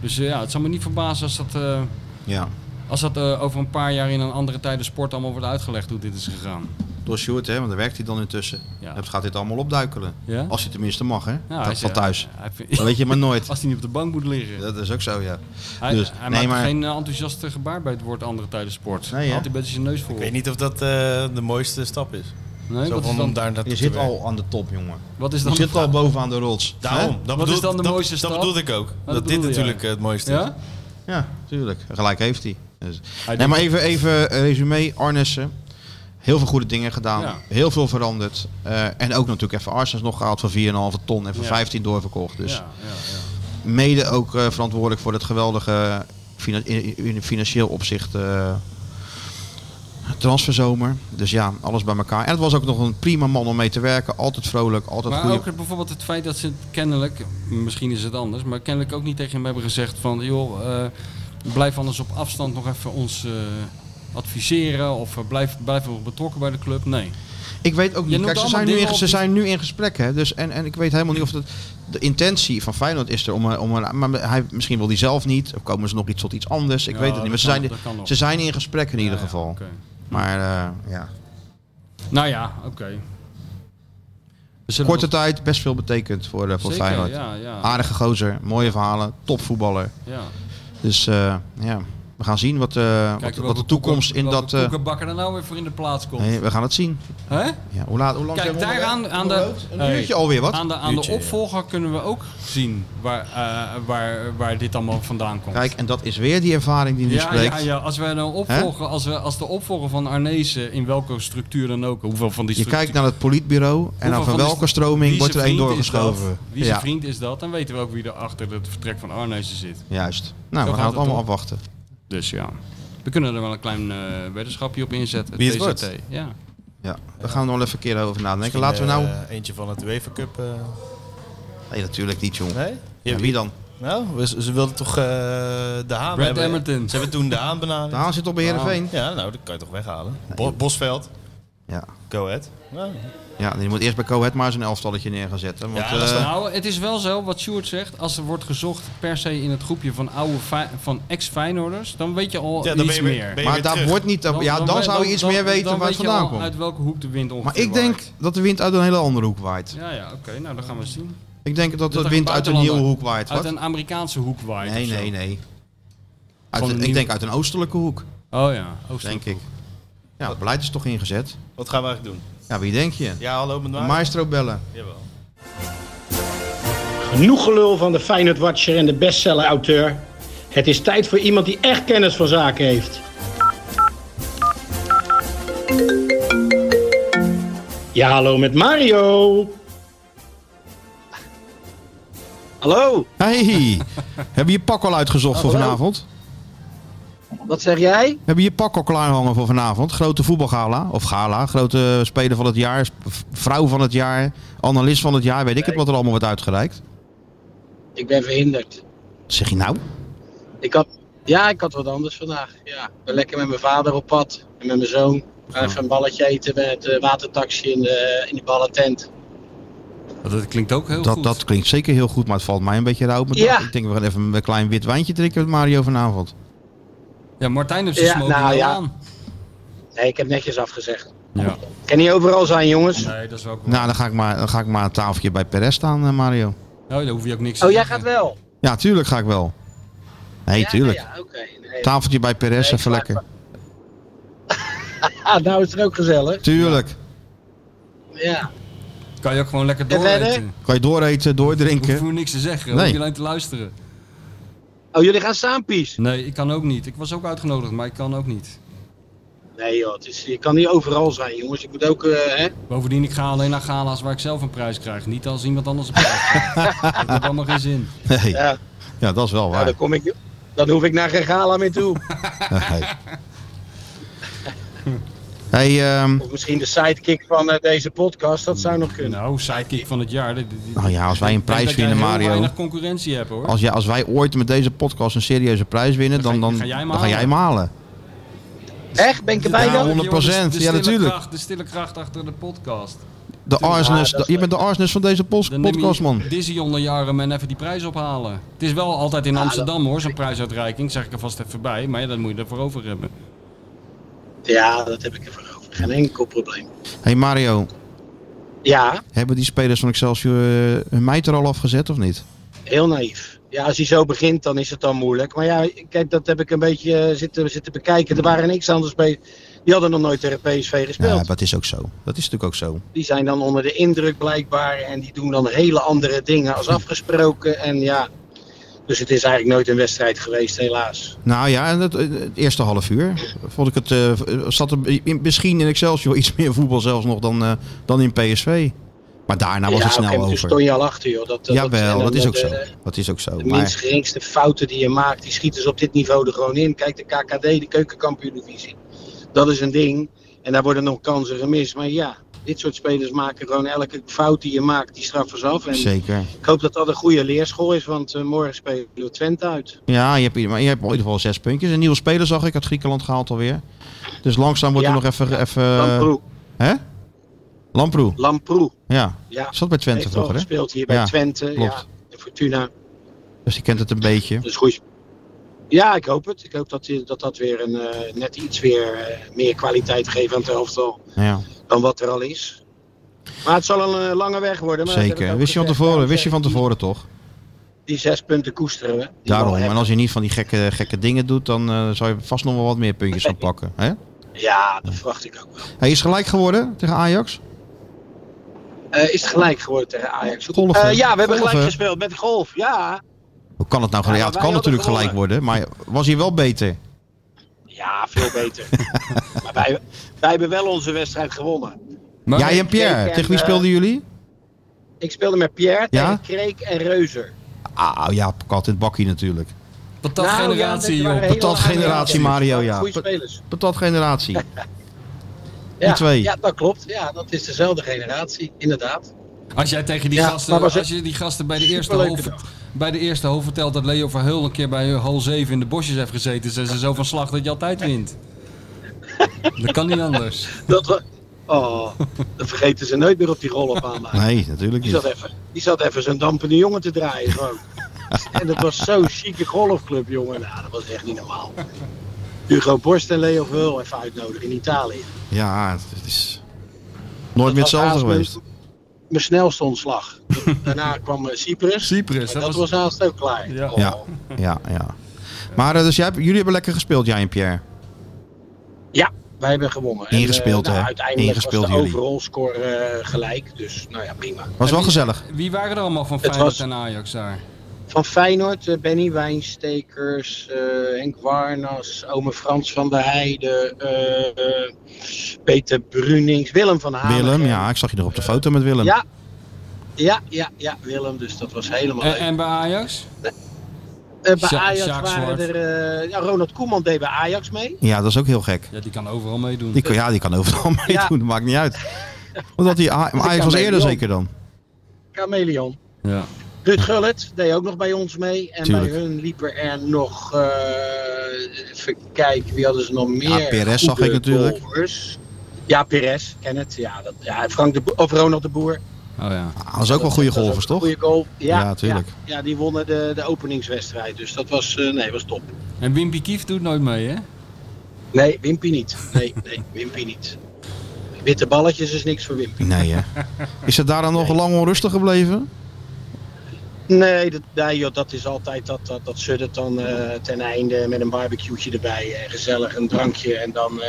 C: Dus eh, ja, het zal me niet verbazen als dat, eh,
B: Ja.
C: als dat eh, over een paar jaar... in een andere tijden sport allemaal wordt uitgelegd hoe dit is gegaan.
B: Door Sjoerd, hè, want daar werkt hij dan intussen.
C: Ja.
B: Dat gaat dit allemaal opduikelen.
C: Ja?
B: Als hij tenminste mag, hè.
C: Ja, hij
B: dat van
C: zei-
B: thuis.
C: hij vindt-
B: Dat weet je maar nooit.
C: als hij niet op de bank moet liggen.
B: Dat is ook zo, ja.
C: Hij,
B: dus,
C: hij
B: nee,
C: maakt
B: maar,
C: geen eh, enthousiaste gebaar bij het woord andere tijden sport.
B: Nee, hè?
C: Had hij bij zijn neus voor.
D: Ik weet niet of dat eh, de mooiste stap is.
C: Nee,
D: Zo
C: wat is
D: van om
C: dan,
D: daar naartoe
B: je
D: te
B: zit
D: werken.
B: al aan de top, jongen.
C: wat is dan
B: Je
C: de
B: zit
C: vraag?
B: al bovenaan de rots.
D: Daarom. Dat
C: Wat
D: bedoel-
C: is dan de
D: dat-
C: mooiste stap?
D: Dat bedoelde ik ook. Dat,
C: bedoelde
D: dit
C: jij.
D: natuurlijk eh, het mooiste is.
C: Ja?
B: Ja, tuurlijk. Gelijk heeft hij. Dus.
C: Hij
B: Nee,
C: doet-
B: maar even, even eh, resume. Arnessen. Heel veel goede dingen gedaan.
C: Ja.
B: Heel veel veranderd. Eh, en ook natuurlijk even Arsenal nog gehaald van 4,5 ton en voor
C: Ja.
B: 15 doorverkocht. Dus
C: Ja, ja, ja.
B: mede ook eh, verantwoordelijk voor het geweldige fina- in, in financieel opzicht eh, transferzomer. Dus ja, alles bij elkaar. En het was ook nog een prima man om mee te werken. Altijd vrolijk, altijd
C: Maar
B: goed.
C: ook het- bijvoorbeeld het feit dat ze kennelijk, misschien is het anders, maar kennelijk ook niet tegen hem hebben gezegd van joh, eh, blijf anders op afstand nog even ons eh, adviseren of eh, blijf, blijf nog betrokken bij de club. Nee.
B: Ik weet ook niet.
C: Je noemt
B: Kijk, ze
C: allemaal
B: zijn, nu
C: dingen
B: in,
C: op
B: ze
C: die-
B: zijn nu in gesprek. Hè? Dus, en, en ik weet helemaal niet of dat. De intentie van Feyenoord is er om. een- om een- maar hij, misschien wil die zelf niet. Of komen ze nog iets tot iets anders. Ik
C: Ja,
B: weet het niet. Maar
C: dat
B: ze
C: kan-
B: zijn,
C: dat kan nog.
B: ze zijn in gesprek in ieder
C: Ja, ja,
B: geval.
C: oké.
B: Maar eh, ja.
C: Nou ja, oké. We zullen
B: korte
C: nog-
B: tijd best veel betekend voor, eh, voor
C: Zeker,
B: Feyenoord.
C: Ja, ja,
B: Aardige gozer, mooie verhalen, topvoetballer.
C: ja.
B: Dus eh, ja, we gaan zien wat, eh, wat, wat
C: Kijken welke
B: de toekomst
C: koeken-
B: in
C: welke
B: dat. eh,
C: koekenbakker er nou weer voor in de plaats komt.
B: nee, we gaan het zien.
C: Hè?
B: Ja, hoe laat? Hoe lang
C: Kijk,
B: zijn we
C: daar aan,
B: onderweg?
C: aan de,
B: Onderhoud? Een
C: Hey.
B: uurtje alweer wat?
C: Aan de, aan
D: Uurtje,
C: de
D: ja.
C: opvolger kunnen we ook zien waar, eh, waar, waar dit allemaal vandaan komt.
B: Kijk, en dat is weer die ervaring die nu
C: ja,
B: spreekt.
C: ja, ja, als wij nou opvolgen, als, we, als de opvolger van Arnezen in welke structuur dan ook, hoeveel van die
B: Je
C: structuur,
B: kijkt naar het politbureau en
C: hoeveel
B: dan van
C: die
B: welke
C: stru-
B: stroming
C: wie
B: wordt er
C: zijn
B: één
C: vriend is dat?
B: doorgeschoven.
C: Wie zijn
B: Ja,
C: vriend is dat? Dan weten we ook wie er achter het vertrek van Arnezen zit.
B: juist. Nou, we
C: gaat
B: gaan het
C: het
B: allemaal
C: om.
B: afwachten.
C: Dus ja, we kunnen er wel een klein eh, weddenschapje op inzetten.
D: Wie het
C: TZT.
D: wordt?
C: Ja.
B: Ja, daar gaan we nog wel even een keer over nadenken.
D: Misschien,
B: Laten we nou...
D: eh, eentje van het UEFA Cup. eh,
B: Nee, natuurlijk niet, jongen.
D: nee?
B: Ja, wie dan?
D: Nou, we- ze, wilden toch eh, de Haan
C: Brad
D: hebben.
C: Emerton.
D: Ze hebben toen de Haan benaderd.
B: De Haan zit op bij Heerenveen.
D: Ja, nou, dat kan je toch weghalen. Bo- Bosveld,
B: Ja.
D: go ahead. Nou,
B: ja, die moet eerst bij Cohet maar zijn elftalletje neer gaan zetten. Want,
D: Ja, dat is
B: eh,
C: Nou, het is wel zo, wat Sjoerd zegt, als er wordt gezocht per se in het groepje van, oude Fey- van ex-Feyenoorders, dan weet je al
D: ja, dan ben
C: iets
D: je, weer-
C: meer.
D: ben je
B: maar
D: weer
B: daar
D: terug.
B: wordt niet... ja, dan, zou je iets meer weten waar het vandaan komt.
C: uit welke hoek de wind ongeveer
B: Maar ik denk dat de wind uit een hele andere hoek waait.
C: Ja, ja, oké, nou dan gaan we zien.
B: Ik denk dat
C: er
B: de
C: een
B: wind uit een
C: buitenlander-
B: nieuwe hoek waait.
C: Uit
B: Wat?
C: een Amerikaanse hoek waait
B: Nee,
C: of zo.
B: nee, nee. Uit
C: Van
B: een-
C: een
B: ik
C: nieuw-
B: denk uit een oostelijke hoek,
C: Oh ja, Oostenrijk.
B: denk ik. Ja, het beleid is toch ingezet.
D: Wat gaan we eigenlijk doen?
B: Ja, wie denk je?
D: Ja, hallo, met
B: Een
D: mij.
B: maestro bellen.
D: Jawel.
G: Genoeg gelul van de Feyenoord Watcher en de bestseller auteur. Het is tijd voor iemand die echt kennis van zaken heeft. Ja, hallo met Mario.
H: Hallo,
B: Hey, hebben je pak al uitgezocht
H: Oh,
B: voor vanavond?
H: wat zeg jij?
B: Hebben je pak al klaarhangen voor vanavond? Grote voetbalgala, of gala, grote speler van het jaar, v- vrouw van het jaar, analist van het jaar, weet ik het wat er allemaal wordt uitgereikt.
H: Ik ben verhinderd.
B: Wat zeg je nou?
H: Ik had, ja, ik had wat anders vandaag. Ja, ik ben lekker met mijn vader op pad en met mijn zoon. We gaan even een balletje eten met het watertaxi in de, in de ballentent.
C: Dat, Oh, dat klinkt ook heel
B: Dat,
C: goed.
B: dat klinkt zeker heel goed, maar het valt mij een beetje rauw op mijn
H: Ja.
B: dag. Ik denk, we gaan even een klein wit wijntje drinken met Mario vanavond.
C: Ja, Martijn heeft zijn
H: Ja,
C: smoking
H: nou
C: wel
H: ja.
C: aan.
H: Nee, ik heb netjes afgezegd.
C: Ja.
H: Kan niet overal zijn, jongens.
C: Nee, dat is wel cool.
B: Nou, dan ga ik maar, dan ga ik maar aan tafeltje bij Perez staan, eh, Mario.
C: Nou, daar hoef je ook niks
H: Oh,
C: te
H: jij
C: zeggen.
H: gaat wel?
B: Ja, tuurlijk ga ik wel. Nee,
H: Ja,
B: tuurlijk.
H: Ja, oké. Nee.
B: Tafeltje bij Perez,
H: Nee,
B: even
H: maar-
B: lekker.
H: Ah, nou is het ook gezellig.
B: Tuurlijk.
H: Ja.
C: Kan je ook gewoon lekker
H: En verder?
C: dooreten.
B: Kan je dooreten,
C: Ik
B: doordrinken.
C: hoef niks te zeggen,
B: Nee.
C: hoef je alleen te luisteren.
H: Oh, jullie gaan samen pies?
C: Nee, ik kan ook niet. Ik was ook uitgenodigd, maar ik kan ook niet.
H: Nee joh, het is, je kan niet overal zijn, jongens. Je moet ook, eh, hè?
C: Bovendien, ik ga alleen naar gala's waar ik zelf een prijs krijg. Niet als iemand anders een prijs krijgt. dat heeft allemaal geen zin.
B: Nee.
H: Ja,
B: Ja, dat is wel
H: nou,
B: waar.
H: dan kom ik... Dan hoef ik naar geen gala meer toe.
B: Nee. Hey, ehm,
H: Of misschien de sidekick van eh, deze podcast, dat zou nog kunnen.
C: Nou, sidekick van het jaar. Dit- dit-
B: nou ja, als wij een
C: Ik denk
B: prijs
C: dat jij
B: winnen,
C: heel
B: Mario.
C: weinig concurrentie hebt hoor.
B: Als, ja, als wij ooit met deze podcast een serieuze prijs winnen, dan, dan,
C: ga jij hem
B: dan ga jij hem
C: halen.
B: halen.
H: Echt? Ben ik erbij
B: Ja,
H: dan?
B: 100%.
C: Jongens, de
B: Ja,
C: stille
B: natuurlijk.
C: Kracht, de stille kracht achter de podcast.
B: De Arsenis,
H: dat is
B: de- je bent de Arsenis van deze pos-
C: Dan neem
B: podcast,
C: je
B: man.
C: Dizzy onder jaren en even die prijs ophalen. Het is wel altijd in Amsterdam hoor, zo'n prijsuitreiking. Zeg ik er vast even bij, maar ja, dat moet je ervoor over hebben.
H: Ja, dat heb ik ervoor over. Geen enkel probleem.
B: Hey Mario,
H: Ja,
B: hebben die spelers van Excelsior eh, hun meid er al afgezet of niet?
H: heel naïef. Ja, als hij zo begint, dan is het dan moeilijk. Maar ja, kijk, dat heb ik een beetje eh, zitten, zitten bekijken. Er waren niks anders bij. Die hadden nog nooit tegen PSV
B: Ja,
H: gespeeld.
B: maar dat is ook zo. Dat is natuurlijk ook zo.
H: Die zijn dan onder de indruk blijkbaar. En die doen dan hele andere dingen als afgesproken. En ja, dus het is eigenlijk nooit een wedstrijd geweest, helaas.
B: Nou ja, en het, het eerste half uur vond ik het, eh, zat er in- misschien in Excelsior iets meer voetbal zelfs nog dan, eh, dan in PSV. Maar daarna was
H: ja,
B: het
H: op een gegeven
B: snel
H: moment
B: over.
H: stond je al achter, joh. Dat, en
B: Jawel,
H: dan eh,
B: dat is ook
H: de-
B: zo. Dat is ook zo.
H: De minst
B: Maar
H: geringste fouten die je maakt, die schieten ze op dit niveau er gewoon in. Kijk, de KKD, de keukenkampioen-divisie. Dat is een ding. En daar worden nog kansen gemist. Maar ja, dit soort spelers maken gewoon elke fout die je maakt, die straffen ze af. En
B: zeker.
H: ik hoop dat dat een goede leerschool is, want eh, morgen spelen we Twente uit.
B: Ja, je hebt, ieder- maar je hebt in ieder geval zes puntjes. Een nieuwe speler zag ik, uit Griekenland gehaald alweer. Dus langzaam wordt
H: Ja.
B: er nog even... even
H: Lamproe,
B: hè? Lamproe,
H: Lamproe.
B: ja.
H: Ja,
B: Zat bij Twente
H: heeft al
B: vroeger, hè?
H: gespeeld hier bij
B: Ja,
H: Twente.
B: klopt.
H: Ja, en Fortuna.
B: Dus die kent het een beetje.
H: Dus goed. Ja, ik hoop het. Ik hoop dat die- dat, dat weer een, eh, net iets weer eh, meer kwaliteit geeft aan het elftal.
B: Ja,
H: dan wat er al is. Maar het zal een eh, lange weg worden. Maar dat heb ik
B: zeker.
H: ook
B: Wist je van
H: gezegd.
B: tevoren,
H: Daarom
B: wist je van
H: zeg ik,
B: tevoren toch?
H: Die, die zes punten koesteren we. Die
B: Daarom.
H: wel
B: En
H: hebben.
B: als je niet van die gekke, gekke dingen doet, dan eh zou je vast nog wel wat meer puntjes gaan pakken. Hè?
H: Ja, dat verwacht ik ook wel.
B: Hij is gelijk geworden tegen Ajax.
H: Eh, is het gelijk geworden tegen Ajax?
B: Golf, hè?
H: Eh, ja, we hebben
B: Golf,
H: gelijk
B: hè?
H: gespeeld met golf. Ja,
B: Hoe kan het nou? gelijk? Ja,
H: Ja,
B: het
H: wij
B: kan
H: hadden
B: natuurlijk gelijk worden, maar was hij wel beter?
H: ja veel beter. maar wij, wij hebben wel onze wedstrijd gewonnen.
C: Maar
B: Jij en Pierre,
H: Zeker,
B: tegen wie
H: eh,
B: speelden jullie?
H: Ik speelde met Pierre
B: Ja?
H: tegen Kreek en Reuzer.
B: Ah, ja, kat in het bakkie natuurlijk.
C: patatgeneratie
H: Nou, ja,
C: joh.
H: dat waren hele
B: Patatgeneratie,
H: lange
B: Mario, ja.
H: Goeie spelers.
B: Patat generatie.
H: Ja,
B: twee.
H: Ja, dat klopt. Ja, dat is dezelfde generatie, inderdaad.
C: Als jij tegen die
H: Ja,
C: gasten,
H: maar was het-
C: als je die gasten bij de eerste
H: Superleuke
C: hol, bij de eerste hol vertelt dat Leo Verheul een keer bij hol 7 in de bosjes heeft gezeten, zijn ze zo van slag dat je altijd wint. Dat kan niet anders.
H: Dat we, oh, dat vergeten ze nooit meer op die rollenbaan. maken.
B: Nee, natuurlijk
H: Die zat
B: niet.
H: even, die zat even zijn dampende jongen te draaien gewoon. en dat was zo'n chique golfclub, jongen. Nou, dat was echt niet normaal. Hugo Borst en Leo Verhul even uitnodigen in Italië.
B: Ja, het is nooit
H: Dat
B: meer
H: was
B: hetzelfde
H: haast
B: geweest.
H: Mijn, mijn snelste ontslag. Daarna kwam eh, Cyprus.
C: Cyprus,
H: En dat was haast ook klaar.
C: Ja.
H: Oh.
B: Ja, ja, ja. Maar eh, dus jij, hebt- jullie hebben lekker gespeeld, jij en Pierre.
H: Ja, wij hebben gewonnen. En, eh,
B: Ingespeeld,
H: nou,
B: hè?
H: Uiteindelijk
B: Ingespeeld
H: was de
B: jullie.
H: overall score eh, gelijk. Dus nou ja, prima.
B: Was wel
C: wie-
B: gezellig.
C: Wie waren er allemaal van
H: Het
C: Feyenoord
H: was-
C: en Ajax daar?
H: Van Feyenoord, eh, Benny Wijnstekers, eh, Henk Warnas, ome Frans van der Heijden, eh, eh, Peter Brunings, Willem van Halen.
B: Willem, ja, ik zag je nog op de foto met Willem.
H: Ah, Ja, ja, ja, ja, Willem, dus dat was helemaal
C: En,
H: leuk.
C: en bij Ajax?
H: Eh, bij
C: Sja-
H: Ajax
C: Sjaak
H: waren
C: Zwart.
H: er... eh, ja, Ronald Koeman deed bij Ajax mee.
B: Ja, dat is ook heel gek.
C: Ja, die kan overal meedoen.
B: Die kan, ja, die kan overal meedoen, dat maakt niet uit. Omdat ah, hij, maar
H: kan
B: Ajax was
H: mee,
B: eerder
H: joh.
B: zeker dan.
H: Chameleon.
C: Ja.
H: Ruud Gullit deed ook nog bij ons mee. En
B: Tuurlijk.
H: bij hun liepen er nog... eh even kijken, wie hadden ze nog meer?
B: Perez zag
H: goede
B: ik natuurlijk.
H: bowlers? Ja, Perez, ken het. Ja, dat, ja, Frank de Bo- of Ronald de Boer.
C: Oh ja.
B: Ah, Dat is ook wel goede
H: Dat was
B: golfers,
H: ook een
B: toch?
H: Goede golf. Ja,
B: Ja, tuurlijk.
H: Ja, ja, die wonnen de, de openingswedstrijd. Dus dat was, eh, nee, was top.
C: En Wimpy Kief doet nooit mee, hè?
H: Nee, Wimpy niet. Nee, nee, Wimpy niet. Witte balletjes is niks voor Wimpy.
B: Nee, hè. Is het daar dan nog lang onrustig gebleven?
H: Nee, dat, nee joh, dat is altijd dat, dat, dat suddert dan eh, ten einde met een barbecue erbij. En gezellig een drankje. En dan eh,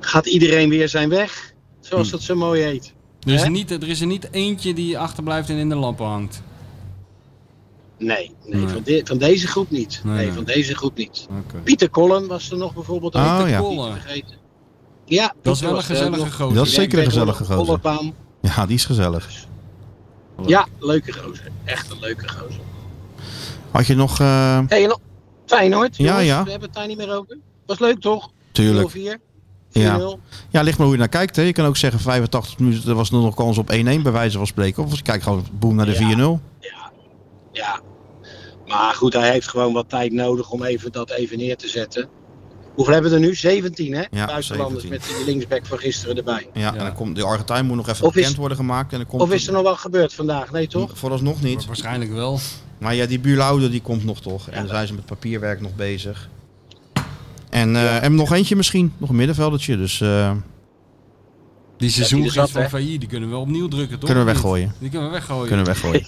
H: gaat iedereen weer zijn weg.
B: Hm.
H: Zoals dat zo mooi heet.
C: Er is,
H: Hè?
C: er niet, er is er niet eentje die achterblijft en in de lampen hangt.
H: Nee, nee,
C: Nee.
H: Van, de- van deze groep niet.
C: Nee,
H: Nee,
C: nee.
H: van deze groep niet.
C: Oké.
H: Pieter Collen was er nog bijvoorbeeld. ook.
B: Oh, ja.
H: Niet te vergeten. Ja,
C: Dat is
H: Pieter
C: wel een
H: was er
C: gezellige
H: ook nog.
C: gozer.
B: Dat is- zeker een
H: Werkt bij
B: gezellige
H: Rob
B: gozer.
H: Bollepaan.
B: Ja, die is gezellig.
H: Ja, leuke gozer. Echt een leuke gozer.
B: Had je nog... eh,
H: Hey, en nog Feyenoord.
B: Ja,
H: jongens,
B: ja.
H: We hebben het daar niet meer over. Was leuk toch?
B: Tuurlijk.
H: 0-4. 4-0.
B: Ja. Ja, ligt maar hoe je naar kijkt. Hè. Je kan ook zeggen 85 minuten, er was nog kans op 1-1 bij wijze van spreken. Of kijk gewoon boem naar de
H: Ja.
B: 4-0.
H: Ja. ja. Maar goed, hij heeft gewoon wat tijd nodig om even dat even neer te zetten. Hoeveel hebben we er nu? 17, hè?
B: Ja,
H: Buitenlanders
B: 17.
H: met die linksback van gisteren erbij.
B: Ja, En
C: Ja.
B: dan komt, de Argentijn moet nog even
H: Of is-
B: bekend worden gemaakt. En dan komt
H: Of is er nog wat gebeurd vandaag? Nee, toch?
B: Vooralsnog niet.
C: Waarschijnlijk wel.
B: Maar ja, die Buurlaude die komt nog toch. En dan zijn ze met papierwerk nog bezig. En, eh, en nog eentje misschien. Nog een middenveldertje. Dus eh,
C: Die seizoengids
H: zat,
C: van
H: hè?
C: VI, die kunnen we opnieuw drukken, toch?
B: Kunnen we
C: Of niet?
B: weggooien.
C: Die kunnen we weggooien.
B: kunnen we weggooien.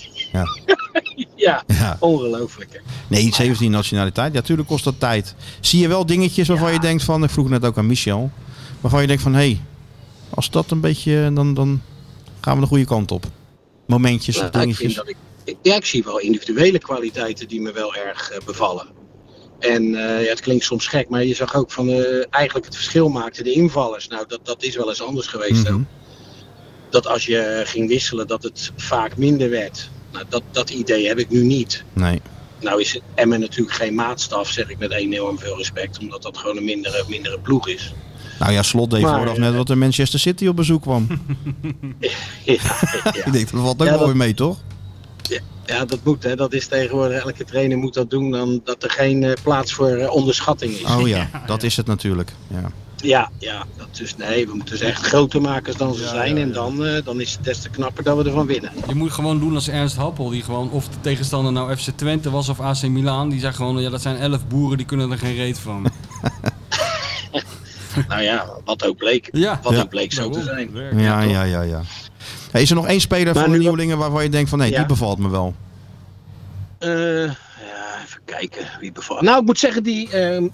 H: Ja,
B: Ja.
H: ongelooflijk. hè.
B: Nee, 17 nationaliteit. Ja, tuurlijk kost dat tijd. Zie je wel dingetjes waarvan je denkt van... Ik vroeg net ook aan Michel. Waarvan je denkt van... Hé, hey, als dat een beetje... Dan, dan gaan we de goede kant op. Momentjes of
H: Nou, ik vind
B: dingetjes.
H: dat ik, ik- ja, ik zie wel individuele kwaliteiten die me wel erg eh, bevallen. En eh, ja, het klinkt soms gek, maar je zag ook van eh, eigenlijk het verschil maakten de invallers. Nou, dat, dat is wel eens anders geweest.
B: Mhm.
H: ook. Dat als je ging wisselen, dat het vaak minder werd. Nou, dat, dat idee heb ik nu niet.
B: Nee.
H: Nou is Emmen natuurlijk geen maatstaf, zeg ik met enorm veel respect, omdat dat gewoon een mindere, mindere ploeg is.
B: Nou ja, Slot deed
H: Maar,
B: vooraf
H: eh,
B: net wat in Manchester City op bezoek kwam.
H: Ja, ja.
B: Ik denk, dat valt ook
H: Ja,
B: wel
H: dat-
B: weer mee, toch?
H: Ja, dat moet. Hè. Dat is tegenwoordig, elke trainer moet dat doen, dan dat er geen eh, plaats voor eh, onderschatting is.
B: Oh ja, dat is het natuurlijk. Ja.
H: Ja, ja. Dat dus, nee, we moeten ze echt groter maken dan ze zijn. En dan, eh, dan is het des te knapper dat we ervan winnen.
C: Je moet gewoon doen als Ernst Happel, die gewoon, of de tegenstander nou FC Twente was of AC Milan, die zei gewoon, ja dat zijn elf boeren, die kunnen er geen reet van.
H: nou ja, wat ook bleek.
C: Ja.
H: Wat
B: Ja.
H: ook bleek zo te zijn.
B: Ja, ja, ja, ja. Hey, is er nog één speler
H: Maar
B: van de
H: nu-
B: nieuwelingen waarvan je denkt van... Nee,
H: Ja.
B: die bevalt me wel.
H: Eh, ja, even kijken wie bevalt. Nou, ik moet zeggen, die ehm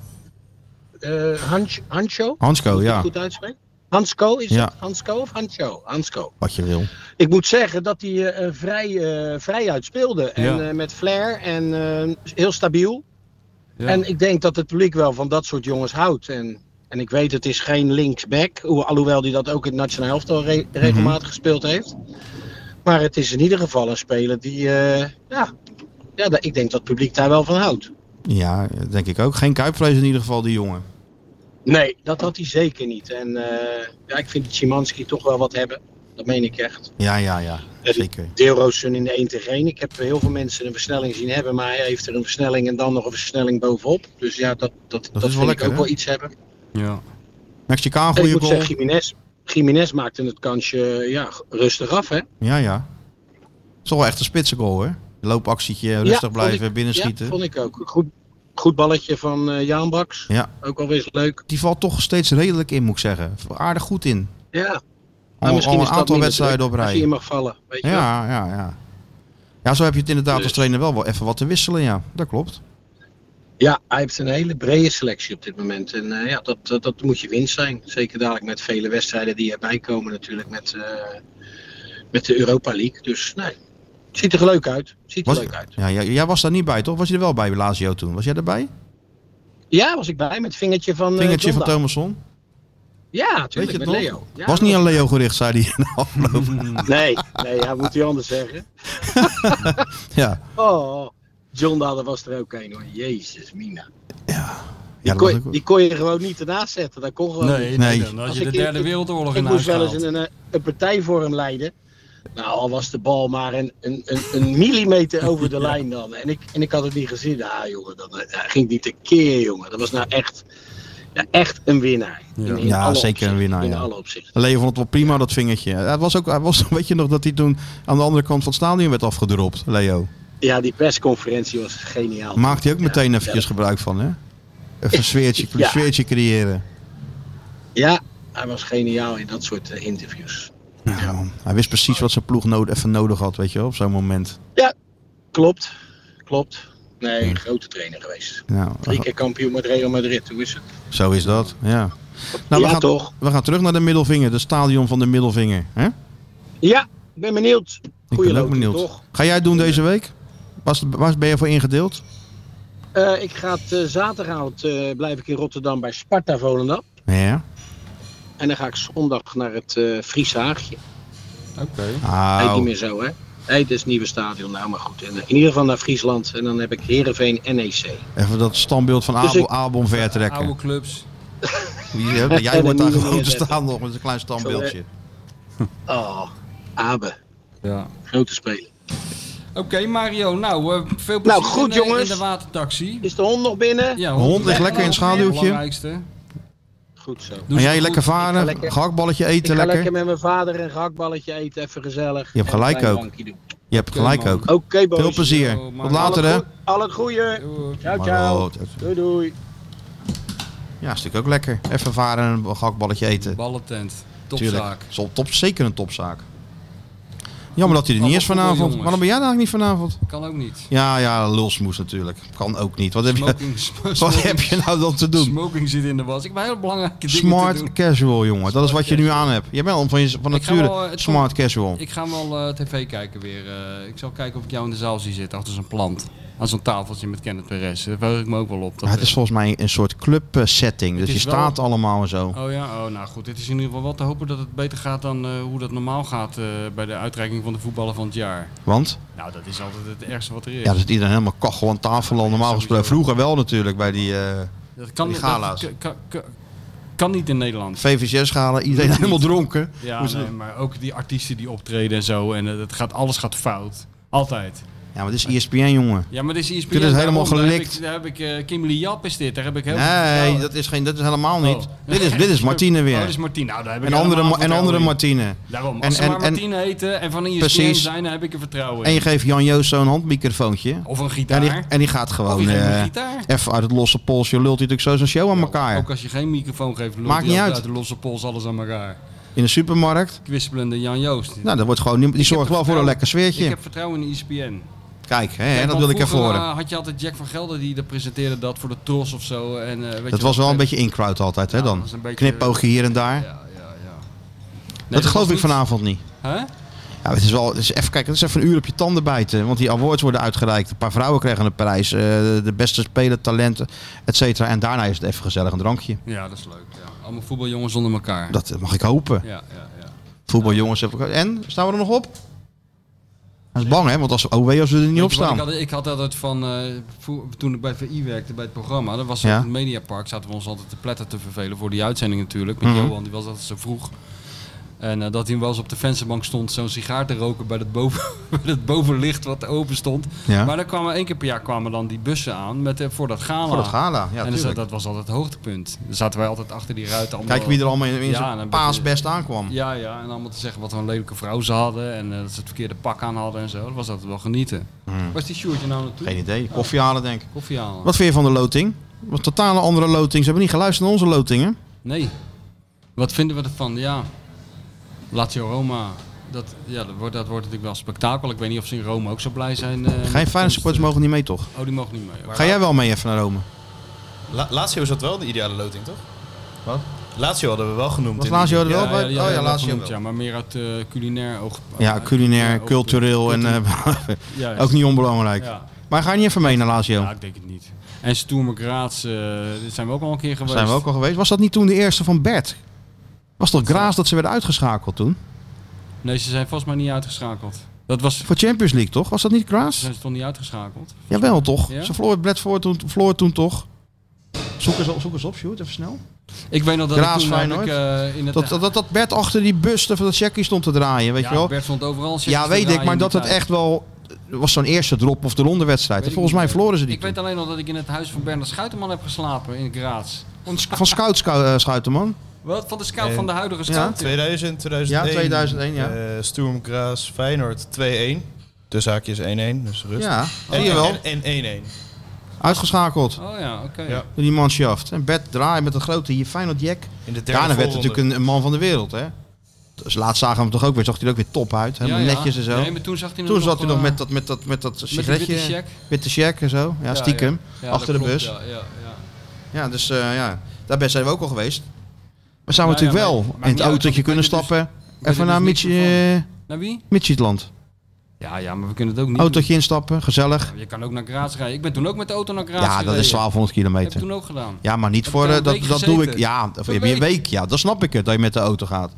H: eh Hans, Hansjo.
B: Hansco,
H: Moet ik het
B: ja.
H: Goed uitspreken. Hansco is
B: Ja.
H: het? Hansco of Hansjo? Hansco.
B: Wat je wil.
H: Ik moet zeggen dat hij eh, eh, vrij, eh, vrij uitspeelde. En
C: Ja.
H: eh, met flair en eh, heel stabiel.
C: Ja.
H: En ik denk dat het publiek wel van dat soort jongens houdt. En, en ik weet, het is geen linksback. hoe- Alhoewel die dat ook in het Nationaal Elftal re-
C: Mhm.
H: regelmatig gespeeld heeft. Maar het is in ieder geval een speler die... eh, ja, ja, da- ik denk dat het publiek daar wel van houdt.
B: Ja, denk ik ook. Geen kuipvlees in ieder geval, die jongen.
H: Nee, dat had hij zeker niet. En eh, ja, ik vind Szymanski toch wel wat hebben. Dat meen ik echt.
B: Ja, ja, ja.
H: Ja, die-
B: Zeker.
H: deelrooster in de 1 tegen 1. Ik heb heel veel mensen een versnelling zien hebben, maar hij heeft er een versnelling en dan nog een versnelling bovenop. Dus ja, dat, dat, dat,
B: wel
H: vind
B: lekker,
H: ik ook
B: hè?
H: wel iets hebben.
C: Ja.
B: Mexicaan,
H: En ik
B: goede
H: moet
B: goal.
H: zeggen, Jiménez, Jiménez maakte het kansje ja, rustig af, hè?
B: Ja, ja. Het is toch wel echt een spitse goal, hè? Loopactietje, rustig
H: Ja,
B: blijven,
H: vond ik-
B: binnenschieten.
H: Ja, vond ik ook. Goed, goed balletje van eh Jaan Baks.
B: Ja.
H: Ook alweer eens leuk.
B: Die valt toch steeds redelijk in, moet ik zeggen. Aardig goed in.
H: Ja.
B: Al,
H: Maar misschien
B: al
H: is
B: een
H: dat
B: aantal
H: minder
B: wedstrijden
H: druk
B: op
H: Als je
B: rij.
H: in mag vallen, weet je wel.
B: Ja, ja, ja. Ja, zo heb je het inderdaad als
H: Dus.
B: trainer wel, wel even wat te wisselen, ja. Dat klopt.
H: Ja, hij heeft een hele brede selectie op dit moment. En eh, ja, dat, dat, dat moet je winst zijn. Zeker dadelijk met vele wedstrijden die erbij komen natuurlijk met, eh, met de Europa League. Dus nee, Het ziet er leuk uit. Het Ziet er
B: Was,
H: leuk uit.
B: ja, jij, jij was daar niet bij, toch? Was je er wel bij, Lazio toen? Was jij erbij?
H: Ja, was ik bij met vingertje van eh,
B: Vingertje van
H: Donda.
B: Thomasson?
H: Ja,
B: Weet je
H: tuurlijk,
B: het
H: met
B: nog?
H: Leo. Ja,
B: was niet aan Leo gericht, zei hij in de afloop.
H: Nee, nee, ja, moet hij anders zeggen.
B: Ja,
H: Oh, John Dadder was er ook een hoor. Jezus, Mina.
B: ja
H: Die,
B: dat
H: kon,
B: was
H: je-
B: ook-
H: die kon je gewoon niet ernaast zetten. Dat kon gewoon niet.
C: Nee,
B: Nee.
C: nee. Dan had
H: Als
C: je de
H: ik-
C: derde
H: ik-
C: wereldoorlog in
H: Ik
C: huis
H: moest wel eens
C: gehaald.
H: een, eh, een partij voor hem leiden. Nou, al was de bal maar een, een, een, een millimeter over de lijn dan. En ik, en ik had het niet gezien. Ah, jongen, dat eh, ging die tekeer, jongen. Dat was nou echt... Ja, echt een winnaar. In- in
B: Ja, zeker een
H: alle opzichten.
B: winnaar,
H: In
B: ja.
H: alle opzichten.
B: Leo vond het wel prima, dat vingertje. Hij was ook, hij was, weet je nog dat hij toen aan de andere kant van het stadion werd afgedropt, Leo?
H: Ja, die persconferentie was geniaal.
B: Maakt hij ook
H: Ja,
B: meteen eventjes gebruik van, hè? Even een sfeertje,
H: Ja.
B: sfeertje creëren.
H: Ja, Ja, hij was geniaal in dat soort eh, interviews.
B: Ja, man. Nou, Hij wist precies wat zijn ploeg nood, even nodig had, weet je wel, op zo'n moment.
H: Klopt, klopt. Nee, een grote trainer geweest.
B: Nou,
H: Drie keer kampioen met Real Madrid, hoe is het?
B: zo is dat, ja. Nou,
H: ja,
B: we, gaan,
H: toch?
B: we gaan terug naar de middelvinger, de stadion van de middelvinger. Hè?
H: Ja, ik ben benieuwd.
B: Ik
H: Goeie
B: ben ook
H: loting,
B: benieuwd.
H: toch?
B: Ga jij het doen deze week? Was, waar ben je voor ingedeeld?
H: Eh, ik ga het, eh, zaterdagavond eh, blijf ik in Rotterdam bij Sparta Volendam.
B: Ja.
H: En dan ga ik zondag naar het eh Friese Haagje.
C: Oké.
H: Heet niet
B: Au.
H: meer zo, hè? Nee, het is het nieuwe stadion, nou maar goed. En, eh, in ieder geval naar Friesland en dan heb ik Heerenveen E NEC.
B: Even dat standbeeld van Abel,
H: Dus ik-
B: Abel vertrekken.
C: Oude clubs.
B: Wie- Jij
H: En
B: wordt daar
H: dan niet
B: gewoon te
H: neerzetten.
B: staan nog met een klein standbeeldje.
H: Oh, Abe,
C: Ja.
H: grote speler.
C: Oké, Mario. Nou, eh, veel plezier
H: Nou, goed,
C: in, eh,
H: jongens.
C: in de watertaxi.
H: Is de hond nog binnen?
C: Ja,
B: Hond ligt lekker in het schaduwtje.
C: Belangrijkste.
H: Goed zo.
C: Doe
B: En
C: ze
B: jij
C: goed.
B: lekker
H: Ik ga
B: varen,
H: lekker-
B: gehaktballetje
H: Ik
B: eten
H: ga lekker
B: lekker.
H: met mijn vader een gehaktballetje eten, even gezellig.
B: Je hebt
H: En een
B: gelijk
H: klein
B: ook.
H: drankje doen.
B: Je hebt gelijk ook.
H: Oké, boys.
B: Veel plezier.
C: Yo, man.
B: Tot later hè.
H: Al het goede.
C: Doei.
H: Ciao,
B: Maar
H: ciao.
B: goed, het-
H: Doei, doei.
B: Ja, is natuurlijk ook lekker. Even varen en een gehaktballetje eten.
C: Ballentent.
B: Tuurlijk.
C: Topzaak.
B: Is al top, zeker een topzaak. Jammer dat hij er niet
C: Allemaal
B: is vanavond.
C: voetbaljongens.
B: Waarom ben jij daar niet vanavond?
C: Kan ook niet.
B: Ja, ja, lulsmoes natuurlijk. Kan ook niet. Wat heb, je,
C: Smoking, sm-
B: wat
C: smoking,
B: heb je nou dan te doen?
C: smoking zit in de was. Ik ben heel belangrijke dingen te
B: Smart
C: doen.
B: casual, jongen. Dat is wat je nu aan hebt. Je bent al van, je, van
C: Ik ga wel,
B: nature
C: eh, het
B: smart casual.
C: Ik ga wel eh, tv kijken weer. eh. ik zal kijken of ik jou in de zaal zie zitten achter zo'n plant. Aan zo'n tafeltje met Kenneth Perez. Daar verheug ik me ook wel op. Dat
B: Maar het is volgens mij een soort club eh, setting. Dus
C: is
B: je
C: wel-
B: staat allemaal en zo.
C: Oh ja, oh, nou goed. Het is in ieder geval wel te hopen dat het beter gaat dan eh, hoe dat normaal gaat eh, bij de uitreiking van de voetballer van het jaar.
B: Want
C: Nou, dat is altijd het ergste wat er is.
B: ja, er zit iedereen helemaal kachel aan tafel. al Normaal gesproken. Vroeger wel natuurlijk bij die eh
C: dat kan,
B: die
C: dat-
B: gala's.
C: ka- ka- ka- kan niet in Nederland.
B: VVCS-schalen. Iedereen helemaal dronken.
C: Ja,
B: Hoe is
C: nee,
B: dat?
C: maar ook die artiesten die optreden en zo. En eh, het gaat, alles gaat fout. Altijd.
B: Ja, maar dit is E ESPN, jongen.
C: Ja, maar dit is ESPN.
B: Dit is helemaal
C: daarom, daar heb
B: gelikt.
C: ik- Daar heb ik, eh, Kim Lee Jap is dit. Daar heb ik heel veel
B: Nee,
C: vertrouwen.
B: dat is, geen, dat is helemaal niet.
C: Oh.
B: Dit, is, dit is Martine
C: Oh, dat
B: weer.
C: is Martine. Nou, daar heb ik
B: en andere,
C: helemaal
B: Ma- en andere
C: vertrouwen in.
B: Martine.
C: Daarom, als
B: En-
C: ze
B: en-
C: maar
B: en-
C: Martine heten en van E ESPN
B: Precies.
C: zijn, daar heb ik er vertrouwen
B: En
C: in.
B: je geeft Jan Joost zo'n handmicrofoontje.
C: Of een
B: En
C: gitaar.
B: die, en die gaat
C: Of
B: gewoon
C: je Oh, geeft hem een
B: eh,
C: gitaar.
B: even uit het losse polsje. Lult hij natuurlijk zo zijn show aan elkaar.
C: Ook als je geen microfoon geeft, loopt
B: Maakt
C: hij
B: niet
C: altijd
B: uit.
C: de losse pols alles aan elkaar.
B: In de supermarkt.
C: Kwispelende Jan Joost.
B: Nou, dat wordt gewoon, die die zorgt
C: heb
B: wel voor een
C: vertrouwen-
B: lekker
C: Ik
B: sfeertje.
C: heb vertrouwen in E ESPN.
B: Kijk, hè,
C: Kijk,
B: dat
C: want
B: wil ik even
C: vroeger,
B: horen.
C: eh, had je altijd Jack van Gelder die dat presenteerde dat voor de Tros of zo. En, eh, weet
B: Dat
C: je
B: was
C: wat,
B: wel een
C: eh,
B: beetje in-crowd altijd, hè
C: ja,
B: dan.
C: dat is een beetje-
B: Knipoogje hier en daar.
C: Ja, ja, ja. Nee,
B: dat
C: was
B: geloof ik
C: niet-
B: vanavond niet.
C: Hè?
B: Ja, het is wel, het is even, kijk, het is even een uur op je tanden bijten. Want die awards worden uitgereikt. Een paar vrouwen krijgen een prijs. eh, de beste speler, talenten, et cetera. En daarna is het even gezellig een drankje.
C: Ja, dat is leuk. Ja. Allemaal voetbaljongens onder elkaar.
B: Dat eh, mag ik hopen.
C: Ja, ja, ja.
B: Voetbaljongens hebben... ook- En, staan we er nog op? Dat is bang, hè? Want als, oh, wee als we er niet
C: Weet
B: op
C: je wat,
B: staan.
C: Ik had, ik had altijd van, eh, vo- toen ik bij VI werkte, bij het programma, dat was
B: Ja.
C: op het Mediapark, zaten we ons altijd te pletten te vervelen voor die uitzending natuurlijk. Met
B: Mhm.
C: Johan, die was altijd zo vroeg. En eh, dat hij wel eens op de vensterbank stond, zo'n sigaar te roken bij het, boven, bij het bovenlicht wat open stond.
B: Ja.
C: Maar dan kwamen één keer per jaar kwamen dan die bussen aan met, eh, voor dat gala.
B: Voor dat gala, ja,
C: en dan zat,
B: tuurlijk.
C: dat was altijd het hoogtepunt. Dan zaten wij altijd achter die ruiten. allemaal-
B: Kijk wie er allemaal in, in
C: Ja,
B: zijn
C: en dan-
B: paasbest aankwam.
C: Ja, ja, en allemaal te zeggen wat voor een lelijke vrouw ze hadden en eh, dat ze het verkeerde pak aan hadden en zo. Dat was altijd wel genieten.
B: Mhm.
C: Was die shirtje nou naartoe?
B: Geen idee. Koffie halen, denk ik.
C: Koffie halen.
B: Wat vind je van de loting? Was een totale andere loting. Ze hebben niet geluisterd naar onze lotingen.
C: Nee. Wat vinden we ervan? Ja. Lazio Roma. Dat, ja, dat, wordt, dat wordt natuurlijk wel spektakel. Ik weet niet of ze in Rome ook zo blij zijn. eh,
B: Geen
C: met
B: fijne
C: ons.
B: supporters mogen niet mee, toch?
C: Oh, die mogen niet mee. Maar
B: Ga jij wel mee even naar Rome?
D: La Lazio is dat wel de ideale loting, toch? Wat? Lazio hadden we wel genoemd.
B: Was
D: in die-
B: Lazio er
D: Ja,
B: wel bij?
C: die
B: oh
C: hadden
B: ja,
C: we wel
B: Lazio
C: genoemd,
B: wel.
C: Ja, maar meer uit eh, culinair oog.
B: Ja,
C: uit
B: culinair,
C: oogpunt.
B: cultureel en eh,
C: Juist.
B: ook niet onbelangrijk.
C: Ja.
B: Maar ga je niet even mee naar Lazio?
C: Ja, ik denk het niet. En Stoerme Graz, eh, dit zijn we ook al een keer geweest.
B: Zijn we ook al geweest. Was dat niet toen de eerste van Bert? Was toch Graas dat ze werden uitgeschakeld toen?
C: Nee, ze zijn vast maar niet uitgeschakeld. Dat was...
B: Voor Champions League, toch? Was dat niet Graas?
C: Zijn ze toch niet uitgeschakeld?
B: Jawel, toch?
C: Ja?
B: Ze verloor Bradford toen, verloor toen toch? Zoek eens op, zoek eens op, Sjoerd, even snel.
C: Ik weet nog dat
B: Graz,
C: ik toen heb ik,
B: Feyenoord.
C: eh, in het...
B: Dat, dat, dat Bert achter die bus van dat checkie stond te draaien, weet
C: ja,
B: je wel?
C: Bert stond overal
B: Ja, weet ik, maar dat het echt wel... Het was zo'n eerste drop of de ronde wedstrijd.
C: Weet
B: En Volgens
C: ik
B: mij
C: niet.
B: verloren ze die
C: Ik weet alleen nog dat ik in het huis van Bernard Schuiterman heb geslapen in Graz. Van sc-
B: Van Scout Scou- eh, Schuiterman.
C: Wat? Van de scout
D: Eh,
C: van de huidige
B: ja.
C: scout?
D: 2000, 2001.
B: Ja, 2001, ja.
D: Eh, Sturm Graz Feyenoord 2-1. Dus haakjes 1-1, dus rust.
B: Ja,
D: en,
B: zie je wel.
D: en- En 1-1.
B: Uitgeschakeld
C: Oh ja, oké.
D: Ja.
B: door die manschaft. En Bert draait met een grote hier Feyenoord Jack.
D: In de derde
B: Daarna werd
D: voorronde.
B: natuurlijk een, een man van de wereld, hè. Dus laatst zagen we hem toch ook weer. Zag hij er ook weer top uit. Helemaal
C: Ja, ja.
B: netjes en zo.
C: Nee, maar toen zag hij
B: Toen zat hij nog
C: eh,
B: met dat, met dat, met dat
C: die
B: sigaretje.
C: witte check.
B: witte check en zo. Ja,
C: Ja,
B: stiekem.
C: ja. Ja,
B: achter de
C: dat klopt,
B: bus. Ja,
C: Ja, ja, ja.
B: dus eh, ja, daar ben- zijn we ook al geweest. Maar zijn we
C: Nou ja,
B: natuurlijk wel
C: maar- maar
B: in het
C: niet uit, want
B: autootje
C: we
B: kunnen
C: kunnen dus-
B: stappen.
C: kunnen
B: even
C: dus
B: naar
C: niks
B: Mitch,
C: meer
B: eh,
C: Naar wie?
B: Midtjylland.
C: Ja, ja, maar we kunnen het ook niet.
B: Autootje instappen, gezellig.
C: Je kan ook naar Graz rijden. Ik ben toen ook met de auto naar Graz
B: Ja, dat is
C: gereden.
B: 1200
C: Heb ik
B: kilometer.
C: toen ook gedaan.
B: Ja, maar niet
C: Heb
B: voor...
C: ik daar
B: eh,
C: een
B: dat
C: week
B: dat doe ik...
C: gezeten?
B: Ja, of
C: Een
B: heb je een
C: week?
B: week. Ja, dan snap ik het, dat je met de auto gaat.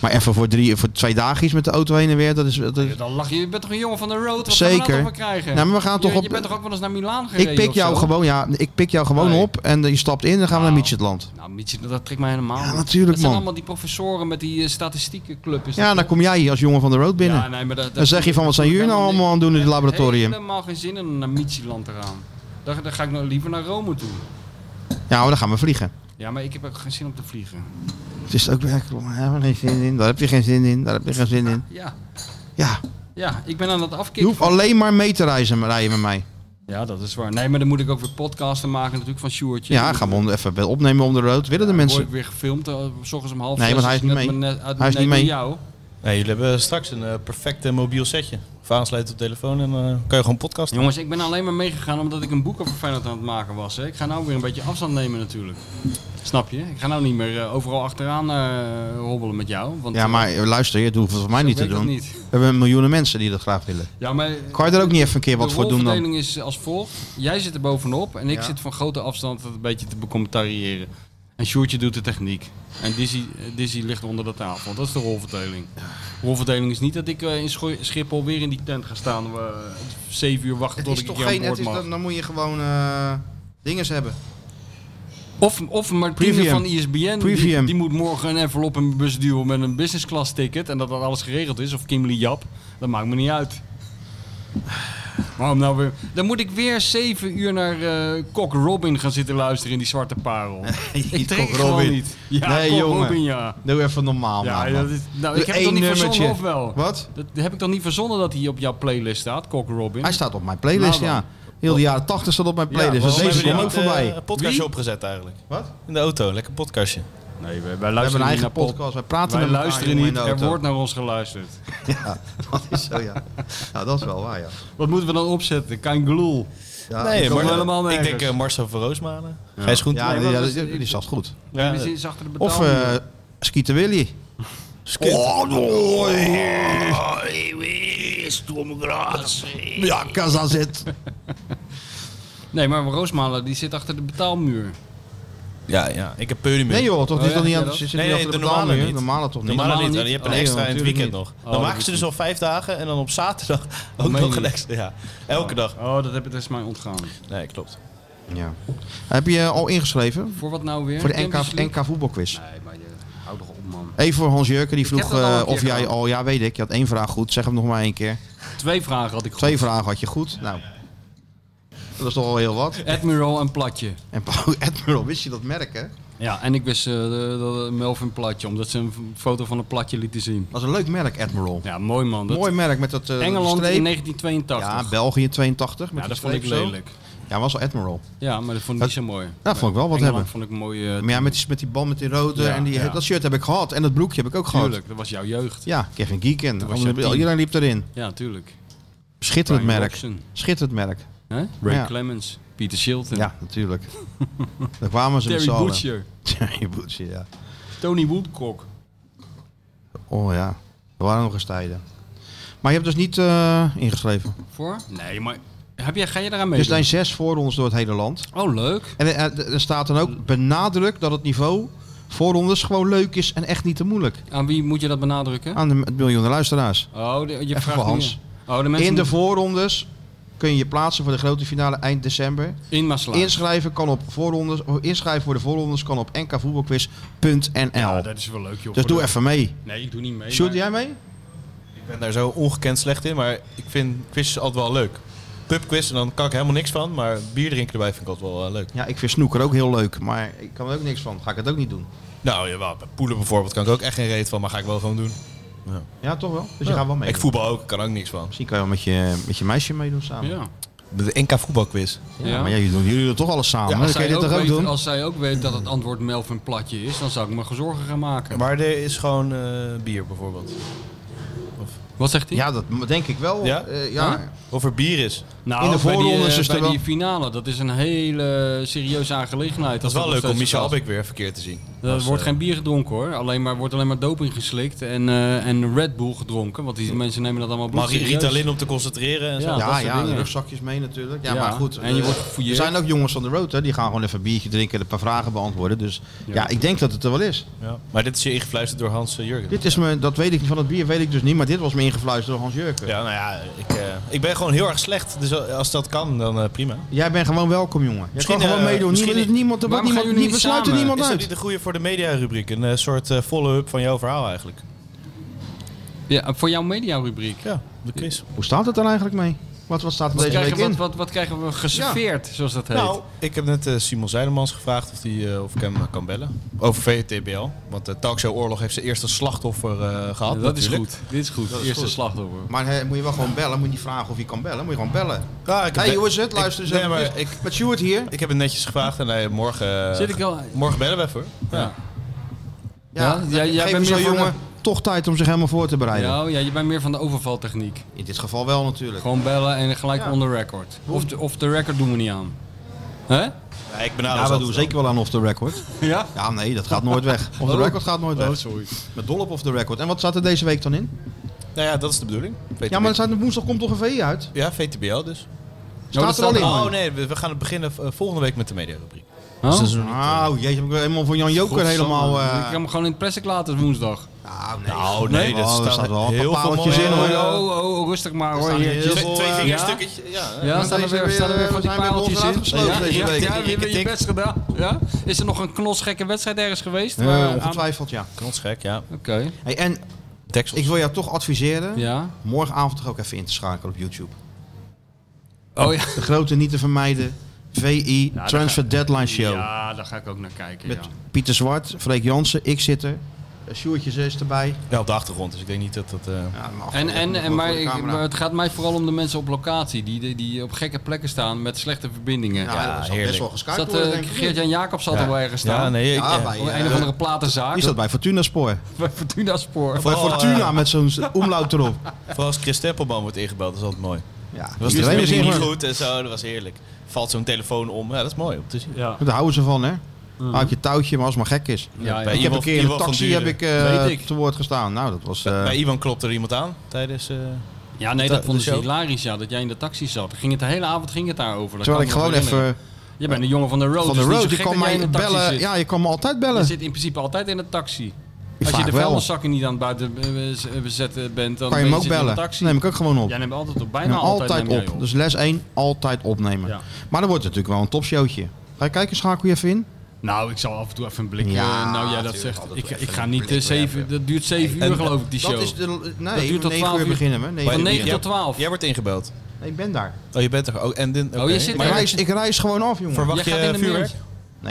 B: Maar even voor, drie, voor twee dagjes met de auto heen en weer, dat is... Dat is
C: Dan lach je. Je bent toch een jongen van de road? Wat
B: Zeker.
C: Gaan we nou toch wel krijgen?
B: Nou, maar we gaan
C: je,
B: toch op-
C: je bent toch ook wel eens naar Milaan gereden?
B: ik pik
C: of
B: jou
C: zo?
B: gewoon, ja, ik pik jou gewoon
C: Nee.
B: op en eh, je stapt in en dan gaan we naar
C: Nou.
B: Midtjylland.
C: Nou, Mietje, dat trekt mij helemaal
B: Ja,
C: niet.
B: natuurlijk,
C: Dat zijn
B: man.
C: allemaal die professoren met die eh, statistiekenclub. Is
B: Ja,
C: dat
B: dan kom jij hier als jongen van de road binnen.
C: Ja, nee, maar dat, dat-
B: Dan zeg je van, wat zijn jullie nou allemaal aan het doen in het laboratorium?
C: helemaal geen zin in om naar Michieland te gaan. Dan, dan ga ik nou liever naar Rome toe.
B: Ja, maar dan gaan we vliegen.
C: Ja, maar ik heb ook geen zin om te vliegen.
B: Het is ook werkelijk, daar heb je geen zin in, daar heb je geen zin in, daar heb je geen zin in.
C: Ja,
B: Ja,
C: ja ik ben aan het
B: je
C: afkicken.
B: hoeft alleen maar mee te reizen, rijden met mij.
C: Ja, dat is waar. Nee, maar dan moet ik ook weer podcasten maken natuurlijk van Sjoertje.
B: Ja, gaan we on- even opnemen om de road. Willen de mensen?
C: Word ik weer gefilmd, eh, s ochtends om half
B: Nee,
C: zes
B: want hij is
C: net
B: niet mee.
C: mijn net- uit
B: Hij is
C: mijn
B: niet
C: nek
B: mee.
C: naar jou.
D: Nee, jullie hebben straks een eh, perfect eh, mobiel setje. Of aansluiten op telefoon en eh, kan je gewoon podcasten.
C: Jongens, ik ben alleen maar meegegaan omdat ik een boek over Feyenoord aan het maken was. Hè. Ik ga nou weer een beetje afstand nemen natuurlijk. Snap je? Ik ga nou niet meer eh, overal achteraan eh, hobbelen met jou. Want,
B: Ja,
C: eh,
B: maar luister, je hoeft het voor mij
C: zo
B: niet te
C: werkt dat
B: doen.
C: niet.
B: We hebben miljoenen mensen die dat graag willen.
C: Ja, maar eh,
B: Kan je daar ook niet even een keer wat
C: de
B: voor doen dan?
C: rolverdeling is als volgt. Jij zit er bovenop en ik zit van grote afstand het een beetje te becommentariëren. En Sjoertje doet de techniek. En Dizzy, eh, Dizzy ligt onder de tafel. Dat is de rolverdeling. rolverdeling is niet dat ik eh, in Scho- Schiphol weer in die tent ga staan. We zeven uur wachten tot ik een keer aan boord mag.
B: dan moet je gewoon eh dinges hebben.
C: Of, of Martine
B: Premium.
C: van ISBN, die,
B: Premium.
C: die moet morgen een envelop in de bus duwen met een business class ticket. En dat dat alles geregeld is. Of Kim Lee Jap, dat maakt me niet uit. Waarom nou weer? Dan moet ik weer zeven uur naar eh Kok Robin gaan zitten luisteren in die zwarte parel. ik trek
B: Kok
C: het gewoon
B: Robin.
C: niet. Ja,
B: Nee,
C: Kok
B: jongen.
C: Robin, ja.
B: Doe even normaal,
C: ja,
B: man.
C: dat is, nou, ik
B: Doe
C: heb het toch
B: één
C: niet verzonnen, of
B: nummertje.
C: wel?
B: Wat?
C: Dat heb ik toch niet verzonnen dat hij op jouw playlist staat, Kok Robin?
B: Hij staat op mijn playlist,
C: Nou dan.
B: ja. Heel de jaren 80 staat op mijn playlist. dus
C: waarom
B: deze
C: hebben eh,
B: komt
C: die
B: ook voorbij.
D: eh, Een podcastje
C: Wie?
D: opgezet eigenlijk.
B: Wat?
D: In de auto, lekker podcastje.
C: Nee, wij, wij
B: We
C: luisteren
B: hebben een
C: niet
B: eigen
C: naar pod-
B: podcast. Wij praten
C: Wij
B: met elkaar,
C: luisteren
B: jongen,
C: niet,
B: in de
C: er
B: auto.
C: wordt naar ons geluisterd.
B: Ja, dat is zo, ja. Nou, dat is wel waar, ja.
C: Wat moeten we dan opzetten? Kein gloel.
B: ja
D: Nee,
C: kan
D: maar
C: wel helemaal
D: ik
C: nergens.
D: denk eh, Marcel van Roosmalen. Gijs Groenten.
B: Ja,
C: Nee,
B: die-
C: maar
B: ja,
C: dat is-
B: die, die zat goed.
C: Ja,
D: dat-
C: is achter de
B: Of
C: betaling.
B: eh Skeeter Willy. Oh,
D: Skit.
B: Ja, Casa zit.
C: nee, maar Roosmalen die zit achter de betaalmuur.
D: Ja, ja. Ik heb Peurimuur.
B: Nee joh, toch? Die is
C: Oh,
B: toch niet
C: ja,
B: aan
C: ja,
B: zit
C: dat-
B: niet
D: Nee, nee,
B: achter
D: de normale
B: betaalmuur?
D: niet.
B: Normale toch niet?
D: Normaal
C: Normaal
D: niet.
C: niet.
D: Je hebt een
B: Nee,
D: extra
B: joh,
D: in het
B: natuurlijk
D: weekend
B: niet.
D: nog.
C: dat
D: Dan maken
C: wist
D: ze
C: ik
D: dus al vijf dagen en dan op zaterdag ook
C: meen
D: nog
C: je
D: een
C: niet.
D: extra. Ja, elke dag.
C: Oh, dat heb ik dus mij ontgaan.
D: Nee, klopt.
B: Ja. Heb je eh, al ingeschreven?
C: Voor wat nou weer?
B: Voor de
C: Champions
B: NK,
C: League?
B: NK voetbalquiz.
C: Nee, maar je hou toch op man.
B: Even voor Hans Jurken, die vroeg
C: heb dat al een
B: eh,
C: keer
B: of jij
C: gedaan.
B: al... Ja, weet ik. Je had één vraag goed. Zeg hem nog maar één keer.
C: Twee vragen had ik goed.
B: Twee vragen had je goed. Nou, dat is toch al heel wat.
C: Admiral en Platje.
B: En Paul Admiral, wist je dat merk, hè?
C: Ja, en ik wist eh, de- de- Melvin Platje, omdat ze een f- foto van een platje lieten zien.
B: Dat is een leuk merk, Admiral.
C: Ja, mooi man. Dat
B: Mooi merk met dat eh,
C: Engeland
B: streep.
C: in 1982.
B: Ja, België 82. Met
C: Ja,
B: die
C: dat vond ik
B: streep zo.
C: lelijk.
B: Ja, was al Admiral.
C: Ja, maar dat vond ik
B: Dat-
C: niet zo mooi.
B: Ja, vond ik wel wat
C: Engeland
B: hebben.
C: vond ik eh, een mooie...
B: Maar ja, met die, met die bal met die rode
C: Ja,
B: en die,
C: ja.
B: dat shirt heb ik gehad. En dat broekje heb ik ook gehad.
C: Tuurlijk, dat was jouw jeugd.
B: Ja, Kevin Geeken.
C: was je tien.
B: Iedereen liep erin.
C: Ja, tuurlijk.
B: Schitterend
C: Brian
B: merk.
C: Robson.
B: Schitterend merk.
C: Hè? Ray
B: Ja.
C: Clemens, Peter Shilton,
B: Ja, natuurlijk. Daar kwamen ze met
C: Terry
B: z'n allen.
C: Butcher,
B: Terry Butcher, ja.
C: Tony Woodcock.
B: Oh ja, er waren nog eens tijden. Maar je hebt dus niet eh, ingeschreven.
C: Voor? Nee, maar heb jij, ga je daaraan mee?
B: Er zijn zes voorrondes door het hele land.
C: Oh, leuk.
B: En eh, er staat dan ook benadrukt dat het niveau voorrondes gewoon leuk is en echt niet te moeilijk.
C: Aan wie moet je dat benadrukken?
B: Aan de m- miljoenen luisteraars.
C: Oh, de- je
B: Even
C: vraagt
B: voor
C: nu-
B: Hans.
C: Oh, de mensen
B: In de voorrondes kun je je plaatsen voor de grote finale eind december.
C: in Maasluis.
B: Inschrijven kan op voorrondes, of inschrijven voor de voorrondes kan op
C: Ja,
B: nkvoetbalquiz.nl.
C: dat is wel leuk,
B: Dus
C: joh. Voor
B: doe
C: de-
B: even mee.
C: Nee, ik doe niet mee.
B: Sjoerd,
C: maar-
B: jij mee?
D: Ik ben daar zo ongekend slecht in, maar ik vind quizjes altijd wel leuk. pubquiz en dan kan ik helemaal niks van. Maar bier drinken erbij vind ik altijd wel eh, leuk.
B: Ja, ik vind snoeker ook heel leuk, maar ik kan er ook niks van. Ga ik het ook niet doen.
D: Nou, jawel, bij poelen bijvoorbeeld kan ik ook echt geen reet van, maar ga ik wel gewoon doen.
B: Ja, toch wel? Dus je gaat wel mee.
D: Ik voetbal ook, ik kan ook niks van.
B: Misschien kan je wel met je, met je meisje meedoen samen.
C: Ja.
D: De NK voetbalquiz.
C: Ja.
B: Maar ja, jullie doen, jullie doen toch alles samen.
D: Ja,
B: dan
C: Als
B: kun je
C: zij,
B: dit
C: ook
B: toch ook
C: weet,
B: doen?
C: als zij ook weet dat het antwoord Melvin Platje is, dan zou ik me zorgen gaan maken.
D: Maar er is gewoon eh, bier bijvoorbeeld.
C: Wat zegt hij?
B: Ja, dat denk ik wel.
D: Ja?
B: Eh, ja.
D: Of er bier is.
C: nou,
B: in de
C: bij die,
B: voorrondes
C: eh,
B: is er
C: bij
B: wel-
C: die finale, dat is een hele serieuze aangelegenheid.
D: Dat is wel
C: nog
D: leuk om
C: steeds
D: Michel
C: gaat.
D: Abik weer verkeerd te zien. eh,
C: Er wordt geen bier gedronken hoor, alleen maar, wordt alleen maar doping geslikt en, eh, en Red Bull gedronken, want die mensen nemen dat allemaal
D: Maar
C: bloed
D: Ritalin om te concentreren en zo.
C: Ja, Nou, dat
B: Ja,
C: soort
B: ja, de
C: dingen.
B: rugzakjes mee natuurlijk. Ja,
C: Ja,
B: maar goed.
C: en je
B: eh,
C: wordt gefouilleerd.
B: er zijn ook jongens van de road, hè. Die gaan gewoon even een biertje drinken en een paar vragen beantwoorden. Dus ja, ik denk dat het er wel is.
D: Ja. Maar dit is je ingefluisterd door Hans eh, Jurgen.
B: Dit is me, dat weet ik niet van het bier, weet ik dus niet. Maar dit was me ingefluisterd door Hans Jurken.
D: Ja, nou ja, ik, eh, ik ben gewoon heel erg slecht. Dus als dat kan, dan eh, prima.
B: Jij bent gewoon welkom, jongen. Je
D: Misschien,
B: kan gewoon
D: eh,
B: meedoen.
D: misschien-
B: Niemand, niemand, er wordt
C: Waarom gaan
B: niemand,
C: jullie
B: niet,
C: niet
B: we sluiten
C: samen?
B: niemand
D: Is dat
B: uit.
D: niet de goede voor de media-rubriek? Een eh, soort eh, follow-up van jouw verhaal eigenlijk.
C: Ja, voor jouw mediarubriek.
D: Ja, de quiz.
B: Hoe staat het er eigenlijk mee? Wat, wat staat er
C: Wat
B: deze week
C: krijgen,
B: in?
C: wat, wat, wat krijgen we geserveerd, zoals dat heet?
D: Nou, ik heb net eh, Simon Zijnemans gevraagd of, die, eh, of ik hem eh, kan bellen. Over VTBL. Want de Talkshow Oorlog heeft zijn eerste slachtoffer eh, gehad.
C: Ja, dat is
D: natuurlijk.
C: goed. Dit is goed. Eerste slachtoffer.
B: Maar hè, moet je wel gewoon bellen. Moet je niet vragen of je kan bellen. Moet je gewoon bellen.
D: Ja, ik heb
B: Hé, Ah, hey,
D: de-
B: hoe is het? Luister eens
D: nee,
B: even.
D: maar ik-
B: Met Stuart hier.
D: Ik heb het netjes gevraagd en hij morgen, eh,
C: Zit ik al-
D: morgen bellen we even.
C: Ja.
D: hoor.
B: Ja,
C: Ja, jij- jij
B: geef
C: bent
B: zo'n
C: meer voor
B: jongen toch tijd om zich helemaal voor te bereiden.
C: Ja, oh ja, je bent meer van de overvaltechniek.
B: In dit geval wel natuurlijk.
C: Gewoon bellen en gelijk
B: Ja.
C: on the record. Of de, of de record doen we niet aan. Hè? Oh,
D: Ja, ik
B: Ja,
D: benader ze
B: we
D: altijd
B: doen
D: wel.
B: zeker wel aan off the record.
C: Ja?
B: Ja, nee, dat gaat nooit weg. Off the record gaat nooit weg.
C: sorry.
B: Met dol op off the record. En wat staat er deze week dan in?
D: Nou ja, dat is de bedoeling. VTBL.
B: Ja, maar er staat, woensdag komt toch een VE uit?
D: Ja, VTBL dus.
B: Staat er al in?
D: Oh nee, we, we gaan het beginnen eh, volgende week met de mediarubriek.
B: Nou, jeetje, heb ik helemaal van Jan Joker helemaal... eh,
C: Ik kan hem gewoon in het plastic laten woensdag.
B: Nou, nee.
D: Nou, nee, dat
B: Oh, er
D: staat
B: staat wel een
D: heel
B: paar
D: veel
B: paaltjes
D: mooie-
B: in,
C: Oh,
B: hoor.
D: eh,
C: oh, oh, oh, rustig maar hoor.
B: staan hier
C: Jeetje.
B: heel veel, eh,
C: ja?
D: stukketje. Ja,
C: Ja,
B: Want
C: staan er
B: deze
C: weer,
B: weer,
C: staan er weer
B: eh,
C: van die
B: zijn weer
C: paaltjes in.
B: onderuit gesloten
C: Ja,
B: deze
C: ja,
B: week.
C: ja, je hebt je best gedaan. Ja? Is er nog een knosgekke wedstrijd ergens geweest? Waar-
B: Eh,
C: aan-
B: ongetwijfeld, ja.
D: Knotsgek, ja.
C: Oké.
B: Hey, en
D: Texel.
B: ik wil jou toch adviseren...
C: Ja.
B: Morgenavond toch ook even in te schakelen op YouTube.
C: Oh ja.
B: De grote niet te vermijden VI Transfer Deadline Show.
C: Ja, daar ga ik ook naar kijken.
B: Met
C: ja.
B: Pieter Zwart, Freek Jansen, ik zit er. Eh, Sjoerdjes is erbij.
D: Ja, op de achtergrond, dus ik denk niet dat dat... eh,
B: Ja, maar
C: En,
B: afgelopen
C: en,
B: met
C: en maar,
B: de
C: ik-
B: camera.
C: maar het gaat mij vooral om de mensen op locatie die, die, die op gekke plekken staan met slechte verbindingen.
B: ja,
C: Ja,
B: dat zal
D: heerlijk.
B: best wel geskuit
C: Zat
B: worden, denk ik.
C: Geert-Jan Jacobs had er wel ergens staan.
D: Ja, nee, ik,
B: Ja,
D: eh,
B: bij,
C: Of
B: eh,
C: een of andere platenzaak.
B: Is dat bij Fortuna Spoor?
C: bij Fortuna Spoor?
B: Bij
D: Vooral,
B: Fortuna met zo'n omlaut erop.
D: vooral als Chris Teppelman wordt ingebeld, dat is altijd mooi.
B: Ja,
D: Dat was
B: iedereen
D: dus
B: is
D: niet
B: inge-
D: goed en zo, dat was heerlijk. Valt zo'n telefoon om, ja, dat is mooi om te zien.
B: Daar houden ze van, hè? Hou je touwtje, maar als het maar gek is.
C: Ja, ja.
B: Ik heb
D: Iwan-
B: een keer in
D: Iwan
B: een
D: van
B: taxi
D: Duren.
B: heb ik, eh,
C: Weet ik.
B: te woord gestaan. Nou, dat was... eh,
D: Bij Iwan klopt er iemand aan tijdens... eh,
C: ja, nee, dat
D: de
C: vonden ze
D: show.
C: hilarisch, ja, dat jij in de taxi zat. Ging het de hele avond ging het daarover. Dat
B: terwijl ik
C: kan me
B: gewoon
C: nog herinneren.
B: even
C: Je bent een jongen van de road.
B: van
C: dus
B: de
C: het is
B: road...
C: niet
B: Je
C: zo
B: kan
C: gek dat jij
B: mij
C: in de taxi
B: bellen...
C: zit.
B: Ja, je kan me altijd
C: Je
B: bellen.
C: zit in principe altijd in de taxi. Als je
B: Vaak
C: de
B: wel.
C: vuilniszakken niet aan het buiten eh, bezet bent, dan
B: Kan je
C: ben
B: hem ook
C: zit in de
B: bellen.
C: taxi.
B: Neem ik ook gewoon op.
C: Jij neemt altijd op,
B: En
C: bijna altijd,
B: altijd
C: neem jij
B: op. Dus les 1, altijd opnemen.
C: Ja.
B: Maar dan wordt het natuurlijk wel een topshowtje. Ga je kijken, schakel je even in?
C: Nou, ik zal af en toe even een blik.
B: Ja,
C: eh, nou, jij dat
B: natuurlijk,
C: zegt.
B: altijd
C: Ik,
B: even
C: ik ga
B: een
C: niet.
B: blik
C: eh, zeven,
B: werpen.
C: dat duurt zeven uur, geloof ik, die show.
B: Dat is de,
C: Dat
B: nee,
C: duurt
B: om
C: tot
B: 9
C: 12
B: uur
C: uur.
B: beginnen we. Nee,
C: Van
B: uur.
C: negen
B: Ja.
C: tot 12.
D: Jij wordt ingebeld.
B: Nee, ik ben daar.
D: Oh, je bent er ook. En din,
C: je
D: oké.
C: zit
B: Ik
C: er-
D: maar,
B: reis, ik reis gewoon af, jongen.
D: Verwacht-
C: Jij
D: Mag
C: gaat
D: je
C: in de
D: vuurwerk?
C: mailtje.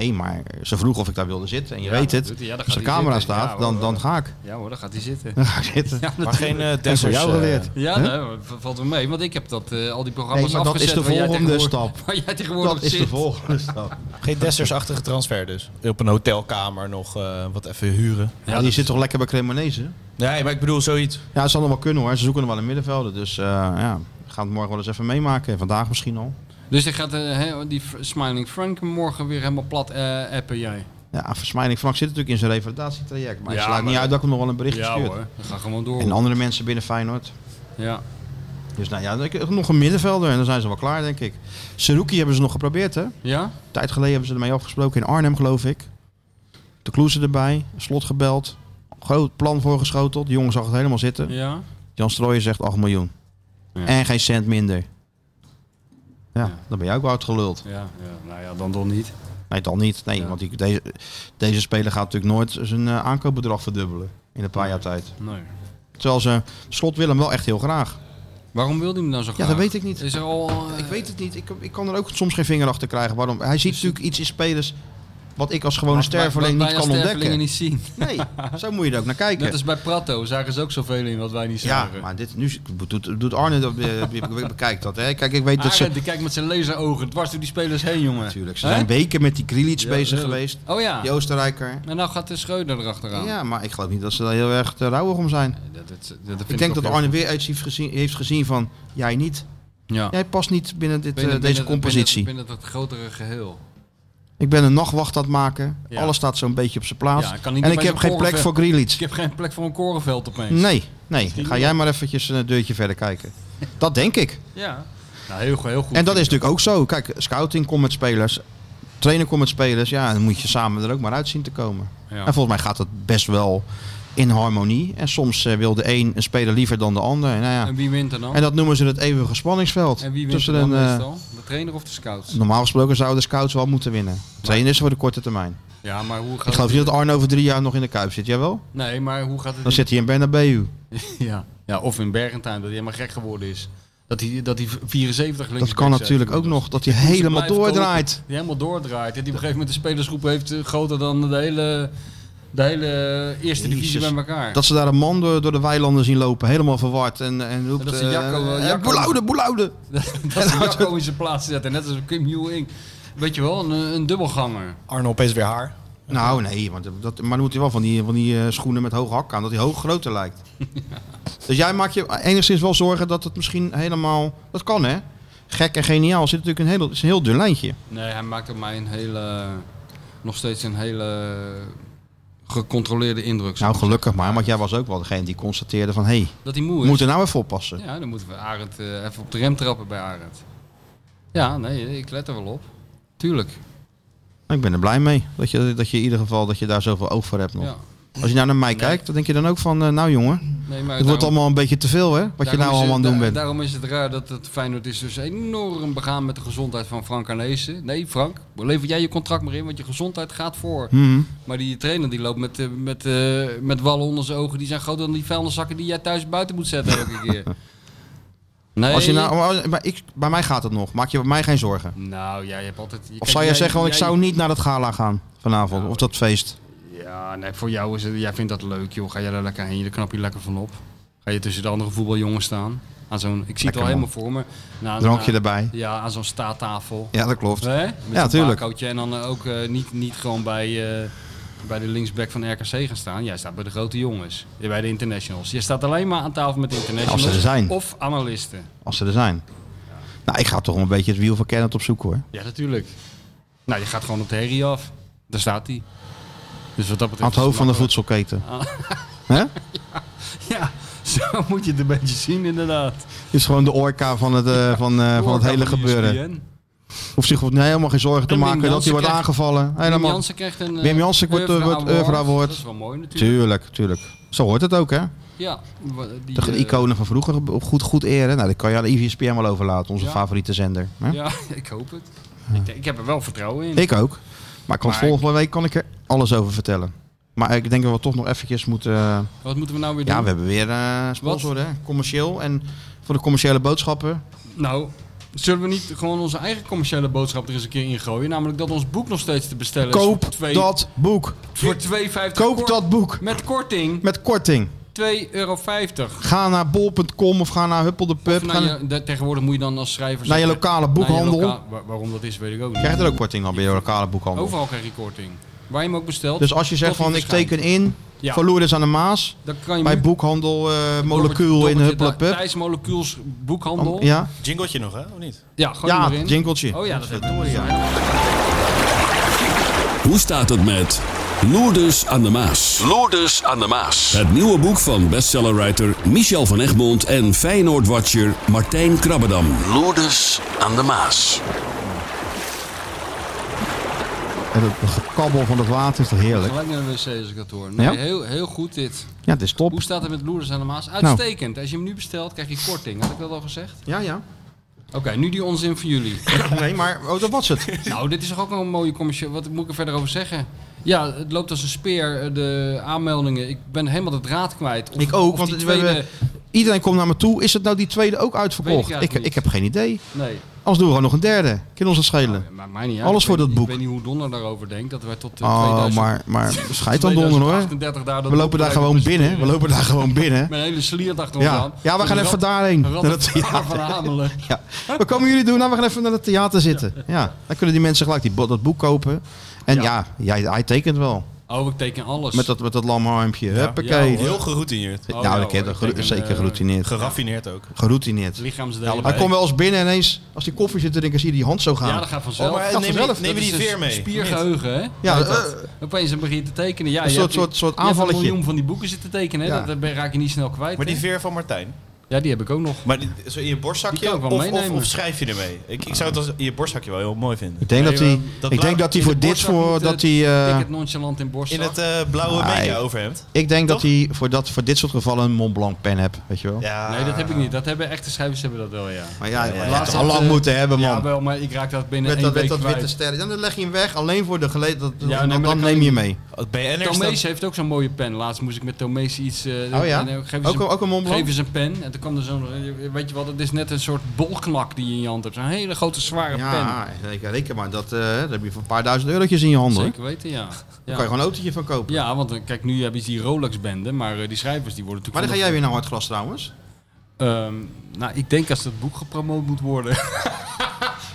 B: nee, maar ze vroeg of ik daar wilde zitten. En je
C: Ja,
B: weet
C: dat
B: het.
C: doet hij. Ja, dan
B: Als er
C: gaat hij
B: camera
C: zitten.
B: staat,
C: Ja,
B: dan,
C: hoor.
B: dan ga ik.
C: Ja hoor, dan gaat hij zitten.
B: Dan ga ik zitten.
C: Ja,
D: maar
C: dat,
D: geen eh
B: Dat is voor
D: dancers,
B: jou
D: eh,
B: geleerd.
C: ja
B: Hè?
C: nee, v- valt wel mee, want ik heb dat, eh, al die programma's
B: Nee, maar dat
C: afgezet.
B: is de
C: waar jij
B: volgende
C: tegenwoordig-
B: stap.
C: Waar jij tegenwoordig
B: Dat is
C: zit.
B: de volgende stap.
D: geen Dessers-achtige transfer dus. Op een hotelkamer nog eh, wat even huren.
B: Ja, die zit toch lekker bij Cremonese?
D: Nee, maar ik bedoel zoiets.
B: Ja, dat zal nog wel kunnen hoor. Ze zoeken nog wel een middenvelder. Dus eh ja, we gaan het morgen wel eens even meemaken. Vandaag misschien al.
C: Dus dan gaat eh, hè, die Fr- Smiling Frank morgen weer helemaal plat eh, appen jij.
B: Ja, versmijning. Frank zit natuurlijk in zijn revalidatietraject. Maar
C: Ja,
B: het slaat
C: maar-
B: niet uit dat ik hem nog wel een berichtje
C: Ja
B: stuur.
C: hoor, dan ga gewoon door.
B: En andere mensen binnen Feyenoord.
C: Ja.
B: Dus nou ja, ik- nog een middenvelder en dan zijn ze wel klaar, denk ik. Seruki hebben ze nog geprobeerd, hè? Een
C: ja?
B: tijd geleden hebben ze ermee afgesproken in Arnhem, geloof ik. De Kloeze erbij, slot gebeld. Groot plan voorgeschoteld. De jongen zag het helemaal zitten.
C: Ja?
B: Jan Strooijen zegt 8 miljoen.
C: Ja.
B: En geen cent minder. Ja,
C: Ja.
B: dan ben jij ook wel uitgeluld.
C: Ja, ja, nou ja, dan dan niet.
B: Nee, dan niet. Nee,
C: Ja.
B: want die, deze, deze speler gaat natuurlijk nooit zijn eh, aankoopbedrag verdubbelen in een paar jaar tijd.
C: Nee.
B: Terwijl ze slot willen hem wel echt heel graag.
C: Waarom wil hij hem nou zo graag?
B: dat weet ik niet.
C: Is er al, eh,
B: Ik weet het niet. Ik, ik kan er ook soms geen vinger achter krijgen. Waarom? Hij ziet natuurlijk iets in spelers wat ik als gewone
C: Dus- wat wij-
B: sterveling
C: wat
B: niet
C: wij als
B: kan ontdekken.
C: stervelingen niet zien.
B: Nee, zo moet je er ook naar kijken.
C: Net als bij Prato zagen ze ook zoveel in wat wij niet
B: Ja,
C: zagen.
B: maar dit, nu doet, doet Arne dat, eh, bekijkt dat. Hè. Kijk, ik weet dat ze...
C: Arend, Ah, die kijkt met zijn laserogen dwars door die spelers heen, jongen.
B: Natuurlijk, ze
C: Hè?
B: zijn weken met die Krilic
C: Ja,
B: bezig
C: tuurlijk.
B: geweest.
C: Oh ja.
B: Die Oostenrijker.
C: En nou gaat de Schreuder erachteraan.
B: Ja, maar ik geloof niet dat ze daar heel erg te rouwig om zijn.
C: Dat, dat, dat vind
B: Ik denk
C: ook
B: dat
C: heel-
B: Arne weer iets heeft gezien, heeft gezien van... Jij niet.
C: Ja.
B: Jij past niet binnen, dit, eh,
C: Binnen-
B: deze
C: binnen-
B: compositie.
C: Binnen, binnen dat grotere geheel.
B: Ik ben een nachtwacht aan het maken.
C: Ja.
B: Alles staat zo'n beetje op zijn plaats.
C: Ja, ik kan niet
B: en ik
C: bij
B: heb
C: zo'n
B: geen plek
C: korven-
B: voor Grealish.
C: Ik heb geen plek voor een korenveld opeens.
B: Nee, nee. Ga jij maar eventjes een deurtje verder kijken. Dat denk ik.
C: Ja. Nou, heel, go- heel goed.
B: En dat is natuurlijk ook zo. Kijk, scouting komt met spelers. Trainer komt met spelers. Ja, dan moet je samen er ook maar uit zien te komen.
C: Ja.
B: En volgens mij gaat dat best wel in harmonie. En soms eh, wil de een een speler liever dan de ander. En, nou ja.
C: En wie wint er dan?
B: en dat noemen ze het eeuwige spanningsveld.
C: En wie wint er
B: Tussen
C: dan
B: een, eh,
C: meestal? De trainer of de scouts?
B: normaal gesproken zouden de scouts wel moeten winnen. Trainers voor de korte termijn.
C: Ja, maar hoe gaat
B: Ik geloof
C: het-
B: niet dat Arno over drie jaar nog in de Kuip zit. Jawel?
C: Nee, maar hoe gaat het...
B: Dan zit hij in Bernabeu.
C: ja. ja, of in Bergentuin, dat hij helemaal gek geworden is. Dat hij, dat hij 74 links
B: Dat kan natuurlijk ook nog. Dat hij
C: Dus
B: helemaal doordraait.
C: Die helemaal doordraait. En die op een gegeven moment de spelersgroep heeft eh, groter dan de hele, de hele eh, eerste divisie
B: Jezus.
C: bij elkaar.
B: Dat ze daar een man door, door de weilanden zien lopen. Helemaal verward. En, en roept...
C: En dat ze
B: eh,
C: Jacco-
B: eh,
C: Jacco-
B: Boelaude, Boelaude.
C: Dat ze Jacco in zijn plaats zetten. Net als Kim Ewing. Weet je wel, een, eh, een dubbelganger.
D: Arno opeens weer haar.
B: Nou, nee, want dat, maar dan moet hij wel van die, van die eh, schoenen met hoge hak aan, dat hij hoog groter lijkt. Dus jij maakt je enigszins wel zorgen dat het misschien helemaal. Dat kan hè? Gek en geniaal zit natuurlijk een heel, is een heel dun lijntje.
C: Nee, hij maakt op mij een hele, nog steeds een hele gecontroleerde indruk.
B: Nou, gelukkig maar, want jij was ook wel degene die constateerde van hé, hey,
C: dat hij moe
B: we
C: is.
B: moeten nou even oppassen.
C: Ja, dan moeten we Arend eh, even op de rem trappen bij Arend. Ja, nee, ik let er wel op. Tuurlijk.
B: Ik ben er blij mee dat je, dat je in ieder geval dat je daar zoveel oog voor hebt nog.
C: Ja.
B: Als je nou naar mij kijkt, dan denk je dan ook van, eh, nou jongen, het
C: Nee, maar
B: wordt allemaal een beetje te veel hè, wat je nou allemaal aan het doen bent.
C: Daarom is het raar dat het Feyenoord is dus enorm begaan met de gezondheid van Frank Arnezen. Nee, Frank, lever jij je contract maar in, want je gezondheid gaat voor.
B: Mhm.
C: Maar die trainer die loopt met, eh, met, eh, met wallen onder zijn ogen. Die zijn groter dan die vuilniszakken die jij thuis buiten moet zetten elke keer. Nee.
B: Als je nou, maar- maar ik, bij mij gaat het nog, maak je bij mij geen zorgen.
C: Nou, jij hebt altijd... je-
B: Of
C: kijk,
B: zou jij zeggen, want ik zou niet naar dat gala gaan vanavond,
C: Nou,
B: of dat feest.
C: Ja, nee, voor jou is het... Jij vindt dat leuk, joh. Ga jij daar lekker heen, daar knap je lekker van op. Ga je tussen de andere voetbaljongens staan. Aan zo'n... Ik zie het
B: Lekker,
C: al helemaal
B: man.
C: voor me. Na,
B: Drankje
C: na-
B: erbij.
C: Ja, aan zo'n staattafel.
B: Ja, dat klopt.
C: Hè? Met
B: Ja,
C: zo'n
B: tuurlijk.
C: bakootje. En dan eh, ook eh, niet, niet gewoon bij, eh, bij de linksback van RKC gaan staan. Jij staat bij de grote jongens. Je Bij de internationals. Je staat alleen maar aan tafel met internationals.
B: Als ze er zijn.
C: Of analisten.
B: Als ze er zijn. Nou, ik ga toch een beetje het wiel van Kenneth opzoeken hoor.
C: Ja, natuurlijk. Nou, je gaat gewoon op de herrie af. Daar staat hij. Dus wat dat betreft...
B: Aan het
C: is
B: hoofd van de
C: makkelijk.
B: voedselketen. Hè?
C: Ja, zo moet je het een beetje zien inderdaad.
B: Dit is gewoon de orka van het, eh, van, eh, van het hele gebeuren. Hoeft zich nee, helemaal geen zorgen te
C: En Wim
B: maken dat hij
C: Jansen
B: wordt
C: krijgt-
B: aangevallen.
C: Wim
B: Helemaal.
C: Jansen krijgt een... eh,
B: Wim Jansen wordt, eh,
C: Euvra
B: wordt
C: Award.
B: Euvra Award.
C: Dat is wel mooi natuurlijk.
B: Tuurlijk, tuurlijk. Zo hoort het ook hè.
C: Ja. wa- Die,
B: De
C: eh,
B: iconen van vroeger op goed, goed eren. Nou, dat kan je aan de ESPN wel overlaten, onze
C: Ja.
B: favoriete zender. Hè?
C: Ja, ik hoop het. Ik, ik heb er wel vertrouwen in.
B: Ik ook. Maar, ik kan het
C: Maar-
B: volgende week kan ik er alles over vertellen. Maar ik denk dat we toch nog eventjes moeten... eh,
C: Wat moeten we nou weer doen?
B: Ja, we hebben weer eh sponsoren, hè? commercieel. En voor de commerciële boodschappen.
C: Nou, zullen we niet gewoon onze eigen commerciële boodschap er eens een keer ingooien? Namelijk dat ons boek nog steeds te bestellen is.
B: Koop
C: voor twee-
B: dat boek.
C: Voor 2,50
B: Koop
C: kort-
B: dat boek.
C: Met korting
B: Met korting.
C: 2,50 euro.
B: Ga naar bol.com of ga naar Huppel de Pub.
C: Of
B: Ga
C: nou,
B: naar,
C: je, de- tegenwoordig moet je dan als schrijver...
B: naar je
C: zeggen-
B: lokale
C: naar je
B: boekhandel.
C: loka- wa- waarom dat is, weet ik ook niet.
B: Krijg je er ook korting op bij je lokale boekhandel.
C: Overal krijg je korting. Waar je hem ook bestelt.
B: Dus als je zegt
C: tot hij
B: van ik
C: verschijnt.
B: teken in
C: Ja.
B: voor Lourdes aan de Maas.
C: Dan kan je
B: Bij
C: nu-
B: boekhandel eh, Molecuul
C: Dobbertje-
B: in Huppel de
C: Dobbertje-
B: Pub.
C: Thijs Molecuuls boekhandel. Ja,
B: Ja,
D: Jingletje nog, hè? Of niet?
C: gooi hem
B: ja
C: erin.
B: jingletje.
C: Oh ja, dat hebben we.
B: ja.
E: Hoe staat het met Loerders aan de Maas? Loerders aan de Maas. Het nieuwe boek van bestsellerwriter Michel van Egmond en Feyenoord-watcher Martijn Krabbedam. Loerders aan de Maas.
B: En het gekabbel van het water is toch heerlijk.
C: Gelijk naar de wc als ik dat hoor. Nee,
B: Ja?
C: heel, heel goed dit.
B: Ja, het is top.
C: Hoe staat het met Loerders aan de Maas? Uitstekend. Als je hem nu bestelt, krijg je korting. Had ik dat al gezegd?
B: Ja, ja.
C: Oké, nu die onzin van jullie.
B: Nee, maar oh, dat was het.
C: nou, dit is toch ook wel een mooie commercial. Wat moet ik er verder over zeggen? Ja, het loopt als een speer, eh, de aanmeldingen. Ik ben helemaal de draad kwijt. Of-
B: Ik ook,
C: of
B: want
C: die
B: we
C: tweede
B: hebben Iedereen komt naar me toe. Is het nou die tweede ook uitverkocht?
C: Weet ik
B: Ik,
C: eigenlijk
B: ik heb geen idee.
C: Nee.
B: Anders doen we gewoon nog een derde. Kan ons het schelen.
C: Maar mij niet uit.
B: Alles
C: Ik
B: voor
C: weet-
B: dat boek.
C: Ik weet niet hoe Donner daarover denkt. Dat wij tot eh,
B: Oh,
C: 2000
B: maar, maar schijt dan donder hoor.
C: 2038 daar dat
B: We lopen daar
C: boek
B: gewoon
C: blijven
B: binnen. We
C: presenteren.
B: lopen daar gewoon binnen.
C: Met een hele sliert achter ons
B: Ja,
C: aan.
B: ja we gaan even daarheen.
C: Een
B: Naar het
C: rat
B: theater.
C: van Hamelen.
B: Ja. Wat komen jullie doen? Nou, we gaan even naar het theater zitten. Ja. Dan kunnen die mensen gelijk die, bo- dat boek kopen. En ja, jij, hij tekent wel.
C: Oh, ik teken alles.
B: Met dat, met dat lamharmpje. Huppakee.
C: Ja, hoor.
D: Heel geroutineerd.
C: Oh,
B: nou,
C: ja,
B: dat ken-
C: hoor.
B: geru-
C: Ik denk,
B: zeker
C: eh,
B: geroutineerd.
D: Geraffineerd ook.
B: Geroutineerd.
C: Lichaamsdelen.
B: Hij komt wel eens binnen en ineens, als die koffie zit te drinken, zie je die hand zo gaan.
C: Ja, dat gaat vanzelf.
D: Oh, maar
B: Gaat
D: neem, je-
B: vanzelf.
D: neem je
C: Dat
D: die
C: is
D: veer
C: een
D: mee?
C: Spiergeheugen, hè?
B: Ja,
C: Heet
B: eh,
C: dat. Opeens dan begin je te tekenen. Ja,
B: Een
C: je
B: soort-
C: hebt-
B: soort- soort
C: je hebt een
B: aanvalletje.
C: miljoen van die boeken zitten tekenen, hè?
B: Ja.
C: Dat, dat ben- raak je niet snel kwijt.
D: Maar die
C: hè?
D: veer van Martijn.
C: Ja, die heb ik ook nog.
D: Maar die, zo in je
C: Die
D: borstzakje
C: kan
D: of,
C: ik wel
D: of,
C: meenemen.
D: of schrijf je ermee? Ik, ik zou het als in je borstzakje wel heel mooi vinden.
B: Ik denk
C: Nee,
B: dat hij,
C: eh,
D: dat
B: ik denk
D: blauw-
B: dat hij
C: in
B: voor
C: de
B: dit,
C: borstzak
B: voor
C: moet,
B: dat
C: eh,
B: hij, eh,
C: Tik het nonchalant in borst.
D: In het eh, blauwe
B: Nee.
D: media overhemd.
B: ik denk dat
D: Toch?
B: hij voor dat, voor dit soort gevallen een Mont Blanc pen hebt, weet je wel.
D: Ja.
C: Nee, dat heb ik niet. Dat hebben echte schrijvers hebben dat wel, ja.
B: Maar ja, je had
C: Laatst
B: het
C: had,
B: al lang
C: eh,
B: moeten hebben, man.
C: Ja, wel, maar ik raak dat binnen
B: met
C: één
B: dat,
C: week
B: met dat witte
C: kwijt.
B: sterren. Ja, dan leg je hem weg, alleen voor de geleden. Dat,
C: nee,
B: dan
C: maar dat
B: dan
C: kan
B: neem je
C: niet.
B: mee.
D: Het BN'er
C: Tomees
D: staat...
C: heeft ook zo'n mooie pen. Laatst moest ik met Tomees iets... eh,
B: Oh ja?
C: en, eh, geef eens
B: Ook
C: een-
B: een- ook een Mont Blanc?
C: Geef eens een pen. En toen kwam er zo'n... eh, Weet je wat, het is net een soort bolknak die je in je hand hebt. Zo'n hele grote, zware
B: Ja, reken, reken maar. Dat, eh, dan heb je voor een paar duizend eurotjes in je
C: pen.
B: handen. hoor.
C: Zeker weten, ja.
B: Daar kan je
C: Ja,
B: gewoon een autootje van kopen.
C: ja want eh, kijk, nu heb je die Rolex-bende. Maar eh, die schrijvers die worden
B: Maar
C: natuurlijk...
B: dan ga jij weer naar Hartglas trouwens.
C: Ehm, nou, ik denk als dat boek gepromoot moet worden.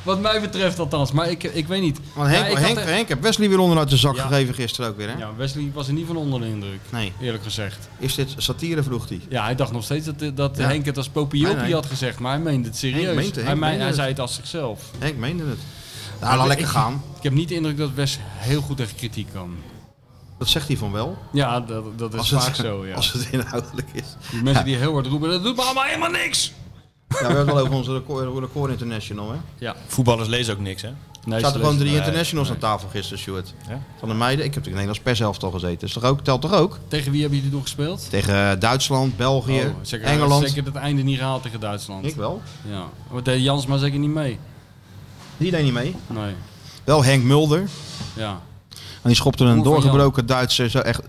C: Wat mij betreft althans, maar ik, ik weet niet.
B: Want Henk,
C: Ja, ik had
B: Henk,
C: er-
B: Henk heeft Wesley weer onder uit de zak
C: Ja.
B: gegeven gisteren ook weer, hè?
C: Ja, Wesley was er niet van onder de indruk,
B: Nee.
C: eerlijk gezegd.
B: Is dit satire, vroeg hij.
C: Ja, hij dacht nog steeds dat, eh, dat
B: Ja.
C: Henk het als popiopie
B: Nee, nee.
C: had gezegd, maar hij meende het serieus.
B: Henk meent het,
C: hij,
B: Henk
C: mei-
B: meende
C: hij
B: het.
C: zei het als zichzelf.
B: Henk meende het. Nou, laat lekker gaan.
C: Ik heb niet de indruk dat Wes heel goed tegen kritiek kan.
B: Dat zegt hij van wel.
C: Ja, dat, dat is vaak zo, ja.
B: als het inhoudelijk is.
C: Die mensen die heel hard roepen, dat doet me allemaal helemaal niks!
B: Ja, we hebben het al over onze record, record international, hè?
C: Ja,
D: Voetballers lezen ook niks, hè?
C: nee,
B: Er zaten gewoon drie
D: nee,
B: internationals aan tafel gisteren, Stuart. Van de meiden. Ik heb natuurlijk in Nederlands pershelft al gezeten. Is toch ook, telt toch ook?
C: Tegen wie hebben jullie toen gespeeld?
B: Tegen Duitsland, België,
C: Oh, zeker,
B: Engeland.
C: Zeker het einde niet gehaald tegen Duitsland.
B: Ik wel.
C: Ja, maar deed Jans maar zeker niet mee.
B: Die deed niet mee.
C: Nee,
B: Wel Henk Mulder.
C: ja.
B: En die schopte een
C: Broer van
B: doorgebroken Duitser. Zo echt,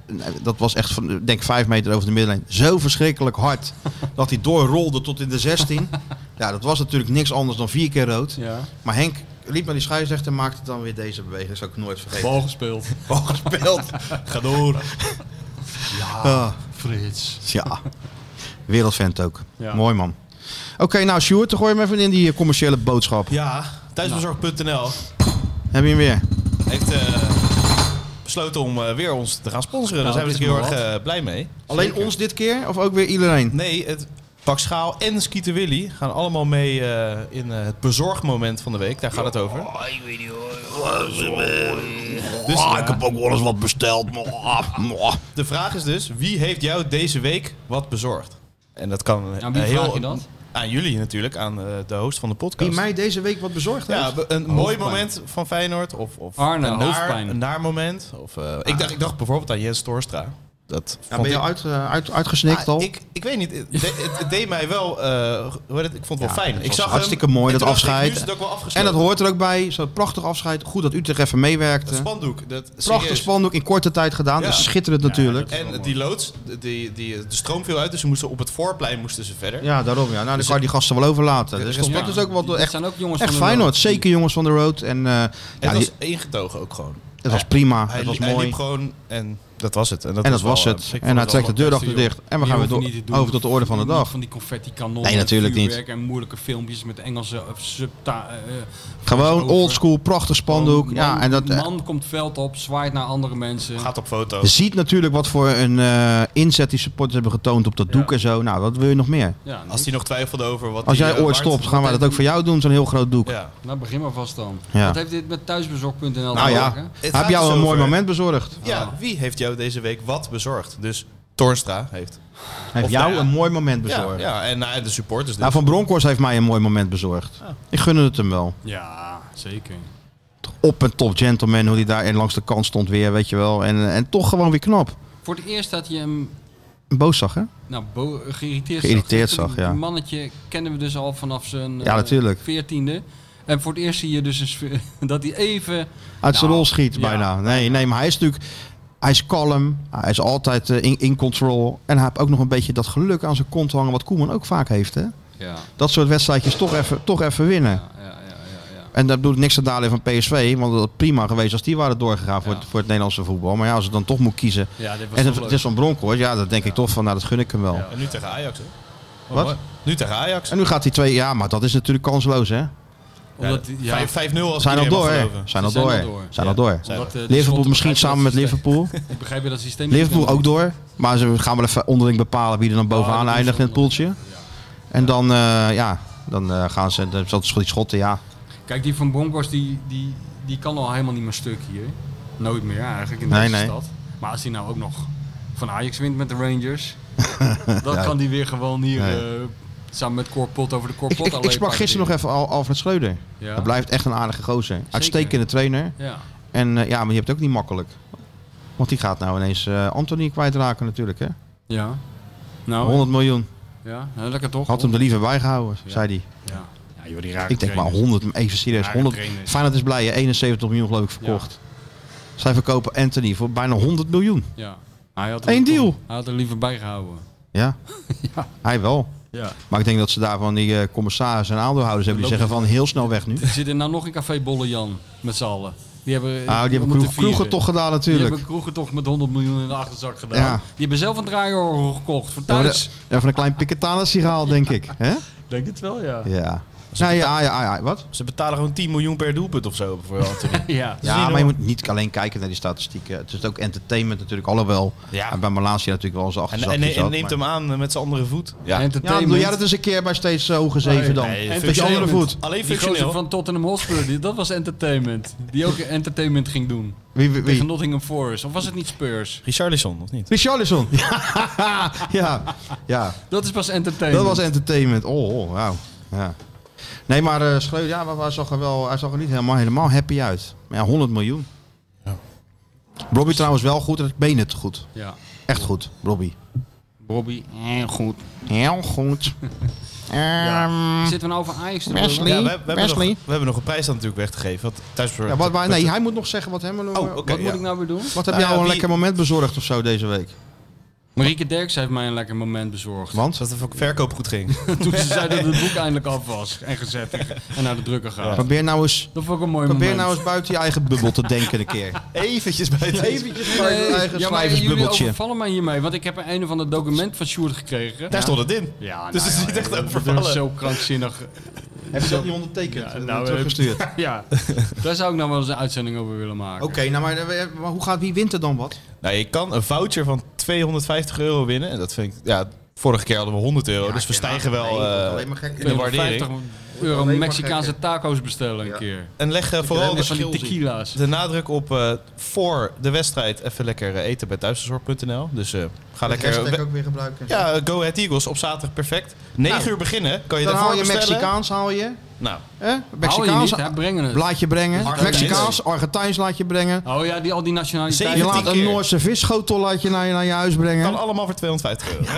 B: dat was echt, van, denk ik, vijf meter over de middenlijn. Zo verschrikkelijk hard. dat hij doorrolde tot in de 16. ja, dat was natuurlijk niks anders dan vier keer rood.
C: ja.
B: Maar Henk liep naar die scheidsrechter en maakte dan weer deze beweging. Dat zou ik nooit vergeten.
C: Bal gespeeld.
B: Bal gespeeld.
D: Ga door.
B: Ah,
C: Frits.
B: ja. Wereldvent ook.
C: Ja.
B: Mooi man. Oké, nou Sjoerd, dan gooi je hem even in die eh, commerciële boodschap.
D: Ja, thuisbezorg.nl
B: Heb je hem weer?
D: heeft eh, besloten om eh, weer ons te gaan sponsoren.
C: Nou,
D: Daar zijn we
C: het is
D: natuurlijk heel
C: maar
D: erg eh, blij mee.
B: Alleen ons dit keer of ook weer iedereen?
D: Nee, het Pak Schaal en Skieten Willy gaan allemaal mee eh, in eh, het bezorgmoment van de week. Daar gaat het over. Dus, ik heb ook wel eens wat besteld. De vraag is dus, wie heeft jou deze week wat bezorgd? En dat kan eh,
C: Aan wie
D: heel,
C: vraag je dat?
D: Aan jullie natuurlijk, aan eh, de host van de podcast.
B: Die mij deze week wat bezorgd heeft?
D: Ja, nou, be- een mooi moment van Feyenoord. Of, of
C: Arne,
D: een, naar,
C: hoofdpijn.
D: een naar moment. Of, eh, ik, dacht, ik dacht bijvoorbeeld aan Jens Torstra. Dat
B: Ja,
D: vond
B: ben je
D: ik,
B: uit, eh, uit, uitgesnikt
D: Ah,
B: al?
D: Ik, ik weet niet. Het, de- het- het deed mij wel. eh, hoe heet het? ik vond het wel fijn.
B: het
D: ik
B: was
D: zag
B: hartstikke
D: hem,
B: mooi,
D: en
B: dat
D: toen dacht ik,
B: afscheid.
D: nu is het ook wel
B: En
D: afgesloten.
B: dat hoort er ook bij. Zo'n prachtig afscheid. Goed dat Utrecht even meewerkte.
D: Het spandoek. Dat,
B: Prachtig
D: serieus.
B: spandoek in korte tijd gedaan.
D: Ja.
B: Dat is schitterend natuurlijk. Ja,
D: En die loods, die, die, de stroom viel uit, dus ze moesten op het voorplein moesten ze verder.
B: daarom. Ja. Nou, dan kan je die gasten wel overlaten. Dus respect
C: Ja,
B: is ook
C: die-
B: wel
C: dat
B: echt,
C: zijn ook jongens
B: echt
C: van de
B: Feyenoord.
C: road.
B: Zeker jongens van de road. En eh,
D: En
B: ja,
D: dat
B: die-
D: was ingetogen ook gewoon.
B: het was prima.
D: Hij,
B: het was
D: liep- hij
B: mooi.
D: liep gewoon en dat was het. En dat
B: En dat was
D: wel,
B: het.
D: eh, ik
B: En hij
D: vond
B: trekt de
D: het wel-
B: deur achter dicht. En we gaan weer door, over tot de orde van de dag.
C: Van die confetti kanonnen.
B: Nee, natuurlijk niet.
C: vuurwerk En moeilijke filmpjes met Engelse of subta. eh,
B: Gewoon
C: voice-over.
B: oldschool, prachtig spandoek.
C: Man,
B: ja, en dat, eh,
C: man komt veld op, zwaait naar andere mensen.
D: Gaat op foto.
B: Je ziet natuurlijk wat voor een eh, inzet die supporters hebben getoond op dat doek en zo. Nou, wat wil je nog meer?
C: Ja,
D: Als hij nog twijfelde over wat
B: Als
D: hij,
B: jij
D: eh,
B: ooit
D: waard-
B: stopt, gaan wij dat ook voor jou doen, zo'n heel groot doek.
D: Ja.
C: nou, begin maar vast dan.
B: Ja.
C: Wat heeft dit met thuisbezorg.nl
B: Nou
C: te
B: ja,
C: maken?
D: Het
B: heb
D: gaat
B: jou
D: dus
B: een mooi
D: over-
B: moment bezorgd?
D: Ja, wie heeft jou deze week wat bezorgd? Dus Torstra heeft.
B: Heeft
D: Of
B: jou
D: nou ja.
B: een mooi moment
D: Ja,
B: bezorgd?
D: ja, en nou, de supporters. Dus.
B: Nou, Van Bronckhorst heeft mij een mooi moment bezorgd. Ik gunde het hem wel.
C: Ja, zeker.
B: Op een top gentleman, hoe hij daar en langs de kant stond weer, weet je wel. En, eh, en toch gewoon weer knap.
C: Voor het eerst dat je hem
B: Boos zag, hè?
C: nou, bo- geïrriteerd,
B: Geïrriteerd
C: zag.
B: zag, ja.
C: Die mannetje kennen we dus al vanaf zijn
B: Ja, natuurlijk.
C: veertiende. En voor het eerst zie je dus een sfeer- dat hij even...
B: Uit zijn
C: Nou,
B: rol schiet
C: ja.
B: bijna. Nee, nee, maar hij is natuurlijk... Hij is kalm, hij is altijd eh, in, in control. En hij heeft ook nog een beetje dat geluk aan zijn kont hangen, wat Koeman ook vaak heeft. Hè?
C: Ja,
B: Dat soort wedstrijdjes toch even, toch even winnen.
C: ja, ja, ja, ja, ja.
B: En dat doet niks te dalen van PSV, want dat had prima geweest als die waren doorgegaan voor,
C: Ja.
B: het, voor het Nederlandse voetbal. Maar ja, als ze dan toch moet kiezen.
C: Ja, dit was
B: en
C: toch
B: het, het
C: leuk.
B: is van Bronkhorst, ja, dat denk ik toch van, nou dat gun ik hem wel.
C: Ja.
D: En nu tegen Ajax, hè? Oh,
B: Wat?
D: mooi. Nu tegen Ajax.
B: En nu gaat hij twee, ja, maar dat is natuurlijk kansloos hè.
C: Omdat, die- ja,
D: Vijf- 5-0 als
B: Zijn al
D: iedereen mag
B: door hè.
D: geloven.
B: Zijn al
C: Ze zijn
B: door.
C: al door.
B: Zijn
D: Ja.
B: al door.
D: Zijn
C: omdat, eh, de
B: Liverpool
C: schotten
B: misschien samen met
C: begrijpen
B: Liverpool.
C: dat- Begrijp je dat systeem?
B: Liverpool ook door. Maar ze gaan wel even onderling bepalen wie er dan bovenaan
C: dat doen
B: eindigt
C: ze
B: in het
C: wel.
B: poeltje. En dan, eh, ja, dan eh, gaan ze, dan zal die schotten, ja.
C: Kijk, die van Broncos die, die, die kan al helemaal niet meer stuk hier. Nooit meer eigenlijk in
B: Nee,
C: deze
B: nee.
C: stad. Maar als hij nou ook nog van Ajax wint met de Rangers, dan kan die weer gewoon hier
B: Nee.
C: eh, samen met Corpot over de
B: Ik,
C: Corpot
B: ik, ik sprak gisteren nog even Al- Alfred Schreuder.
C: Ja.
B: Dat blijft echt een aardige gozer. Uitstekende trainer.
C: Ja,
B: En eh, ja, maar je hebt het ook niet makkelijk. Want die gaat nou ineens eh Anthony kwijtraken natuurlijk, hè?
C: Oh, ja. Nou,
B: 100 miljoen.
C: ja, nou, lekker toch?
B: Had hem er liever bij gehouden, zei hij.
C: Ja, ja joh, die rare
B: Ik denk maar
C: trainers.
B: 100, even serieus.
C: Ja,
B: 100,
C: trainers.
B: Feyenoord is blij, hè? 71 miljoen geloof ik verkocht. Zij verkopen Anthony voor bijna 100 miljoen.
C: Ja. Hij had
B: Eén
C: hem-
B: deal.
C: Hij had er liever bij gehouden.
B: Ja, hij wel.
C: Ja.
B: Maar ik denk dat ze daarvan die eh, commissarissen en aandeelhouders hebben die
C: Lopen-
B: zeggen van heel snel weg nu.
C: Er zit er nou nog een café Bolle Jan met z'n allen. Die hebben,
B: Ah, die
C: om
B: hebben
C: te
B: kroeg, kroegen
C: vieren.
B: toch gedaan
C: Die
B: natuurlijk.
C: hebben kroegen toch met 100 miljoen in de achterzak gedaan.
B: Ja.
C: Die hebben zelf een draaiorgel gekocht voor
B: Ja, maar
C: thuis.
B: de- ja, van een klein piketalis gehaald, denk ik. hè?
C: Denk het wel, ja.
B: Ja. Nou ja, ja, ja, ja, wat?
D: Ze betalen gewoon 10 miljoen per doelpunt of zo. Bijvoorbeeld.
C: Ja.
B: Ja, maar je moet niet alleen kijken naar die statistieken. Het is ook entertainment natuurlijk, alhoewel.
D: Ja.
B: En bij Malaysia natuurlijk wel eens
D: en,
B: achterzakje
D: en, en
B: zat,
D: neemt
B: maar-
D: hem aan met zijn andere voet.
C: Ja,
B: Ja, dan
C: entertainment.
B: doe jij dat eens een keer bij steeds zo hoger zeven dan.
D: nee,
B: Met je andere voet.
D: Alleen
C: Die gozer
D: functioneel.
C: van Tottenham Hotspur, die, dat was entertainment. Die ook entertainment ging doen.
B: Wie, wie,
C: Tegen
B: wie?
C: Nottingham Forest. Of was het niet Spurs?
D: Richarlison, of niet?
B: Richarlison. Ja, ja, ja.
C: Dat is pas
B: dat
C: entertainment.
B: was entertainment. Oh, oh wauw. Ja. Nee, maar eh Schreuder, ja, maar hij zag er wel, hij zag er niet helemaal, helemaal happy uit. Maar ja, 100 miljoen. Robbie trouwens wel goed, en ik meen het goed.
C: ja.
B: Echt goed, Robbie.
C: Bobby, e- heel goed.
B: Heel goed. Ehm,
C: Zitten we nou over Ajax te
B: Wesley.
C: lullen?
D: Ja, we, we, hebben nog,
B: Wesley.
D: we hebben nog een prijs aan natuurlijk weg te geven. Want thuis
B: ja, wat, maar, nee, hij moet nog zeggen wat hem...
D: Oh, oké.
C: Wat
D: ja.
C: moet ik nou weer doen?
B: Wat heb
D: Nou
B: jij
D: ja,
B: al een
D: wie-
B: lekker moment bezorgd of zo deze week?
C: Marieke Derks heeft mij een lekker moment bezorgd.
B: Want?
D: Zodat de verkoop goed ging.
C: Toen ze zei dat het boek eindelijk af was en gezet en naar de drukker gaat.
B: Probeer nou eens,
C: Dat vond ik een mooi
B: probeer
C: moment.
B: nou eens buiten je eigen bubbel te denken een keer.
D: Eventjes bij het
B: Eventjes buiten je eigen
C: ja, maar jullie
B: schrijversbubbeltje.
C: overvallen mij hiermee, want ik heb een of ander document van Sjoerd gekregen.
D: Daar stond het in.
C: Ja, nou
D: Dus het is
C: ja,
D: niet echt
C: dat
D: overvallen.
C: is zo krankzinnig.
B: Heb je dat niet ondertekend?
C: Ja,
B: en
C: nou, eh,
B: teruggestuurd. Oké,
C: Ja, daar zou ik nou wel eens een uitzending over willen maken.
B: nou maar, eh, maar hoe gaat, wie wint er dan wat?
D: Nou, je kan een voucher van 250 euro winnen. En dat vind ik... Ja, vorige keer hadden we 100 euro. dus we stijgen wel
B: Nee,
D: eh,
B: dat alleen maar gek.
D: in de waardering.
C: 50 euro
B: Alleen maar
C: Mexicaanse taco's bestellen een keer.
D: En leg eh, vooral
C: Vooral
D: de,
C: van die tequila's.
D: de nadruk op eh, voor de wedstrijd even lekker eh, eten bij thuisverzorg.nl. Dus eh, ga lekker...
B: Hashtag ook weer gebruiken.
D: Ja, eh, Go Ahead Eagles op zaterdag perfect. 9
B: Nou,
D: uur beginnen. Kan je
B: dan
D: daarvoor
B: haal je
D: bestellen?
B: Mexicaans, haal je.
D: Nou,
B: Hè?
C: Hou je
B: Mexicaans
C: niet, hè? brengen het.
B: laat je brengen.
D: Argentijns.
B: Mexicaans, Argentijns laat je brengen.
C: Oh ja, die, al die
B: Je
D: Zeventien
C: nationaliteiten.
B: laat een
D: keer.
B: Noorse visschotel laat je naar, je naar je huis
D: kan
B: brengen.
D: allemaal voor 250 euro. Nou,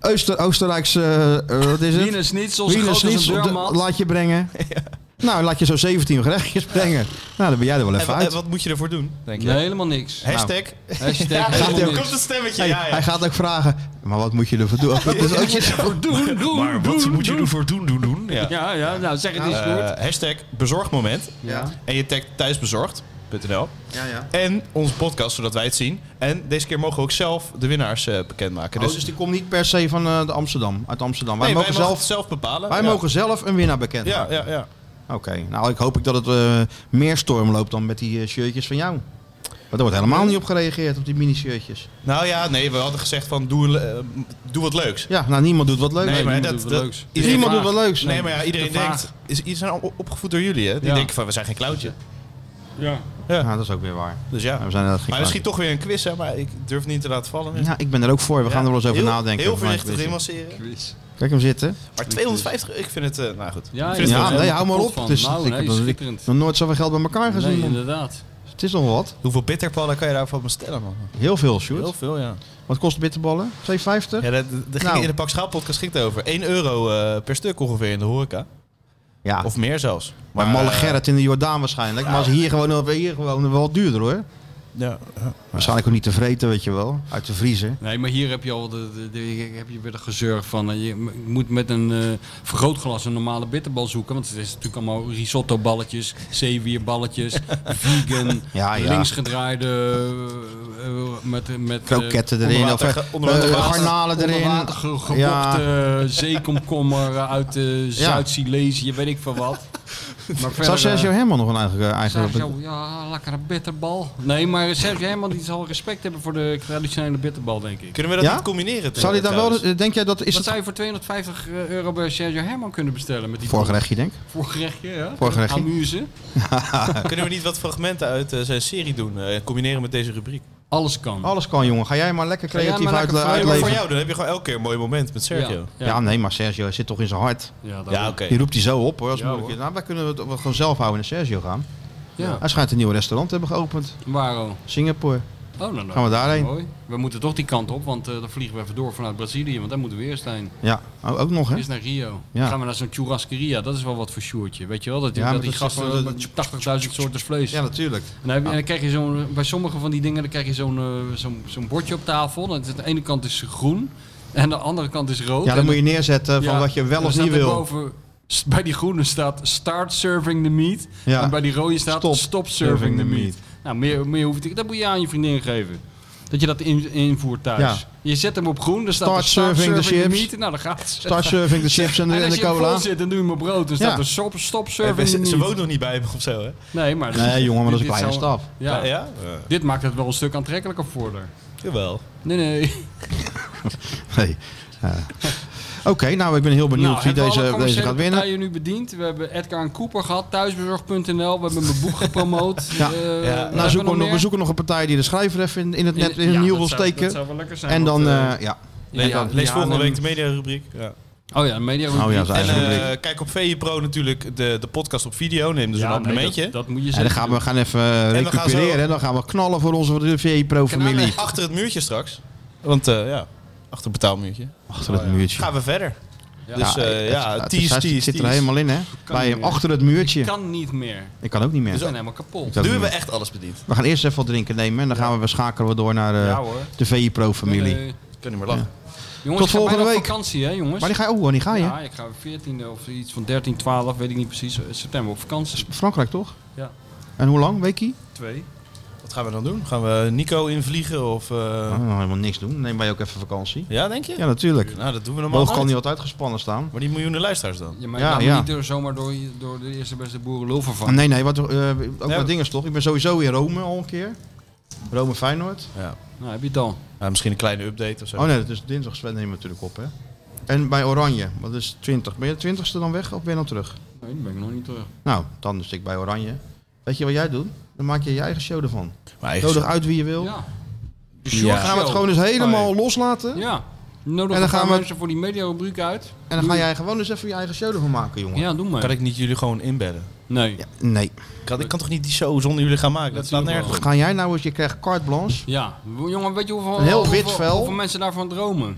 D: Ja.
B: Ooster, Oostenrijkse, eh, eh, wat is het?
C: Wiener Schnitzels,
B: Wiener
C: groot als
B: Schnitzel
C: een
B: de-
C: deurmat.
B: laat je brengen. Nou, laat je zo 17 gerechtjes brengen. Nou, dan ben jij er wel
D: En,
B: even
D: wa- en
B: uit.
D: wat moet je ervoor doen,
B: Nou,
D: denk je?
C: Nee, helemaal niks.
D: Hashtag.
C: Hashtag
D: Gaat
C: helemaal
D: er komt
C: niks.
D: een stemmetje.
B: Hey,
D: Ja, ja.
B: Hij gaat ook vragen, maar wat moet je ervoor doen? Dat is ook zo.
C: Doen, doen, doen, doen.
D: ervoor doen, doen, doen? Ja.
C: Ja, ja, nou zeg het eens,
D: Eh,
C: Sjoerd.
D: hashtag bezorgmoment.
C: Ja.
D: En je tagt thuisbezorgd.nl. En onze podcast, zodat wij het zien. En deze keer mogen we ook zelf de winnaars eh, bekendmaken.
B: Oh,
D: Dus
B: dus die komt niet per se van eh, de Amsterdam, uit Amsterdam. Wij,
D: nee,
B: mogen,
D: mogen
B: zelf,
D: het zelf bepalen.
B: wij
D: Ja.
B: mogen zelf een winnaar bekend
D: Ja, ja, ja.
B: Oké, nou ik hoop ik dat het eh, meer storm loopt dan met die eh, shirtjes van jou. Maar er wordt helemaal niet op gereageerd, op die mini-shirtjes.
D: Nou ja, nee, we hadden gezegd van doe, een le- eh, doe wat leuks.
B: Ja, nou niemand doet wat leuk.
D: Nee, maar
C: niemand
D: dat,
C: doet wat
D: dat-
C: leuks.
D: iedereen-
B: Niemand doet wat leuks.
D: Nee, maar ja, iedereen
C: te vaag.
D: denkt... Is, die zijn al op- opgevoed door jullie, hè? Die
C: Ja.
D: denken van, we zijn geen clownje.
C: Ja.
B: Nou, dat is ook weer waar.
D: Dus ja.
B: Ja, we zijn inderdaad geen
D: maar misschien
B: kwaad.
D: toch weer een quiz, hè? Maar ik durf niet te laten vallen.
B: Ja, ik ben er ook voor. We gaan er wel eens over
D: Heel-
B: nadenken.
D: Heel
B: Of mijn
D: voorzichtig
B: quiz.
D: remasseren.
B: Kijk hem zitten.
D: Maar 250, ik vind het... eh, nou goed.
C: Ja,
D: Ik vind het
B: Ja,
D: wel-
B: nee, hou maar
C: kapot
B: op.
C: van.
B: Het is,
C: Nou,
B: ik
C: nee,
B: heb nog-
C: schitterend.
B: nog nooit zoveel geld bij elkaar gezien.
C: Nee,
B: man.
C: inderdaad.
B: het is nog wat.
D: Hoeveel bitterballen kan je daarvan bestellen, man?
B: Heel veel, Sjoerd.
D: Heel veel, ja.
B: Wat kost bitterballen? 2,50?
D: Ja,
B: Ja,
D: dat, dat ging
B: Nou.
D: in de Pak Schaal podcast ging het over. 1 euro eh, per stuk ongeveer in de horeca. Of meer zelfs.
B: bij Ah. Malle
D: eh,
B: Gerrit in de Jordaan waarschijnlijk. Maar als hier gewoon, over hier gewoon wel duurder hoor.
I: Ja, ja.
B: Waarschijnlijk ook niet te vreten, weet je wel. Uit de vriezer.
C: Nee, maar hier heb je al de, de, de- heb je weer de gezeur van. eh, Je m- moet met een eh, vergrootglas een normale bitterbal zoeken. Want het is natuurlijk allemaal risotto balletjes, zeewierballetjes, vegan,
B: Ja, ja.
C: linksgedraaide eh, eh, met, met eh,
B: Kroketten erin. Of
D: onderwater-
B: eh,
D: onderwater-
B: eh, garnalen
C: onder
B: erin.
C: water ge- gepopte
B: Ja.
C: eh, zeekomkommer uit eh, Zuid-Silesië, weet ik veel wat. Maar
B: Zou
C: verder,
B: Sergio
C: eh,
B: Herman nog een eigen... eh, eigen
C: Sergio, ja, lekkere bitterbal. Nee, maar Sergio helemaal die zal respect hebben voor de traditionele bitterbal, denk ik.
D: Kunnen we dat
B: Ja?
D: niet combineren?
B: Zou hij dan wel...
D: trouwens?
B: eh, Denk jij dat... Is
C: Wat
B: het
C: zou je voor 250 euro bij Sergio Herman kunnen bestellen? Met die
B: voorgerechtje, denk ik?
C: Voorgerechtje, ja.
B: Voorgerechtje.
C: Amuse.
D: Kunnen we niet wat fragmenten uit eh, zijn serie doen? eh, combineren met deze rubriek?
C: Alles kan.
B: Alles kan, jongen. Ga jij maar lekker
C: jij
B: creatief
C: maar
B: uit, eh,
C: lekker vrij-
D: Nee, maar voor
B: uitleven.
D: jou, dan heb je gewoon elke keer een mooi moment met Sergio.
B: Ja. nee, maar Sergio zit toch in zijn hart.
C: Ja,
D: Ja,
C: dat-
D: oké.
B: Die roept hij zo op, hoor. Als
C: Ja,
B: moeilijk
C: hoor.
B: is. Nou, wij kunnen het we gewoon zelf houden en naar Sergio gaan.
C: ja.
B: Hij schijnt een nieuw restaurant te hebben geopend.
C: Waarom?
B: Singapore.
C: Oh, nou, nou.
B: Gaan we daarheen?
C: Mooi. We moeten toch die kant op, want eh, dan vliegen we even door vanuit Brazilië, want daar moeten we eerst heen.
B: Ja, o- ook nog, hè?
C: Eerst naar Rio.
B: Ja.
C: Dan gaan we naar zo'n churrasqueria, dat is wel wat voor sjoertje. Weet je wel, dat, die-
B: Ja, maar
C: dat die
B: dat is
C: gasten
B: gewoon
C: wel
B: dat-
C: 80.000 soorten vlees.
B: Ja, natuurlijk.
C: En, dan heb je- en dan krijg je zo'n, eh, bij sommige van die dingen dan krijg je zo'n, eh, zo'n, zo'n bordje op tafel. Dan is het- Aan de ene kant is groen en aan de andere kant is rood.
B: Ja,
C: En-
B: dan moet je neerzetten van
C: Ja,
B: wat je wel
C: dan
B: of
C: staat
B: niet
C: er
B: wil.
C: boven, s- bij die groene staat start serving the meat.
B: Ja.
C: En bij die rode staat
B: Stop
C: stop, serving, the meat. Nou, meer, meer hoeft ik. Dat moet je aan je vriendin geven. Dat je dat in, invoert thuis.
B: Ja.
C: Je zet hem op groen, dan staat
B: Start
C: er start
B: serving the
C: serving, the,
B: chips.
C: meat. Nou, dan gaat ze.
B: Start serving de chips en de,
C: en
B: en
C: als
B: de
C: je vol
B: cola.
C: zit, dan doe je hem op brood. Dan staat
B: Ja.
C: er stop, stop
D: Eh,
C: serving the
D: ze,
C: meat.
D: ze woont nog niet bij hem of zo, hè?
C: Nee, maar...
B: Nee, jongen, maar dat is een
C: dit-
B: kleine
C: dit zal-
B: stap.
D: Ja.
C: Ja.
D: ja?
C: Dit maakt het wel een stuk aantrekkelijker voor haar.
D: Jawel.
C: Nee, nee.
B: Nee. Eh, Oké, nou, ik ben heel benieuwd wie
C: hebben we alle
B: deze, deze
C: commerciële
B: gaat winnen.
C: partijen nu bediend. We hebben Edgar en Cooper gehad, thuisbezorg.nl. We hebben mijn boek gepromoot.
B: Ja.
C: Eh, wat
D: Nou,
C: hebben
B: Nou, zoeken we,
C: nog
B: nog, we
C: meer?
B: zoeken nog een partij die de schrijver even in, in het net in het
C: Ja,
B: nieuw wil
C: dat zou-
B: steken.
C: Dat zou wel lekker zijn.
B: en dan,
C: want, eh,
B: eh, ja.
D: Lees,
C: ja,
D: lees
C: ja,
D: volgende
C: nee,
D: week de mediarubriek. Ja.
C: Oh ja, media
B: ja,
C: review.
B: zo-
D: En
B: Eigen
D: eh,
B: rubriek.
D: kijk op VE Pro natuurlijk de, de podcast op video. Neem dus
C: Ja,
D: een
C: nee,
D: abonnementje.
C: dat, dat moet je
B: En
C: zeggen.
B: dan gaan we we gaan even eh,
D: gaan
B: recupereren.
D: zo-
B: En dan gaan we knallen voor onze VE Pro-familie.
D: Achter het muurtje straks. Want eh, ja, achter het betaalmuurtje.
B: Achter het muurtje.
D: Gaan we verder. Dus
B: Ja,
D: eh,
B: het-
D: ja,
B: het-
D: tease,
B: het-
D: tease,
B: Het zit er
D: tease.
B: helemaal in, hè?
C: kan
B: Bij
C: niet
B: hem
C: meer.
B: achter het muurtje.
C: kan niet meer.
B: Ik kan ook niet meer.
C: Ik ben helemaal kapot.
B: Dat
D: Nu
B: doen
D: hebben
B: we.
D: we echt alles bediend.
B: We gaan eerst even wat drinken nemen en dan gaan we- we schakelen we door naar eh,
C: Ja, hoor.
B: de VI Pro familie.
C: Eh,
D: Ik kan niet meer lachen.
C: jongens,
B: Tot
C: ik ga
B: volgende
C: bijna op
B: week.
C: vakantie, hè, jongens?
B: Maar die ga je, oh, wanneer ga je?
C: Ja, ik ga 14 of iets van 13, 12, weet ik niet precies, eh, september op vakantie.
B: Frankrijk toch?
C: Ja.
B: En hoe lang, weekie?
C: Twee.
D: Wat gaan we dan doen? Gaan we Nico invliegen of... eh,
B: Nou, helemaal niks doen. Neem wij ook even vakantie.
D: Ja, denk je?
B: Ja, natuurlijk.
D: Nou, dat doen we normaal
B: Boog kan
D: nooit.
B: niet altijd gespannen staan.
D: Maar die miljoenen luisteraars dan?
C: Ja, maar
B: Ja,
C: ja,
B: ja.
C: niet door, zomaar door, door de eerste beste boerenlul
B: Ah,
C: vervangen.
B: nee, nee, wat, eh, ook
D: Ja.
B: wat dingen toch? Ik ben sowieso in Rome al een keer. Rome Feyenoord.
D: Ja.
C: Nou, heb je het dan.
D: Ja, misschien een kleine update of zo.
B: Oh nee, dat is dinsdag Sven nemen we natuurlijk op, hè? En bij Oranje, wat is 20. Ben je de 20ste dan weg of ben je dan terug?
C: Nee, dan ben ik nog niet terug.
B: Nou, dan dus ik bij Oranje. Weet je wat jij doet? Dan maak je je eigen show ervan.
D: Maar eigenlijk-
B: Nodig uit wie je wil.
C: Ja. De
D: Ja.
C: short
B: Dan Oh. gaan we het
C: show.
B: gewoon eens helemaal loslaten.
C: Ja. Nodig
B: En dan
C: een
B: gaan
C: paar
B: we-
C: mensen voor die mediarubriek uit.
B: En dan ga jij gewoon eens even je eigen show ervan maken, jongen.
C: Ja, doe maar.
D: Kan ik niet jullie gewoon inbedden?
C: Nee.
B: Ja, nee.
D: Ik kan, ik kan toch niet die show zonder jullie gaan maken? Dat
C: Dat
D: slaat
C: doen we
D: nergens op.
B: Ga jij nou eens, je krijgt carte blanche.
C: Ja, jongen, weet je hoeveel,
B: Een heel wit
C: hoeveel,
B: vel.
C: hoeveel mensen daarvan dromen?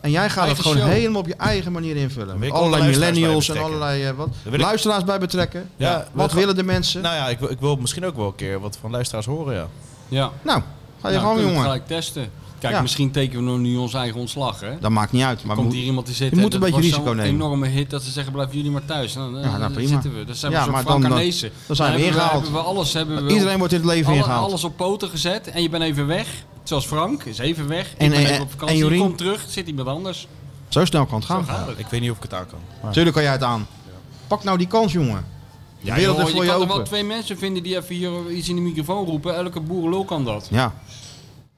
B: En jij gaat het
C: Eigen
B: gewoon
C: show.
B: helemaal op je eigen manier invullen.
D: wil
B: Met
D: ik
B: allerlei
D: ook de luisteraars
B: millennials
D: bij
B: en
D: betrekken.
B: allerlei eh, wat,
D: wil ik-
B: luisteraars bij betrekken.
D: Ja,
B: Ja,
D: wil
B: wat
D: ik-
B: willen de mensen? Nou,
D: Nou ja, ik, wil- ik wil misschien ook wel een keer wat van luisteraars horen, ja.
C: Ja.
B: ga je
C: Nou,
B: gewoon,
C: kunnen we het
B: jongen.
C: gelijk testen. Kijk,
B: Ja.
C: misschien tekenen we nu ons eigen ontslag, hè?
B: Dat maakt niet uit. Maar
C: Komt
B: moet-
C: hier iemand te zitten.
B: je moet
C: en
B: een
C: dat
B: beetje
C: wordt
B: risico
C: zo'n
B: nemen.
C: enorme hit dat ze zeggen: blijven jullie maar thuis. Nou, dan,
B: Ja, nou,
C: dan
B: prima.
C: zitten we. Dan zijn we
B: Ja,
C: zo'n
B: maar dan-
C: Frankanezen.
B: dan zijn we
C: hebben
B: ingehaald.
C: Hebben we alles, hebben we
B: Iedereen wordt in het leven
C: alle-
B: ingehaald.
C: alles op poten gezet en je bent even weg. Zoals Frank is even weg.
B: En-
C: En, ben
B: en-
C: even op vakantie.
B: en Jorien?
C: komt terug, zit iemand anders.
B: Zo snel kan het gaan.
C: Gaat het.
D: Ik weet niet of ik het aan kan.
B: Tuurlijk kan jij het aan. Pak nou die kans, jongen. De wereld
C: Joh,
B: is voor
C: je
B: je
C: kan er wel
B: open.
C: twee mensen vinden die even hier iets in de microfoon roepen. Elke boerenlul kan dat.
B: Ja.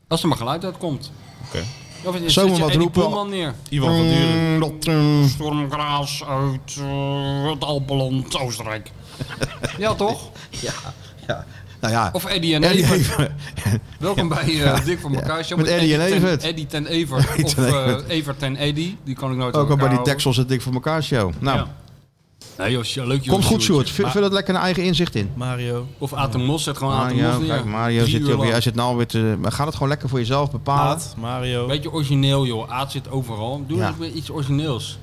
C: Als er maar geluid uitkomt.
D: Oké.
C: Of zet
B: Zomaar
C: je
B: wat
C: Eddie
B: roepen.
C: Poelman neer.
D: Iwan van Duren.
B: Mm, dat, mm.
C: Stormgraas uit eh, het Alpeland, Oostenrijk. ja, toch?
B: Nou ja,
C: Of Eddie en
B: Eddie
C: Evert.
B: Even.
C: Welkom bij eh, Dik voor elkaar. show
B: Met Eddie en
C: ten-
B: Evert.
C: Eddie ten Evert. Of
B: ten
C: eh,
B: Evert.
C: Evert en Eddie. Die kan ik nooit
B: Ook al bij die
C: tekst.
B: Texels het Dik voor elkaar show. Nou,
C: Ja. Nee, joh, sjo- leuk joh,
B: komt goed,
C: sjoertje.
B: Sjoerd. Vul vul het lekker een eigen inzicht in.
D: Mario.
C: Of Atemos, zet gewoon Atemos
B: Mario,
C: neer.
B: kijk, Mario
C: Drie
B: zit hier
C: uur
B: op. Jij
C: lang.
B: zit nou alweer te... maar Ga het gewoon lekker voor jezelf bepalen.
D: Aad. Mario.
C: Beetje origineel, joh. Aad zit overal. Doe
B: Ja.
C: eens weer iets origineels.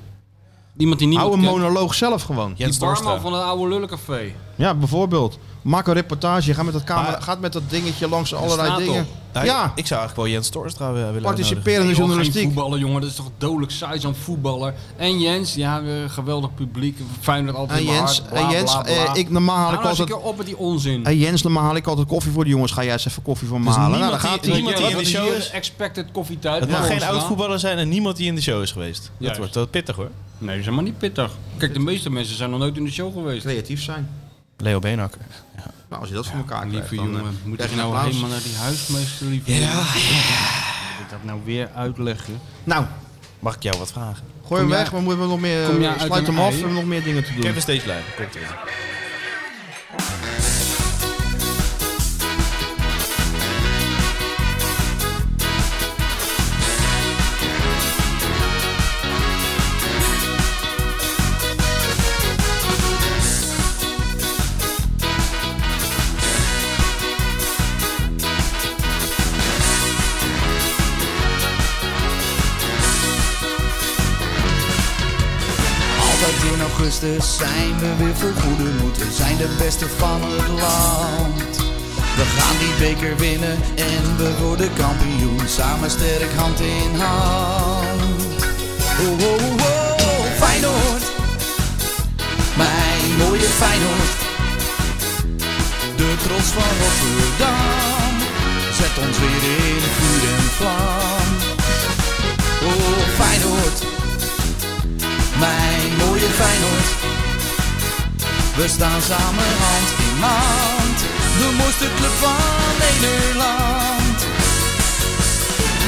C: Iemand die niet
B: Hou een
C: kent.
B: monoloog zelf gewoon.
D: Jens
C: Die barman
D: Dorstra.
C: van het oude lullencafé.
B: Ja, bijvoorbeeld. Maak een reportage. Ga met dat, camera,
D: Maar-
B: ga met dat dingetje langs allerlei
C: staat
B: dingen.
C: op.
D: Nou,
B: ja,
D: ik, ik zou eigenlijk wel Jens Torstra willen uitnodigen.
B: participerende
C: Joh, Geen
B: journalistiek.
C: voetballer, jongen. Dat is toch dodelijk saai, zo'n voetballer. En Jens, ja, eh, geweldig publiek. Feyenoord altijd
B: En
C: in mijn
B: Jens,
C: hart, bla,
B: en Jens
C: bla, bla.
B: eh, ik, normaal haal
C: Hou
B: ik
C: nou eens een
B: altijd...
C: keer op met die onzin.
B: Hey Jens, normaal haal ik altijd koffie voor de jongens. Ga jij eens even koffie voor me halen? Nou,
D: niemand
B: dan gaat
D: die-
B: hij.
D: iemand die in de show
C: hier
D: is.
C: de expected koffietijd.
D: Het
C: bij
D: mag
C: ons
D: geen oud
C: staan.
D: voetballer zijn en niemand die in de show is geweest. Dat
C: Juist.
D: wordt wel pittig hoor.
C: Nee, dat is helemaal niet pittig. Kijk, de meeste mensen zijn nog nooit in de show geweest.
B: Creatief zijn.
D: Leo Beenhakker.
B: Nou, als je dat voor elkaar krijgt,
C: Lieve
B: dan, eh,
C: jongen, moet
B: krijg
C: ik
B: je een
C: nou
B: applaus.
C: helemaal naar die huismeester, lieve jongen? Moet ik dat nou weer uitleggen?
B: Nou,
D: Mag ik jou wat vragen?
B: gooi hem
C: jij-
B: weg. Maar moeten we nog meer... eh,
C: kom jij uit
B: Sluit
C: een
B: hem af.
C: ei?
B: We hebben nog meer dingen te
D: Ik heb
B: doen.
D: een stagelijn. Komt ie.
A: Altijd in augustus zijn we weer volgoede moed. We zijn de beste van het land. We gaan die beker winnen en we worden kampioen. Samen sterk hand in hand. Oh, oh, oh, oh, Feyenoord. Mijn mooie Feyenoord. De trots van Rotterdam. Zet ons weer in vuur en vlam. Oh, Feyenoord mijn mooie Feyenoord. We staan samen hand in hand, de mooiste club van Nederland.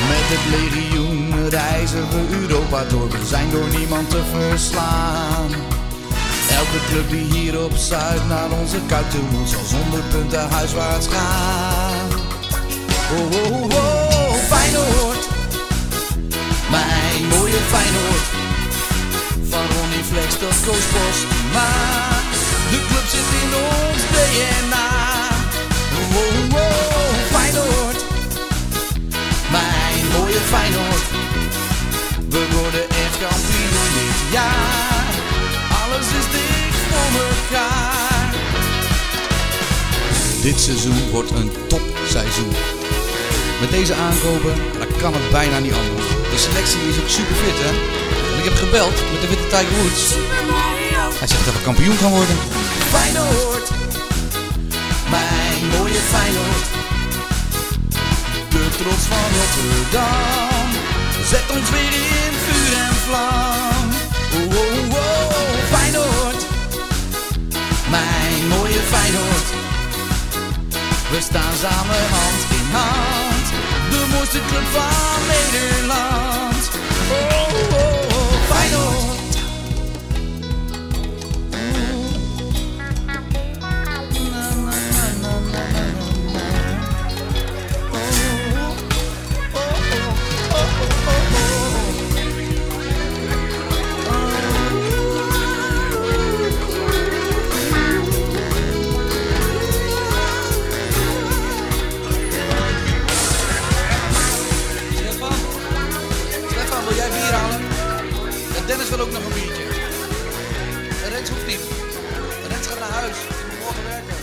A: Met het legioen reizen we Europa door, we zijn door niemand te verslaan. Elke club die hier op Zuid naar onze kuit toe moet, zal zonder punten huiswaarts gaan. Oh, oh, oh, oh, Feyenoord, mijn mooie Feyenoord. Van Ronnie Flex tot Koos Bos. Maar de club zit in ons DNA. Wow, wow, Feyenoord. Mijn mooie Feyenoord. We worden echt kampioen dit jaar. Alles is dik voor elkaar. Dit seizoen wordt een topseizoen. Met deze aankopen, dan kan het bijna niet anders. De selectie is ook super fit, hè? En ik heb gebeld met de witte Tiger Woods. Hij zegt dat we kampioen gaan worden. Feyenoord, mijn mooie Feyenoord. De trots van Rotterdam, zet ons weer in vuur en vlam. Oh, oh, oh, Feyenoord, mijn mooie Feyenoord. We staan samen hand in hand, de mooiste club van Nederland. Oh, oh, oh Feyenoord. Stefan? Stefan, wil jij bier halen? Ja, Dennis wil ook nog een biertje. En Rens hoeft niet. Rens gaat naar huis. Die moet morgen werken.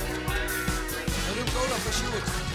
A: En Ruud Cola voor Sjoerd.